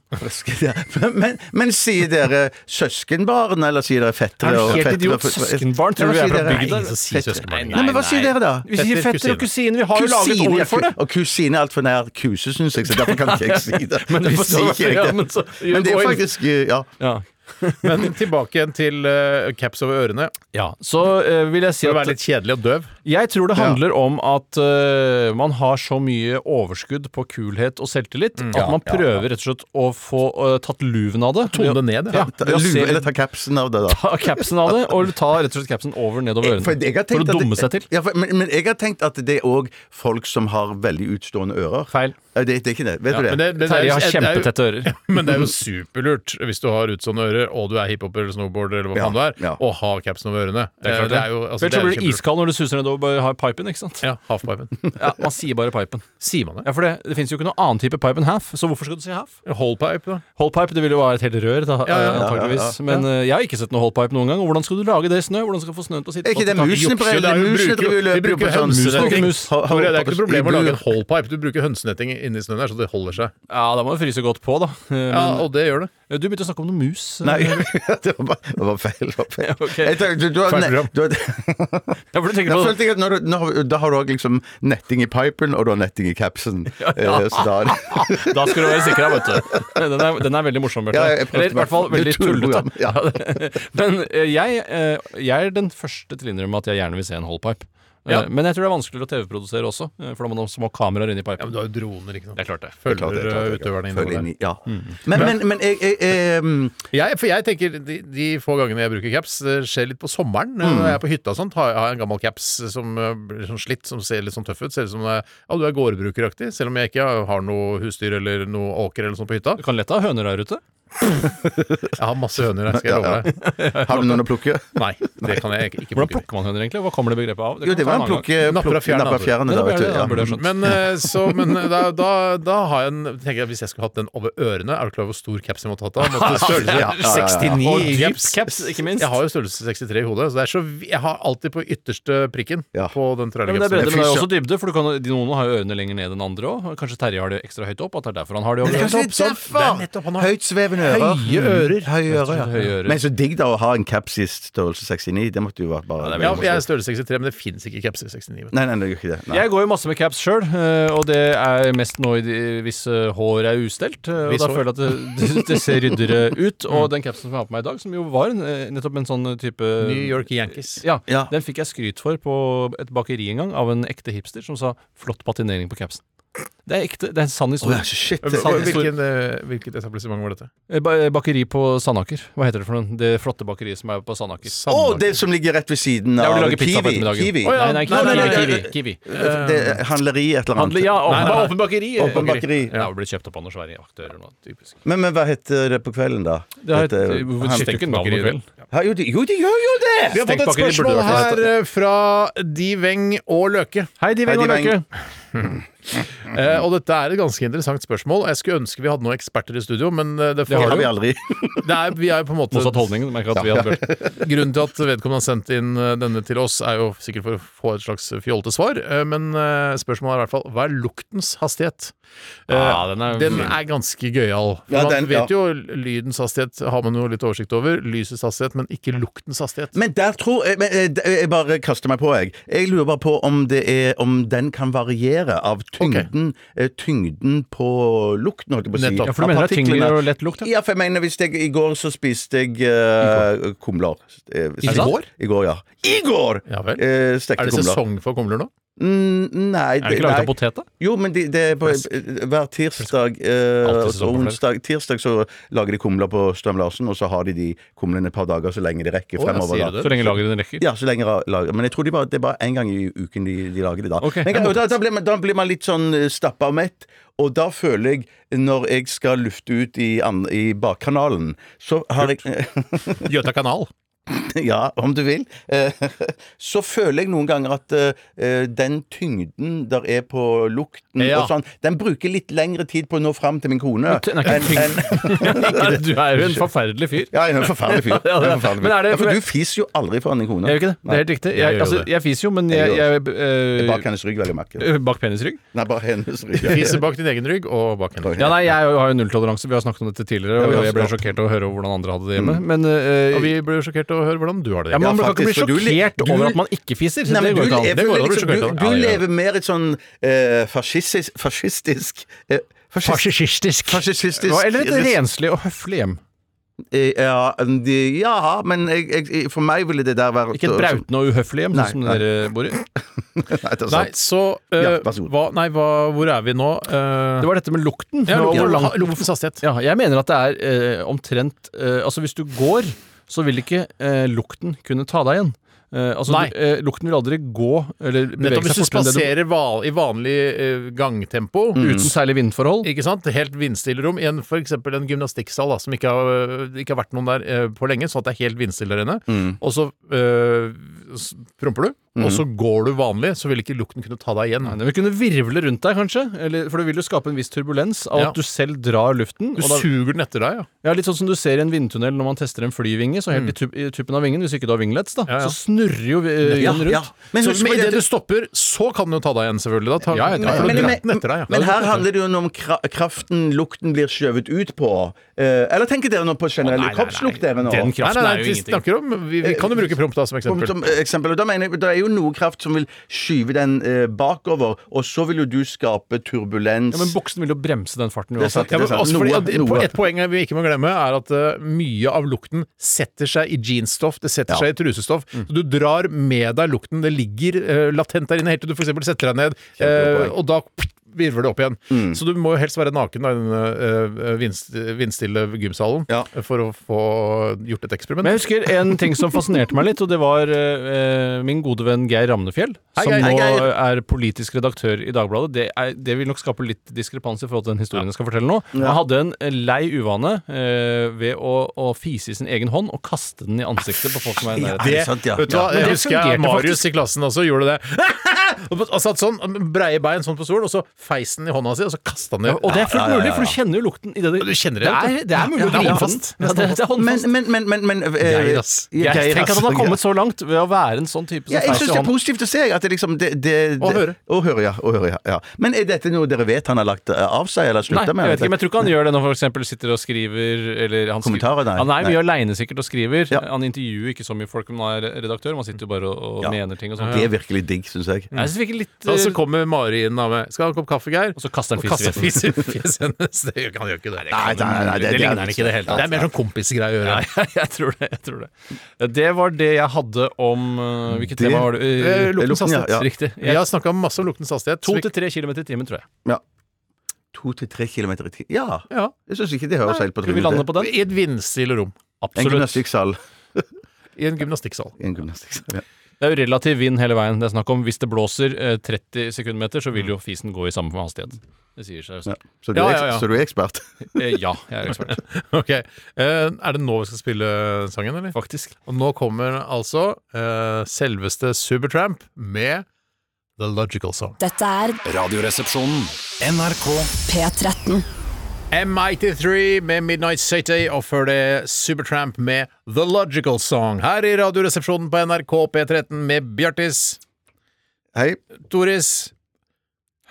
Ja, men, men, men sier dere søskenbarn, eller sier dere fettere?
Er du
og
helt
fettere-
idiot? Søskenbarn? Tror
Ja,
du vi
hva
er
sier
fra
dere?
bygda?
Nei,
ingen som sier søskenbarn.
Nei, men hva sier dere, da?
Vi sier
Fetter,
fetter og kusine. Vi har jo laget
Kusine, ja,
ord for det.
ku- og kusine er altfor nær kuse, syns jeg, så derfor kan ikke jeg si det.
Men
Derfor
hvis det var-
sier jeg
ja,
det.
men så-
Men det er
gå inn.
faktisk eh, Ja.
Ja.
Men tilbake igjen til eh, caps over ørene.
ja. Så eh, vil jeg si
For å
at
være litt kjedelig og døv.
Jeg tror det handler om at øh, man har så mye overskudd på kulhet og selvtillit
Mm.
at man prøver rett og slett å få øh, tatt luven av det.
Tone det ned,
ja.
ja.
Ta-
ja,
Lue,
se-
eller ta capsen av det, da.
Ta capsen av det, og ta rett og slett capsen over
Eh,
nedover ørene.
For jeg har
For å
tenkt at-
dumme seg til.
Ja, for, men, men jeg har tenkt at det er òg folk som har veldig utstående ører.
Feil.
Ja, Det, det er ikke det. Vet du det?
men det- men det er-
Terje har
det er jo-
kjempetette ører.
Men det er jo superlurt hvis du har utstående ører, og du er hiphoper eller snowboarder eller hva
Ja,
faen du er,
ja.
og har capsen over ørene. Eh, Det
klart det.
er jo altså,
Ellers
det
så
er jo
blir du
kjempelurt.
iskald når du suser nedover bare har pipen, ikke sant?
Ja, halfpipen.
Ja, Man sier bare pipen.
Sier man det?
Ja, for det, det fins jo ikke noe annen type pipe enn half, så hvorfor skal du si half?
Holdpipe, da.
Holdpipe det vil jo være et helt rør, da,
Ja, ja, ja,
antakeligvis. Men øh, jeg har ikke sett noe holdpipe noen gang. Og hvordan skal du lage det i snø? Hvordan skal du få snøen til å sitte
Er ikke det
fast i taket?
musene på
Så det er jo-
musene
bruker jo-
driver jo og
de
løper jo
bruker
på sånn
hønsenetting.
mus.
Ho-
Tore,
ho-
Det er ikke noe problem å
i bur.
lage en holdpipe. Du bruker hønsenetting inni snøen der, så det holder seg.
Ja, da må du fryse godt på, da. Eh,
Ja, Og det gjør det.
Du begynte å snakke om noe mus. eh.
Nei, det var, bare, det var feil. Det var feil.
ok.
Jeg tenker- du, du, har
Feil
ne-
program.
du, har-
Ja, for du tenker
da
på
følte jeg at når du, når, da har du òg liksom netting i pipen, og du har netting i capsen. Eh, Så da
Da skal du være sikker, da, vet du. Den er, den er veldig morsom, Bjarte.
Ja, jeg prøvde
Eller i hvert fall
meg.
veldig
Det er
tullete.
tullprogram, ja.
Men eh, jeg, eh, jeg er den første til å innrømme at jeg gjerne vil se en holdpipe. Eh,
Ja.
Men jeg tror det er vanskeligere å TV-produsere også, eh, for da må man ha små kameraer inni
Ja,
pipen.
men du har jo droner, ikke sant.
Det er klart det.
Følger
Klart det, klart det, klart det.
utøverne
Følg
innover
inn
der.
i- Ja. Men, men, men jeg, jeg, jeg mm,
Jeg, for jeg tenker de, de få gangene jeg bruker caps, det skjer litt på sommeren. eh, Når jeg er på hytta og sånt, har jeg har jeg en gammel caps som eh, blir sånn slitt, som ser litt sånn tøff ut. Ser ut som eh, ja, du er gårdbrukeraktig, selv om jeg ikke har noe husdyr eller noe åker eller sånt på hytta.
Du kan lett ha høner der ute.
Jeg har masse høner her, skal jeg
Ja,
love
ja.
deg.
Har du noen å plukke?
Nei, det kan jeg ikke, ikke
Hvordan
bruke.
plukker man høner, egentlig? Hva kommer det begrepet av?
Jo, det
kan vi ta
var
en
en
annen gang.
plukke
Napper av
plukke-
fjærene,
Nappe av
da.
fjærene,
Ja,
da,
det
vet
burde
du.
jeg-
Ja.
det burde jeg skjønt.
Men, eh, så, men da, da, da har jeg en tenker jeg, Hvis jeg skulle hatt den over ørene Er du klar over hvor stor caps jeg måtte hatt da? Måtte størrelse
Ja, ja, ja, ja.
69
Og
i
dyp
caps.
caps, ikke minst.
Jeg har jo størrelse 63 i hodet, så, det er så vi- jeg har alltid på ytterste prikken
Ja.
på den
Ja, men det er
trailercapsen.
bredde, men det er
Fy
også dybde, for du kan, de- noen har jo ørene lenger ned enn andre òg. Kanskje Terje har det ekstra høyt opp, at det er derfor han har det over
Det er
ørene.
kanskje litt derfor!
nettopp, han har
Høytsvevende ører. Mm.
høye ører.
Høye ører, ja.
Høye ører.
Men så digg da å ha en caps i størrelse 69. Det måtte jo vært
Ja,
bare
det er
ja,
veldig
jeg er størrelse 63, men det fins ikke caps i 69. vet du.
Nei, nei, det gjør ikke det. Nei.
Jeg går jo masse med caps sjøl, og det er mest nå i de, hvis eh, hår er ustelt. eh, Og
Hvis
da
hår.
føler jeg at det, det, det ser ryddigere ut. Og den capsen som jeg har på meg i dag, som jo var en, eh, nettopp en sånn type
New York Yankees.
Ja,
Ja.
Den fikk jeg skryt for på et bakeri en gang av en ekte hipster som sa 'flott patinering på capsen'. Det er ekte, det er en sann
Å,
historie.
ja, shit.
Det er sant.
Hvilken, eh, hvilket etablissement var dette?
Eh, ba- eh, Bakeri på Sandaker. Hva heter det for noe? Det flotte bakeriet som er på Sandaker.
Å, det som ligger rett ved siden
Der hvor
av
de lager pizza på
Kiwi.
ettermiddagen.
Kiwi.
Å,
Eh,
ja.
Nei, nei, ikke
Nei, nei, nei,
Kiwi, kiwi,
nei.
kiwi.
Det- Det er handleri et eller annet.
Handle, ja, åpen,
Nei, nei, nei.
åpen bakeri. eh,
Åpen bakeri.
Ja, det ble kjøpt opp av noen svære aktører. Nå, typisk.
Men, men hva heter det på kvelden, da?
Det er et,
Dette-
hvorfor
han-
skifter ikke navn
bakeri,
på kvelden?
Ja, jo, de, jo, de gjør jo det!
Vi har fått et
Stenkbakeri burde
spørsmål
det i hvert
her
fall
eh, fra Diveng og Løke.
Hei, Diveng
Hei,
og
Diveng.
Løkke.
Eh, og dette er et ganske interessant spørsmål. og Jeg skulle ønske vi hadde noen eksperter i studio, men eh, det, får-
Det har vi aldri.
det er, vi er jo på en måte
Motsatt holdning. du Merker at vi hadde vært
Grunnen til at vedkommende har sendt inn eh, denne til oss, er jo sikkert for å få et slags fjollete svar, eh, men eh, spørsmålet er i hvert fall hva er luktens hastighet? Eh,
Ja, den er-
den er ganske gøyal. For
Ja,
man
den- ja.
vet jo lydens hastighet har man jo litt oversikt over, lysets hastighet, men ikke luktens hastighet.
Men der tror jeg men, eh, d- Jeg bare kaster meg på, jeg. Jeg lurer bare på om, det er, om den kan variere av tyngden, eh, tyngden på lukten, holdt jeg på å si.
Nettopp. Ja,
for du
Av
mener det er tyngre
partiklene.
og lett lukt, ja?
Ja, for jeg mener hvis jeg I går så spiste jeg eh, kumler. Eh,
I går?
I går, ja. I går!
Ja vel.
Eh, stekte
Er det
kumler.
sesong for kumler nå?
Mm, nei,
Er det ikke laget av potet, da?
Jo, men de- det er på eh, hver tirsdag eh,
Alltid
og
sesong for
onsdag. Tirsdag så lager de kumler på Strøm Larsen, og så har de de kumlene et par dager så lenge de rekker
Å, ja,
fremover.
sier
da.
du det?
Så lenge lageret rekker.
Ja, så lenge ra- lager Men jeg tror de bare, det er bare én gang i uken de, de lager det da.
Ok.
Men, og da, da, blir man, da blir man litt sånn eh, stappa og mett. Og da føler jeg, når jeg skal lufte ut i, an- i bakkanalen, så har jeg
Gjøta kanal.
Ja, om du vil. Eh, Så føler jeg noen ganger at eh, den tyngden der er på lukten
Ja.
og sånn, den bruker litt lengre tid på å nå fram til min kone.
Den er ikke
enn- enn-
tyngd. Du er jo en forferdelig fyr.
Ja, jeg er en forferdelig fyr.
Ja, det er-
Jeg er en forferdelig fyr.
men er det-
ja, for du fiser jo aldri foran din kone.
Jeg gjør ikke det. Det er helt riktig. Jeg,
gjør
altså,
det.
jeg fiser jo, men jeg,
Jeg
jeg,
Bak hennes rygg, vel å merke.
eh, Bak penisrygg?
Nei, bare hennes rygg.
Fiser bak din egen rygg og bak henne.
Ja, nei, jeg har jo nulltoleranse. Vi har snakket om dette tidligere,
vi har
og jeg ble
snakket.
sjokkert å høre hvordan andre hadde det hjemme. Men eh,
Og vi blir jo sjokkert av å høre hvordan du har det.
ja, man
Ja,
kan ikke bli
faktisk, for du li-
sjokkert
du-
over at man ikke fiser.
Nei,
det
men
går
du,
ikke
jeg
an. Det
føler
går an å bli
liksom,
sjokkert
du,
over. Ja,
du
det gjør det.
lever mer et sånn eh, fascistisk Fascistisk eh, fascist-
Fascistisk.
Fascistisk
Eller et renslig og høflig hjem.
Eh, Ja, de, ja men jeg, jeg, for meg ville det der vært
Ikke et brautende og uhøflig hjem,
Nei,
sånn som
nei.
dere bor i.
Nei, det er
Nei,
sant.
så eh,
Ja, vær så god.
hva, Nei, hva, hvor er vi nå? Eh,
Det var dette med lukten.
ja,
og hvor
lukten-
langt-
luktens hastighet.
Ja, jeg mener at det er eh, omtrent eh, Altså, hvis du går, så vil ikke eh, lukten kunne ta deg igjen. Eh, altså,
Nei.
Du, eh, lukten vil aldri gå eller
Nettopp
bevege
hvis
seg
du
fortere enn det Mm.
spaserer val- i vanlig eh, gangtempo
du
Mm.
uten
Uten særlig vindforhold.
ikke sant? Helt vindstille rom i en, for eksempel en gymnastikksal da, som ikke har, øh, ikke
Mm.
har vært noen der øh, på lenge, sånn at det er helt vindstille der inne. Og så øh, eh, s- promper du, og så går du vanlig, så vil ikke lukten kunne ta deg igjen.
Nei, Den vil kunne virvle rundt deg, kanskje. Eller, for det vil jo skape en viss turbulens av
Ja.
at du selv drar luften.
Du
og da,
suger den etter deg, ja.
ja, litt sånn som du ser i en vindtunnel når man tester en flyvinge. Så helt
Mm.
i, tup, i tuppen av vingen, hvis ikke du har vinglets, da,
Ja, ja.
så snurrer jo eh,
Ja,
vingen rundt.
ja. Men
så
husk på
med idet
det-
du stopper, så kan den jo ta deg igjen, selvfølgelig. Da tar,
Ja, ja, ja.
for da
Men-
drar
men-
den etter deg, ja.
Men her handler det jo om kra- kraften lukten blir skjøvet ut på. Eh, eller tenker dere nå på
Å, nei,
generelle
nei, nei.
kroppslukt? dere nå?
Den
Nei,
kraften
nei, nei,
er jo
vi
ingenting.
snakker om Vi, vi kan jo bruke promp da som
Som,
eksempel.
som eksempel. og Da mener jeg, det er jo noe kraft som vil skyve den eh, bakover, og så vil jo du skape turbulens.
Ja, men boksen vil jo bremse den farten
Det er sant,
uansett.
Ja, men
det er sant.
også fordi,
Noe-
at-
noe.
på- Et poeng vi ikke må glemme, er at eh, mye av lukten setter seg i jeansstoff, det setter seg i trusestoff.
Mm.
Så du drar med deg lukten. Det ligger eh, latent der inne helt til du f.eks. setter deg ned, eh, og da virvler det opp igjen.
Mm.
Så du må jo helst være naken da, i den eh, vindst- vindstille gymsalen
Ja.
eh, for å få gjort et eksperiment.
Men jeg husker en ting som fascinerte meg litt, og det var eh, min gode venn Geir Ramnefjell, som
Geir.
nå
Hei,
er politisk redaktør i Dagbladet. Det, er, det vil nok skape litt diskrepans i forhold til den historien jeg skal fortelle nå. Han hadde en lei uvane eh, ved å, å fise i sin egen hånd og kaste den i ansiktet på folk som var i nærheten.
det,
det er sant, ja.
Vet du hva,
Ja, men
jeg
det
husker jeg
fungerte
Marius
faktisk.
i klassen også gjorde det. Og på- satt sånn, breie bein sånn på stolen, og så feis den i hånda si, og så kasta den i
Og det er fullt mulig, for du kjenner jo lukten i det
Du kjenner det,
Det
vet
er,
du.
det er mulig
Ja,
å drive
ja.
fast. Ja, det, det er
men,
håndfast.
men, men, men, men eh,
Geir, ass.
Jeg
Geir,
tenker at han
ass.
har kommet så langt ved å være en sånn type som
Ja, jeg
feiser
syns det er
hånden.
positivt å se. At det liksom det, det, det,
Å høre.
Å høre, ja, å høre ja, ja. Men er dette noe dere vet han har lagt eh, av seg, eller
Nei,
slutta
jeg
med?
vet ikke, men jeg tror ikke han gjør det når han f.eks. sitter og skriver eller han, skriver-
Kommentarer, nei.
han er
Nei.
mye aleine sikkert og skriver.
Ja.
Han intervjuer ikke så mye folk om han er redaktør, man sitter jo bare og, og
Ja.
mener ting og sånt.
Det er virkelig digg, syns jeg.
Nei, Jeg synes det virker litt
Og så
eh,
kommer Mari inn da med Skal ha en kopp kaffe, Geir?
Og så kaster han
Og kaster
fis
fis i fjeset hennes. Det gjør ikke- Han gjør ikke det.
Nei, nei, nei,
Det ligner han ikke i det hele tatt.
Det er mer sånn kompisgreie å gjøre.
Nei, jeg tror det. jeg tror Det Det var det jeg hadde om eh, Hvilket
Det-
tema var det? Eh,
Eh, Luktens
Lukten, ja,
hastighet.
ja.
Riktig.
Vi
Jeg,
har snakka masse om luktens hastighet.
to
som vi-
til tre kilometer i timen, tror jeg.
Ja. To til tre kilometer i tiden Ja.
ja.
Jeg syns ikke det høres helt på
Skal vi lande på den?
I et vindstille rom.
En
Absolutt.
gymnastikksal.
I en gymnastikksal.
En gymnastikksal, ja.
Det er jo relativ vind hele veien. Det er snakk om Hvis det blåser eh, 30 sekundmeter, så vil jo fisen gå i samme hastighet. Det sier seg jo
Ja.
selv.
Så, du
Ja,
er,
ja, ja.
så du er ekspert?
Eh, ja, jeg er ekspert.
Ok, eh, Er det nå vi skal spille sangen, eller?
Faktisk.
Og nå kommer altså eh, selveste Supertramp med The Logical Song.
Dette er
Radioresepsjonen.
P13.
M83 med Midnight City, og før det Supertramp med The Logical Song. Her i Radioresepsjonen på NRK P13 med Bjartis,
Hei.
Toris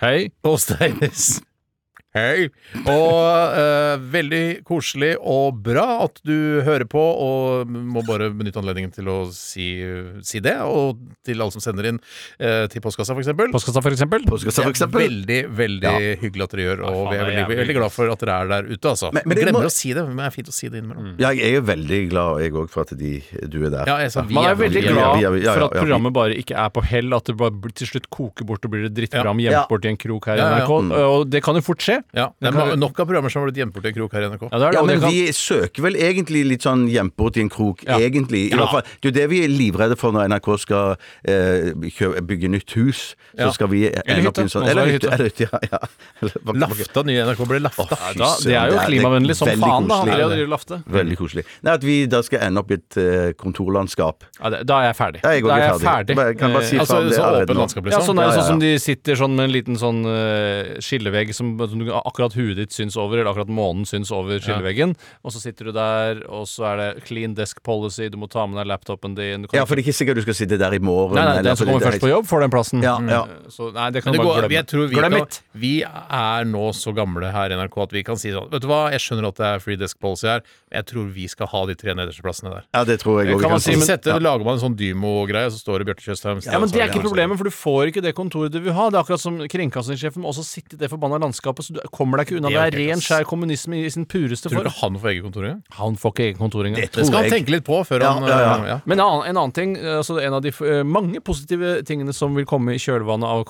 Hei.
og Steinis. Hei. Og eh, veldig koselig og bra at du hører på, og må bare benytte anledningen til å si, si det. Og til alle som sender inn eh, til postkassa, for eksempel.
Postkassa, for eksempel.
Postkassa, for eksempel.
Veldig, veldig hyggelig at dere gjør, og vi
faen,
er
det er
veldig,
jævlig
veldig glad for at dere er der ute, altså.
Men- men det
Glemmer
må-
å si det, men det er fint å si det innimellom.
Ja, jeg er jo veldig glad, jeg òg, for at de, du er der.
Ja, jeg sa vi
Man er
vi
veldig
ja,
glad
ja, ja, ja,
for at
ja.
programmet bare ikke er på hell, at det bare blir- til slutt koker bort og blir et drittprogram
Ja.
gjemt bort i en krok her i
Ja, ja, ja.
NRK.
Mm.
Og det kan jo fort skje.
Ja, det er ma- nok av programmer som har blitt gjemt bort i en krok her i NRK.
Ja, det er det.
Ja,
og det
men
kan,
vi søker vel egentlig litt sånn gjemt bort i en krok,
Ja.
egentlig.
Ja.
I hvert fall, det er jo det vi er livredde for når NRK skal eh, kjø, bygge nytt hus. Så
Ja.
skal vi
Eller
ende opp i
hytte.
en sånn
Nå skal
Eller
vi
hytte.
ha
Eller hytte, ja. ja. Eller-
Lafta, nye NRK ble lafta.
Å,
da,
fy
det er
søren,
jo klimavennlig som
veldig
faen, da.
koselig.
Andrea Drive Lafte.
Veldig koselig. Nei, At vi da skal ende opp i et eh, kontorlandskap.
Ja, det- da er jeg ferdig.
Ja, jeg går
da er
ikke
jeg ferdig.
Bare- Kan bare si
Eh,
altså,
faen det
så
allerede
åpen
nå.
landskap,
Ja, sånn er det
Ja, ja,
sånn som
ja.
de sitter sånn med en liten sånn eh, skillevegg som som du- akkurat huet ditt syns over, eller akkurat månen syns over skilleveggen. Og så sitter du der, og så er det clean desk policy, du må ta med deg laptopen din du kan
Ja, for det er ikke sikkert du skal sitte der i morgen.
Nei, nei,
eller-
den som kommer først på jobb, får den plassen.
Ja, ja.
Mm. Så nei, det kan
Men det
du bare
går,
glemme.
jeg tror vi,
Glem
kan,
it!
vi er nå så gamle her i NRK at vi kan si sånn Vet du hva, jeg skjønner at det er free desk policy her, men jeg tror vi skal ha de tre nederste plassene der.
Ja, det tror jeg òg.
Kan man si,
Så
men-
setter, lager man en sånn Dymo-greie, og så står det Bjarte Tjøstheim
Ja, men Det er ikke problemet, for du får ikke det kontoret du vil ha. Det er akkurat som kringkastingssjefen må også sitte i det forbanna landskapet, så du kommer deg ikke unna.
Det er
Det er,
ok,
ren,
ass.
skjær kommunisme i sin pureste
Tror du
form.
ikke han får eget kontor engang?
Han får ikke egen kontor engang.
Det skal han
jeg.
tenke litt på før
Ja,
han
ja, ja.
eh, ja.
Men en annen, en annen ting, altså en av de eh, mange positive tingene som vil komme i kjølvannet av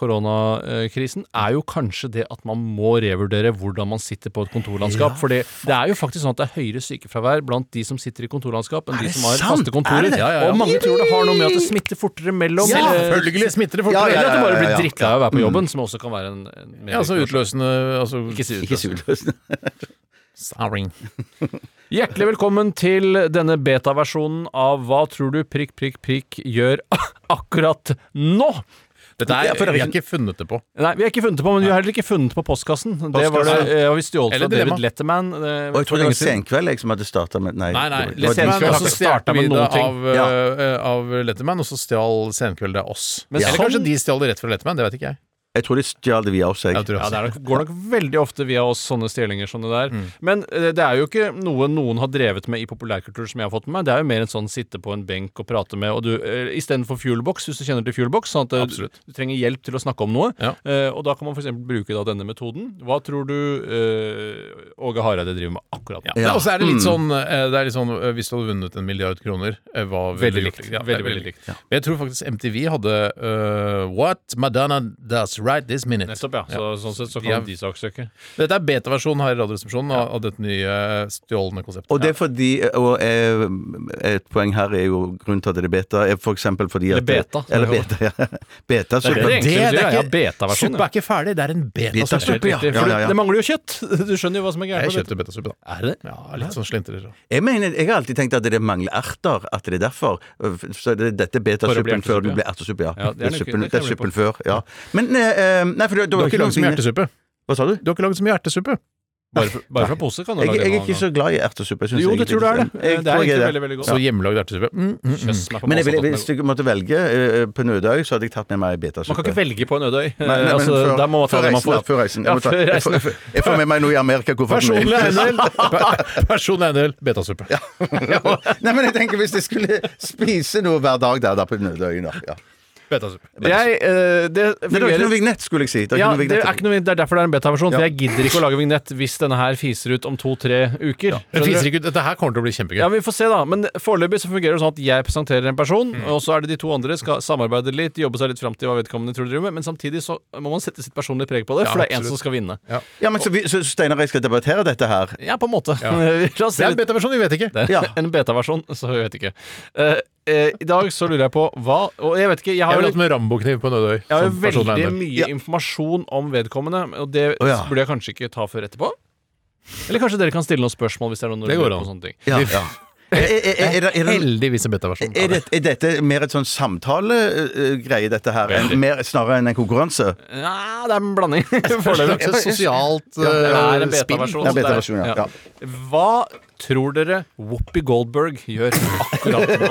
koronakrisen, er jo kanskje det at man må revurdere hvordan man sitter på et kontorlandskap. For det er jo faktisk sånn at det er høyere sykefravær blant de som sitter i kontorlandskap, enn de som har
sant?
faste kontorer.
Er det det?
Ja, ja, ja.
Og mange tror det har noe med at det smitter fortere mellom.
Ja,
eller-
Selvfølgelig smitter det
Ja,
fortere!
Eller at du bare
ja, Mm. ja.
blir drikka av å være på jobben, som også kan være en, en mer-
Ja, altså utløsende altså,
Ikke si
Ikke
utløsende.
sur.
Sorry.
Hjertelig velkommen til denne beta-versjonen av Hva tror du prikk, prikk, prikk gjør akkurat nå?
Dette
Ja, for
er,
det er
vi har
ikke-
ikke funnet det på.
Nei, vi har ikke funnet det på, men vi har heller ikke funnet det på postkassen. Det var det,
Postkassen.
eh, har vi stjålet
Eller
fra David
dilemma.
Letterman. eh,
Og jeg trodde det var senkveld jeg som hadde starta med Nei.
Nei, nei.
det var-
Lisens-
Senkveld
Men
har
så
ikke starta
starter vi
med
det
noen ting. Av,
Ja.
eh, av Letterman, og så stjal Senkveld det av oss.
Men
Eller
sånn-
kanskje de stjal det rett fra Letterman, det vet ikke jeg.
Jeg tror de stjal det via oss, jeg.
jeg tror
Ja,
også.
det er nok, går nok veldig ofte via oss sånne stjelinger som det
Mm.
der. Men eh, det er jo ikke noe noen har drevet med i populærkultur som jeg har fått med meg. Det er jo mer en sånn sitte på en benk og prate med, og du eh, istedenfor fuelbox, hvis du kjenner til fuelbox, sånn at eh,
Absolutt.
du trenger hjelp til å snakke om noe.
Ja.
Eh, og da kan man f.eks. bruke da denne metoden. Hva tror du eh, Åge Hareide driver med akkurat nå?
Ja. Og så er det
Mm.
litt sånn, eh, det er litt sånn eh, Hvis du hadde vunnet en milliard kroner eh, hva ville
Veldig
du
likt.
gjort? Ja,
Veldig,
det er
veldig likt.
Men jeg tror faktisk MTV hadde eh, What Madonna Does Right This Minute.
Nettopp, ja. Så, Sånn sett så kan
Ja.
de saksøke.
Dette er beta-versjonen her i Radioresepsjonen av- av dette nye eh, stjålne konseptet.
Og det er fordi Og eh, et poeng her er jo grunnen til at det er beta, er for eksempel fordi
Eller
at
beta.
Eller beta, ja. Beta,
Det er
super.
det egentlig betyr, ja, beta-versjonen,
Suppa er ikke ferdig, det er en
Betasuppe,
betasuppe.
ja.
Riktig, for
ja, ja.
Det mangler jo kjøtt! Du skjønner jo hva som er
Jeg
gærent. med dette.
kjøpte betasuppe, da.
Er det det?
Ja, litt sånn slintrer. og-
Jeg mener, jeg har alltid tenkt at det mangler erter, at det er derfor. Eh, Så det, dette
For
er
å bli
betasuppen før
ertesuppe,
du
ja.
blir ertesuppe, ja.
Ja, det er
det,
nok- det
er
kan
suppen, det
jeg bli
er
på.
suppen før, ja. Men eh, Nei, for det, det
Du
var
har ikke lagd så mye
noen-
ertesuppe.
Hva sa du?
Du har ikke lagd så mye ertesuppe.
Bare, fra- bare fra pose kan du
Jeg,
lage
jeg er
noen
ikke
gang.
så glad i ertesuppe. jeg synes
Jo, det
egentlig
tror du er det. Det
Jeg
er
tror jeg
egentlig
er
veldig,
det.
veldig godt.
Så hjemmelagd ertesuppe. Mm, mm, mm.
Kjøss meg på
Men jeg
masse
ville,
godt
hvis
med-
jeg måtte velge eh, på en øde øy, så hadde jeg tatt med meg betasuppe.
Man kan ikke velge på en øde øy.
Nei, nei, men
altså,
før-
der må man ta
før
det man
reisen,
får.
da, Før reisen.
Ja,
Jeg, må ta,
før
jeg,
reisen.
får, jeg får med meg noe i Amerika-kofferten.
Personlig eiendel! Personlig eiendel, betasuppe.
Nei, men jeg tenker Hvis jeg skulle spise noe hver dag der, da på den øde øyen da, ja.
Betasuppe.
Jeg, eh, det
Men det er ikke noe
fungerer
vignett, skulle jeg si. Det er
ja,
ikke noe
det, er
vignett.
ikke noe, det er derfor det er en beta-versjon. For
Ja.
jeg gidder ikke å lage vignett hvis denne her fiser ut om to-tre uker.
Den
Skjønner du?
fiser ikke ut. Dette her kommer til å bli kjempegøy.
Ja, Vi får se, da. Men foreløpig så fungerer det sånn at jeg presenterer en person,
Mm.
og så er det de to andre skal samarbeide litt, jobbe seg litt fram til hva vedkommende tror de driver med, men samtidig så må man sette sitt personlige preg på
Ja,
det, for det er én
absolutt.
som skal vinne.
Ja.
Ja, men så, vi, så Steinar og jeg skal debattere dette her.
Ja, på en måte. La oss
Det
se
er en
litt.
beta-versjon, vi vet ikke.
Det er
Ja.
En beta-versjon, så jeg vet ikke. Eh, eh, I dag så lurer jeg på hva Og jeg vet ikke, jeg har
Jeg
jo
ville hatt med rambokniv på en øde øy.
Jeg har jo
som personlig
veldig
eiendel.
mye
Ja.
informasjon om vedkommende, og det
Å, ja.
burde jeg kanskje ikke ta før etterpå. Eller kanskje dere kan stille noen spørsmål hvis det er noen
Det går
lurer på
an.
sånne ting.
Ja, ja. Er, er, er, er, det- er, det-
Heldigvis en beta-versjon.
er, det, er dette mer et sånn samtalegreie, dette her? enn-
Veldig.
mer, snarere enn en konkurranse?
Ja, det er en blanding.
Det er
Foreløpig.
et sosialt
Det er en
eh, spill.
beta-versjon.
Ja,
så det er-
beta-versjon, ja.
Hva tror dere Whoopi Goldberg gjør akkurat nå?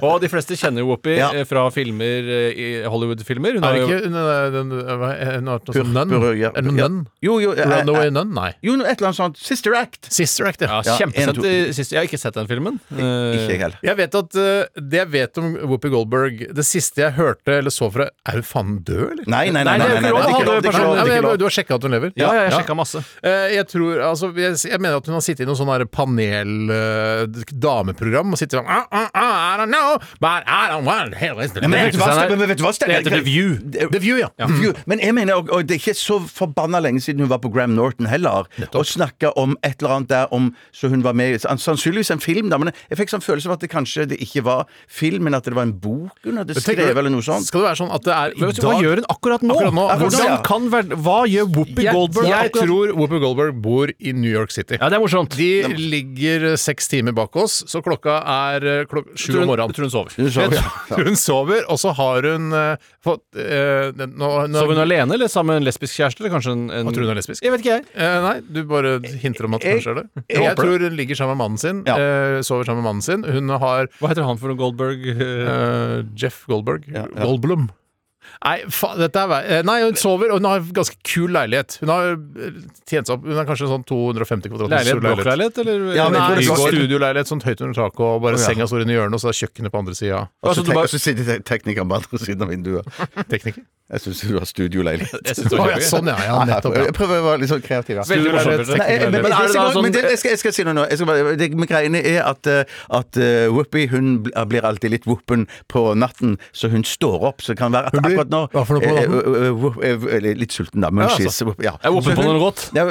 Og de fleste kjenner jo Whoopi
Ja.
eh, fra filmer, eh, i Hollywood-filmer. Hun
Er
har
det
jo-
ikke den, den, hva er- hun har hatt noe
Pur-
sånn Nun?
purre, ja.
Er det noe
Ja.
Nun?
Jo, jo, eh, eh,
Runaway Nun? Nei.
jo noe- et eller annet sånt. Sister Act!
Sister Act, ja.
ja,
Ja, en,
kjempesent
to.
i siste Jeg har ikke sett den filmen.
Ikke jeg
Eh,
heller.
Jeg vet at eh, Det jeg vet om Whoopi Goldberg Det siste jeg hørte eller så fra Er hun faen død, eller?
Nei, nei, nei.
Nei, det er jo
nei, nei,
ikke lov å
nei,
ha
det er
det
ikke
personlig.
lov, det er
Ja, men
ikke
jeg,
lov.
du har sjekka at hun lever?
ja, ja, jeg sjekka
Ja.
masse.
Eh, Jeg tror, altså jeg, jeg mener at hun har sittet i noen sånne her panel eh, dameprogram og sittet sånn I, I, I don't know, but I don't want hell is the
Nei, men
day.
vet du hva,
Steinar?
Steinar? Men vet du hva, Steinar?
Det heter The View.
Det-
The View, ja.
Mm. View. Men jeg mener, og, og det er ikke så forbanna lenge siden hun var på Graham Norton heller, og snakka om et eller annet der om Så hun var med i sann- Sannsynligvis en film, da, men jeg fikk sånn følelse av at det kanskje det ikke var film, men at det var en bok hun hadde
Tenker
skrevet,
du-
eller noe sånt.
Skal det være sånn at det er i
Vet du, hva
dag
gjør hun akkurat nå?
Akkurat nå.
Akkurat nå,
Hvordan
ja.
kan ver- Hva gjør Whoopi
Jeg,
Goldberg
jeg
akkurat
tror Whoopi Goldberg bor i New York City.
Ja, det er morsomt.
De ligger eh, seks timer bak oss, så klokka er eh, klok sju om
tror hun-
morgenen.
jeg tror hun sover.
Hun sover,
Jeg
ja.
tror hun sover, og så har hun eh, fått eh, den- nå, nå,
Sover hun alene, eller sammen med en lesbisk kjæreste? Eller kanskje en, en...
Jeg tror hun er lesbisk.
Jeg vet ikke, jeg.
Eh, nei, du bare hinter om at det
Jeg-
kanskje er det. Jeg,
jeg håper
tror hun ligger sammen med mannen sin.
Ja.
eh, sover sammen med mannen sin. Hun har
Hva heter han for noe Goldberg? eh,
eh, Jeff Goldberg.
ja.
Goldblum. Nei, fa dette er vei- eh, Nei, hun sover, og hun har ganske kul leilighet. Hun har eh, tjent seg opp Hun har kanskje sånn 250 kvadratmeter
Leilighet?
stor leilighet.
Blokkleilighet, eller?
Ja, men jeg tror
Nei,
det
Bygård.
var-
studioleilighet, sånn høyt under taket, og bare
Å, ja.
senga står inne i hjørnet, og så er kjøkkenet på andre sida.
Og
Altså,
så
du
tek-
bare-
og så sitter te- teknikeren på andre siden av vinduet.
Tekniker.
Jeg syns du har studioleilighet.
Jeg synes det
Å,
var
ja,
gøy.
sånn, ja. ja nettopp. Ja.
Jeg prøver å være litt sånn kreativ. Ja.
Veldig
Studioleilighet,
morsomt.
tekniker.
Nei, jeg- men-
Men
men-
er det da sånn-
men det- Jeg skal- jeg skal si noe nå. Jeg skal bare, det, men greiene er at, eh, at eh, Whoopi hun bl- blir alltid litt whoopen på natten, så hun står opp. Så det kan være at
Hun blir
akkurat nå.
Hva for noe på
Eh,
natten? altså.
eh, eh, wo- eh, Eller litt sulten, da. Munchies. Ja.
Jeg er åpen på noe godt.
Ja,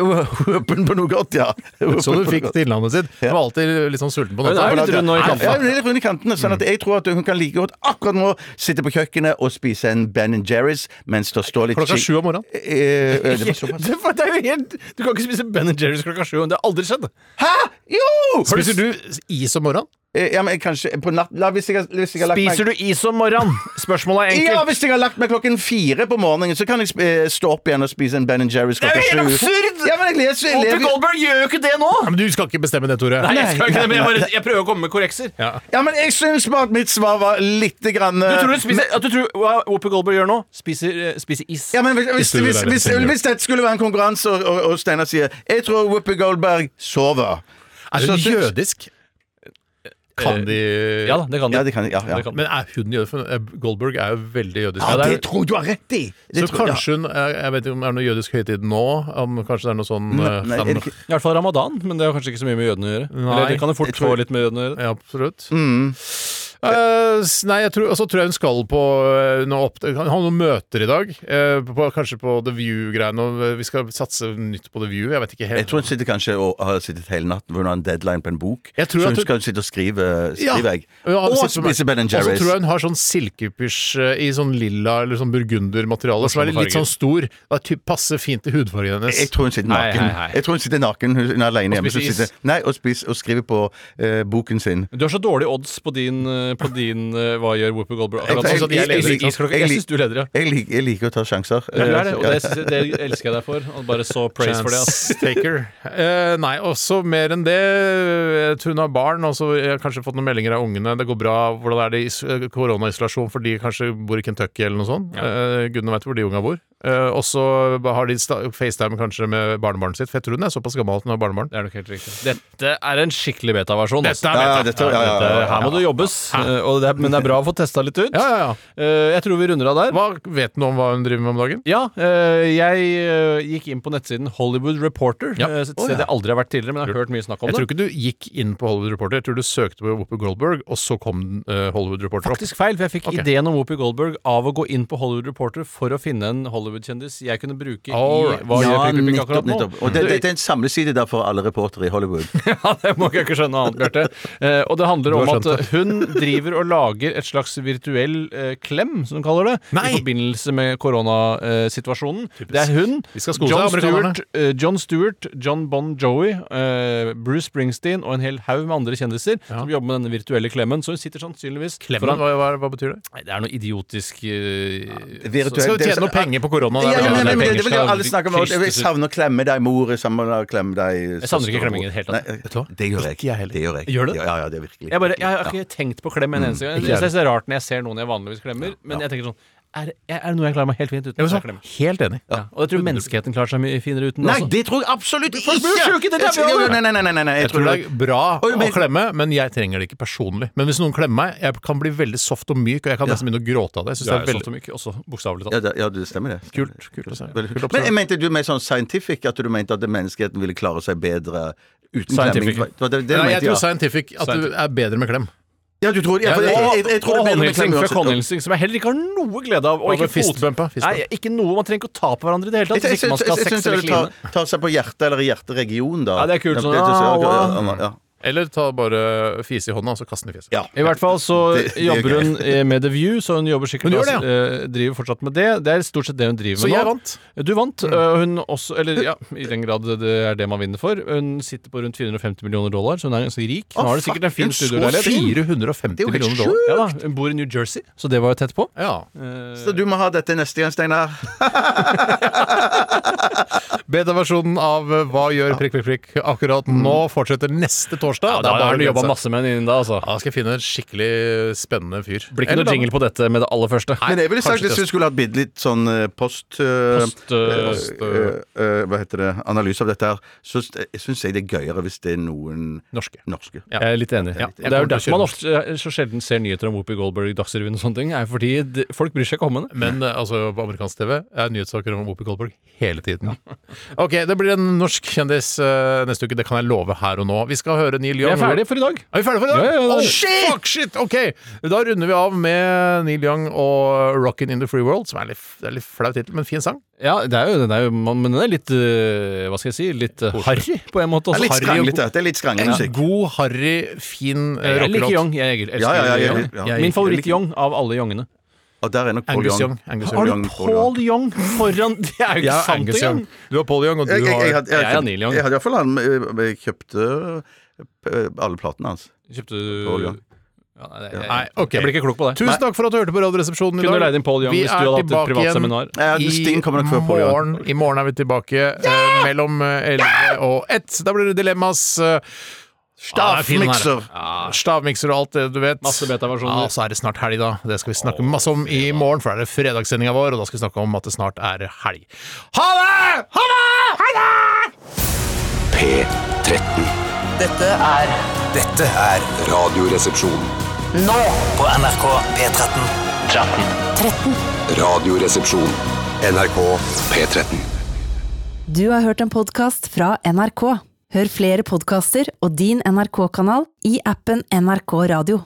Åpen på noe godt, ja.
Så du fikk til innlandet sitt. Du var alltid litt sånn sulten på
Hun er
natta.
litt rund nå i
Ja,
kanten.
ja, hun er litt rund i kantene, sånn at jeg tror at hun kan like godt akkurat nå sitte på kjøkkenet og spise en Ben Jerry's mens det står litt
Klokka
chi-
sju om morgenen.
Eh, eh, det var såpass.
Det er jo helt Du kan ikke spise Ben Jerry's klokka sju. Det har aldri skjedd.
Hæ?! Jo!
Spiser du is om morgenen?
Eh, Ja, men kanskje på natt la, hvis, jeg, har- hvis jeg har lagt meg
Spiser du is om morgenen? Spørsmålet er
ja,
enkelt.
hvis jeg har lagt meg klokken fire på morgenen, så kan jeg sp- eh, stå opp igjen og spise en Ben Jerry's klokka
jo
sju.
helt absurd!
Ja, men jeg leser, jeg
Walter
lever,
Goldberg gjør jo ikke det nå!
Ja, men du skal ikke bestemme det, Tore.
Nei, jeg, skal ikke, det, men jeg,
nei,
bare, jeg prøver å komme med korrekser.
ja, men jeg syns bare at mitt svar var lite grann eh,
Du tror, du spiser, at du tror hva Whoopi Goldberg gjør nå? Spiser, eh, spiser is.
ja, men hvis, hvis,
Hvis du
hvis,
er
hvis,
senior.
hvis dette skulle være en konkurranse, og, og, og Steinar sier 'Jeg tror Whoopi Goldberg sover',
Er hun
Så syns-
jødisk? Kan de
Eh, Ja da, det kan
Ja,
det.
det kan jeg. Ja, ja.
Det kan
Men er hun jødisk? For, eh, Goldberg er jo veldig jødisk.
Ja,
Ja, det
det tror du har rett i! Det
er, så
tror- ja.
kanskje hun jeg, jeg vet ikke om det er noe jødisk høytid nå? Om kanskje det er noe sånn eh,
Nei, er det ikke-
I hvert fall ramadan, men det har kanskje ikke så mye med jødene å gjøre.
Nei.
Eller det kan jo fort
Jeg
få
tror-
litt med jødene å gjøre.
Ja, absolutt.
Mm.
Eh, s- nei, jeg tror, og så tror jeg hun skal på eh, noe opp, Hun har noen møter i dag. eh, på, kanskje på The View-greiene. og, eh, Vi skal satse nytt på The View. Jeg vet ikke
Jeg
helt.
tror hun sitter kanskje og har sittet hele natten for hun har en deadline på en bok.
Jeg tror at
så hun
hun-
skal sitte og skrive, skrive jeg.
Ja,
Og
sitter på
spise
meg.
Ben
Og
Jerry's.
så tror jeg hun har sånn silkepysj eh, i sånn lilla eller sånn burgundermateriale som er litt, litt sånn stor. Det er typ- passer fint til hudfargen hennes.
Jeg tror hun sitter naken.
Hei, hei, hei.
Jeg tror Hun sitter naken Hun hun er alene hjemme. så
spiser is.
sitter, nei, og, spiser, og skriver på eh, boken sin.
Du har så dårlige odds på din, eh, på din eh, Hva gjør Whoopi Goldberg?
Jeg-
Akkurat sånn som
jeg-
jeg
jeg-
leder
jeg-
Is klokka-
jeg-
Jeg syns du leder, ja.
Jeg, lik, jeg liker å ta sjanser. Eh,
Ja, du er det, og
Ja.
det, synes jeg, det elsker jeg deg for. Og bare så praise for det. Ass.
Chance taker. Eh, nei, også mer enn det. Jeg tror Hun har barn, og så jeg har kanskje fått noen meldinger av ungene. Det går bra. Hvordan er det i is- koronaisolasjon for de kanskje bor i Kentucky eller noe sånt? Eh, Gudene veit hvor de unga bor. Eh, og så har de sta- FaceTime kanskje med barnebarnet sitt. For jeg tror hun er såpass gammel at hun har barnebarn.
Det er nok helt riktig. Dette er en skikkelig beta-versjon. ass.
Dette er
Ja, ja, dette- ja, ja, ja, ja.
Her må det jobbes, eh, og det er, men det er bra å få testa litt ut.
Ja, ja, ja.
Eh, Jeg tror vi runder av der.
Hva vet du om hva hun driver med om dagen?
Ja, eh, jeg eh, gikk inn på nettsiden Hollywood Reporter.
Ja.
eh, Et sted jeg aldri har vært tidligere, men jeg har hørt mye snakk om
Jeg tror
det.
ikke du gikk inn på Hollywood Reporter. Jeg tror du søkte på Whoopi Goldberg, og så kom eh, Hollywood Reporter opp.
Faktisk feil, for jeg fikk
Ok.
ideen om Whoopi Goldberg av å gå inn på Hollywood Reporter for å finne en Hollywood-kjendis jeg kunne bruke
Alright.
i Hva gjør
Ja,
Prikk, prikk, prikk
nettopp,
akkurat nå?
nettopp. Og det, det, det er en samleside der for alle reportere i Hollywood.
Ja, det må jeg ikke skjønne annet, Bjarte. Eh, og det handler
Du
om
har
at eh, hun driver og lager et slags virtuell eh, klem, som hun kaller det,
Nei!
i forbindelse med koronasituasjonen. det er hun,
De skal sko seg,
John,
amerikanerne.
Stewart, eh, John Stewart, John Bon Joey, eh, Bruce Springsteen og en hel haug med andre kjendiser som jobber med denne virtuelle klemmen. Så hun sitter sannsynligvis
Klemmen,
foran
hva, hva, hva betyr det?
Nei, det er noe idiotisk eh,
Virtuell-
Skal du
det er
tjene
så-
noe penger på korona?
Ja,
der, da?
ja, men, men, men,
penger
det, det vil jo
skal
alle snakke om. og Jeg
kristes ut.
savner å klemme deg, mor. Jeg savner å klemme deg
Jeg savner ikke
søster,
klemming i det hele tatt.
Nei, Det gjør jeg. Det gjør jeg.
Gjør du det?
Ja, ja, det er virkelig.
Jeg, bare, jeg har ikke tenkt på klem en
Mm.
eneste gang. Jeg synes det er rart når jeg ser noen jeg vanligvis klemmer, men jeg tenker sånn er, er det noe jeg klarer meg helt fint uten?
Jeg
å
var
klemme?
sånn, helt enig.
Ja. Og jeg tror menneskeheten klarer seg mye finere uten.
Nei,
også.
det tror jeg absolutt ikke!
blir jo sjuke, det er vi alle.
Nei, nei, nei, nei, nei.
Jeg tror det er bra
Oi, men-
å klemme, men jeg trenger det ikke personlig. Men hvis noen klemmer meg, jeg kan bli veldig soft og myk, og jeg kan nesten begynne å gråte av det. Jeg synes det
Du er
er
jo sånn
veldig
som ikke også bokstavelig
Ja,
talt.
det, ja, det stemmer det.
kult. kult å se.
Veldig
Kult
kult. Men jeg
observert.
mente du mer sånn scientific, at du mente at menneskeheten ville klare seg bedre uten
Scientific.
klemming? Det var det, det du
Nei, jeg
mente,
tror
ja.
scientific at du
Scientific.
er bedre med klem.
ja, du tror, ja, for
Ja,
jeg,
det-
jeg, jeg tror det
og
er bedre med
håndhilsing,
klem
fuck
uansett.
håndhilsing, som jeg heller ikke har noe glede av. Og
Hva med
ikke fot-
fistbumpa? Fistbumpa.
Nei, ikke noe. Man trenger ikke å ta på hverandre i det hele
Jeg
tatt. Hvis ikke man skal ha sex
syns jeg
eller
vil ta,
kline.
ta seg på hjertet eller i hjerteregionen, da.
Ja, det er kult, sånn,
det-
ah,
ja, ja.
Eller ta bare fise i hånda, og så kaste den i fjeset.
Ja.
I hvert fall så
Det- det er
jobber hun
greit.
eh, med The View, så hun jobber sikkert
Hun gjør det,
eh, driver fortsatt med det. Det er stort sett det hun driver
Så
med nå.
jeg vant. Mm.
Du vant. eh, Hun også, eller ja, i den grad det er det man vinner for. Hun sitter på rundt 450 millioner dollar, så hun er ganske rik. Hun
Å,
har det
fuck,
sikkert en fin
hun er så
studioleilighet.
fin.
450
Det er jo helt
millioner dollar.
Ja da, Hun bor i New Jersey, så det var jo tett på.
Ja.
Så du må ha dette neste gang, Steinar.
Beta-versjonen av eh, Hva gjør prikk, prikk, prikk akkurat nå fortsetter neste torsdag.
Mm. Ja, da
Det er bare
har du
å
jobba
glede seg.
masse med den innen da, altså.
Ja, da skal jeg finne en skikkelig spennende fyr.
Blir ikke noe jingle på dette med det aller første.
Men jeg ville sagt
kanskje
hvis du skulle hatt bitte litt sånn eh, post... eh,
Post, eh,
eh, eh, eh, hva heter det? Analyse av dette her. Så syns jeg det er gøyere hvis det er noen
Norske.
norske.
Ja.
Jeg er litt enig.
Ja,
Det er
jeg
jo
kommer til å
derfor man
kjøre
ofte eh, så sjelden ser nyheter om Whoopi Goldberg i Dagsrevyen og sånne ting. Er fordi det- folk bryr seg ikke om henne.
Men eh, altså, på amerikansk TV er nyhetssaker om Whoopi Goldberg hele tiden. Ok, det blir en norsk kjendis eh, neste uke. Det kan jeg love her og nå. Vi skal høre Neil
Vi
Young.
er ferdige for i dag.
Er vi ferdige for i dag?
Ja, ja, ja.
Oh, shit! Fuck, shit! Ok, da runder vi av med Neil Young og Rockin' in the Free World, som er litt, det er litt flau tittel, men fin sang.
Ja, det er jo, den er jo, man- men den er litt øh, Hva skal jeg si? Litt øh, harry, på en måte.
Det er
også.
litt
Harry og god-
skranglete. Det er litt
En
skranglemusikk.
god, harry, fin eh,
Jeg liker
rockelåt.
Young. Jeg elsker
Ja, ja, ja, jeg-
Young.
ja.
Jeg-
Min
jeg liker-
favoritt-Young av alle Youngene.
Og der er nok Paul
Angus
Young.
Young. Angus
Har
Young.
du
Young, Paul
Paul Young foran Det er jo ikke
Jeg er
sant
Angus Young.
engang!
Du har Paul Young, og du
Jeg, jeg, jeg,
har
hadde- jeg,
Jeg er Neil Young.
jeg hadde iallfall han eh, Jeg kjøpte eh, alle platene hans.
Kjøpte du
Paul Young.
Ja, nei, jeg,
Nei, ok.
jeg blir ikke klok på det.
Tusen takk for at du hørte på Radioresepsjonen i dag.
Kunne du leid inn Paul Young
Vi
hvis du
er
hadde hatt et
tilbake
privat
igjen
seminar?
Ja, Sting kommer nok før Paul Young.
morgen, I morgen er vi tilbake eh, mellom eh, 11 og 1. Da blir det Dilemmas. eh,
Stavmikser!
Stavmikser og alt det du vet.
Masse betaversjoner.
Ja, så er det snart helg, da. Det skal vi snakke masse om i morgen, for da er det fredagssendinga vår, og da skal vi snakke om at det snart er helg. Ha det! Ha det! Ha det!
P13.
Dette er
Dette er Radioresepsjon.
nå på NRK P13. 13.
Radioresepsjon. NRK P13.
Du har hørt en podkast fra NRK. Hør flere podkaster og din NRK-kanal i appen NRK Radio.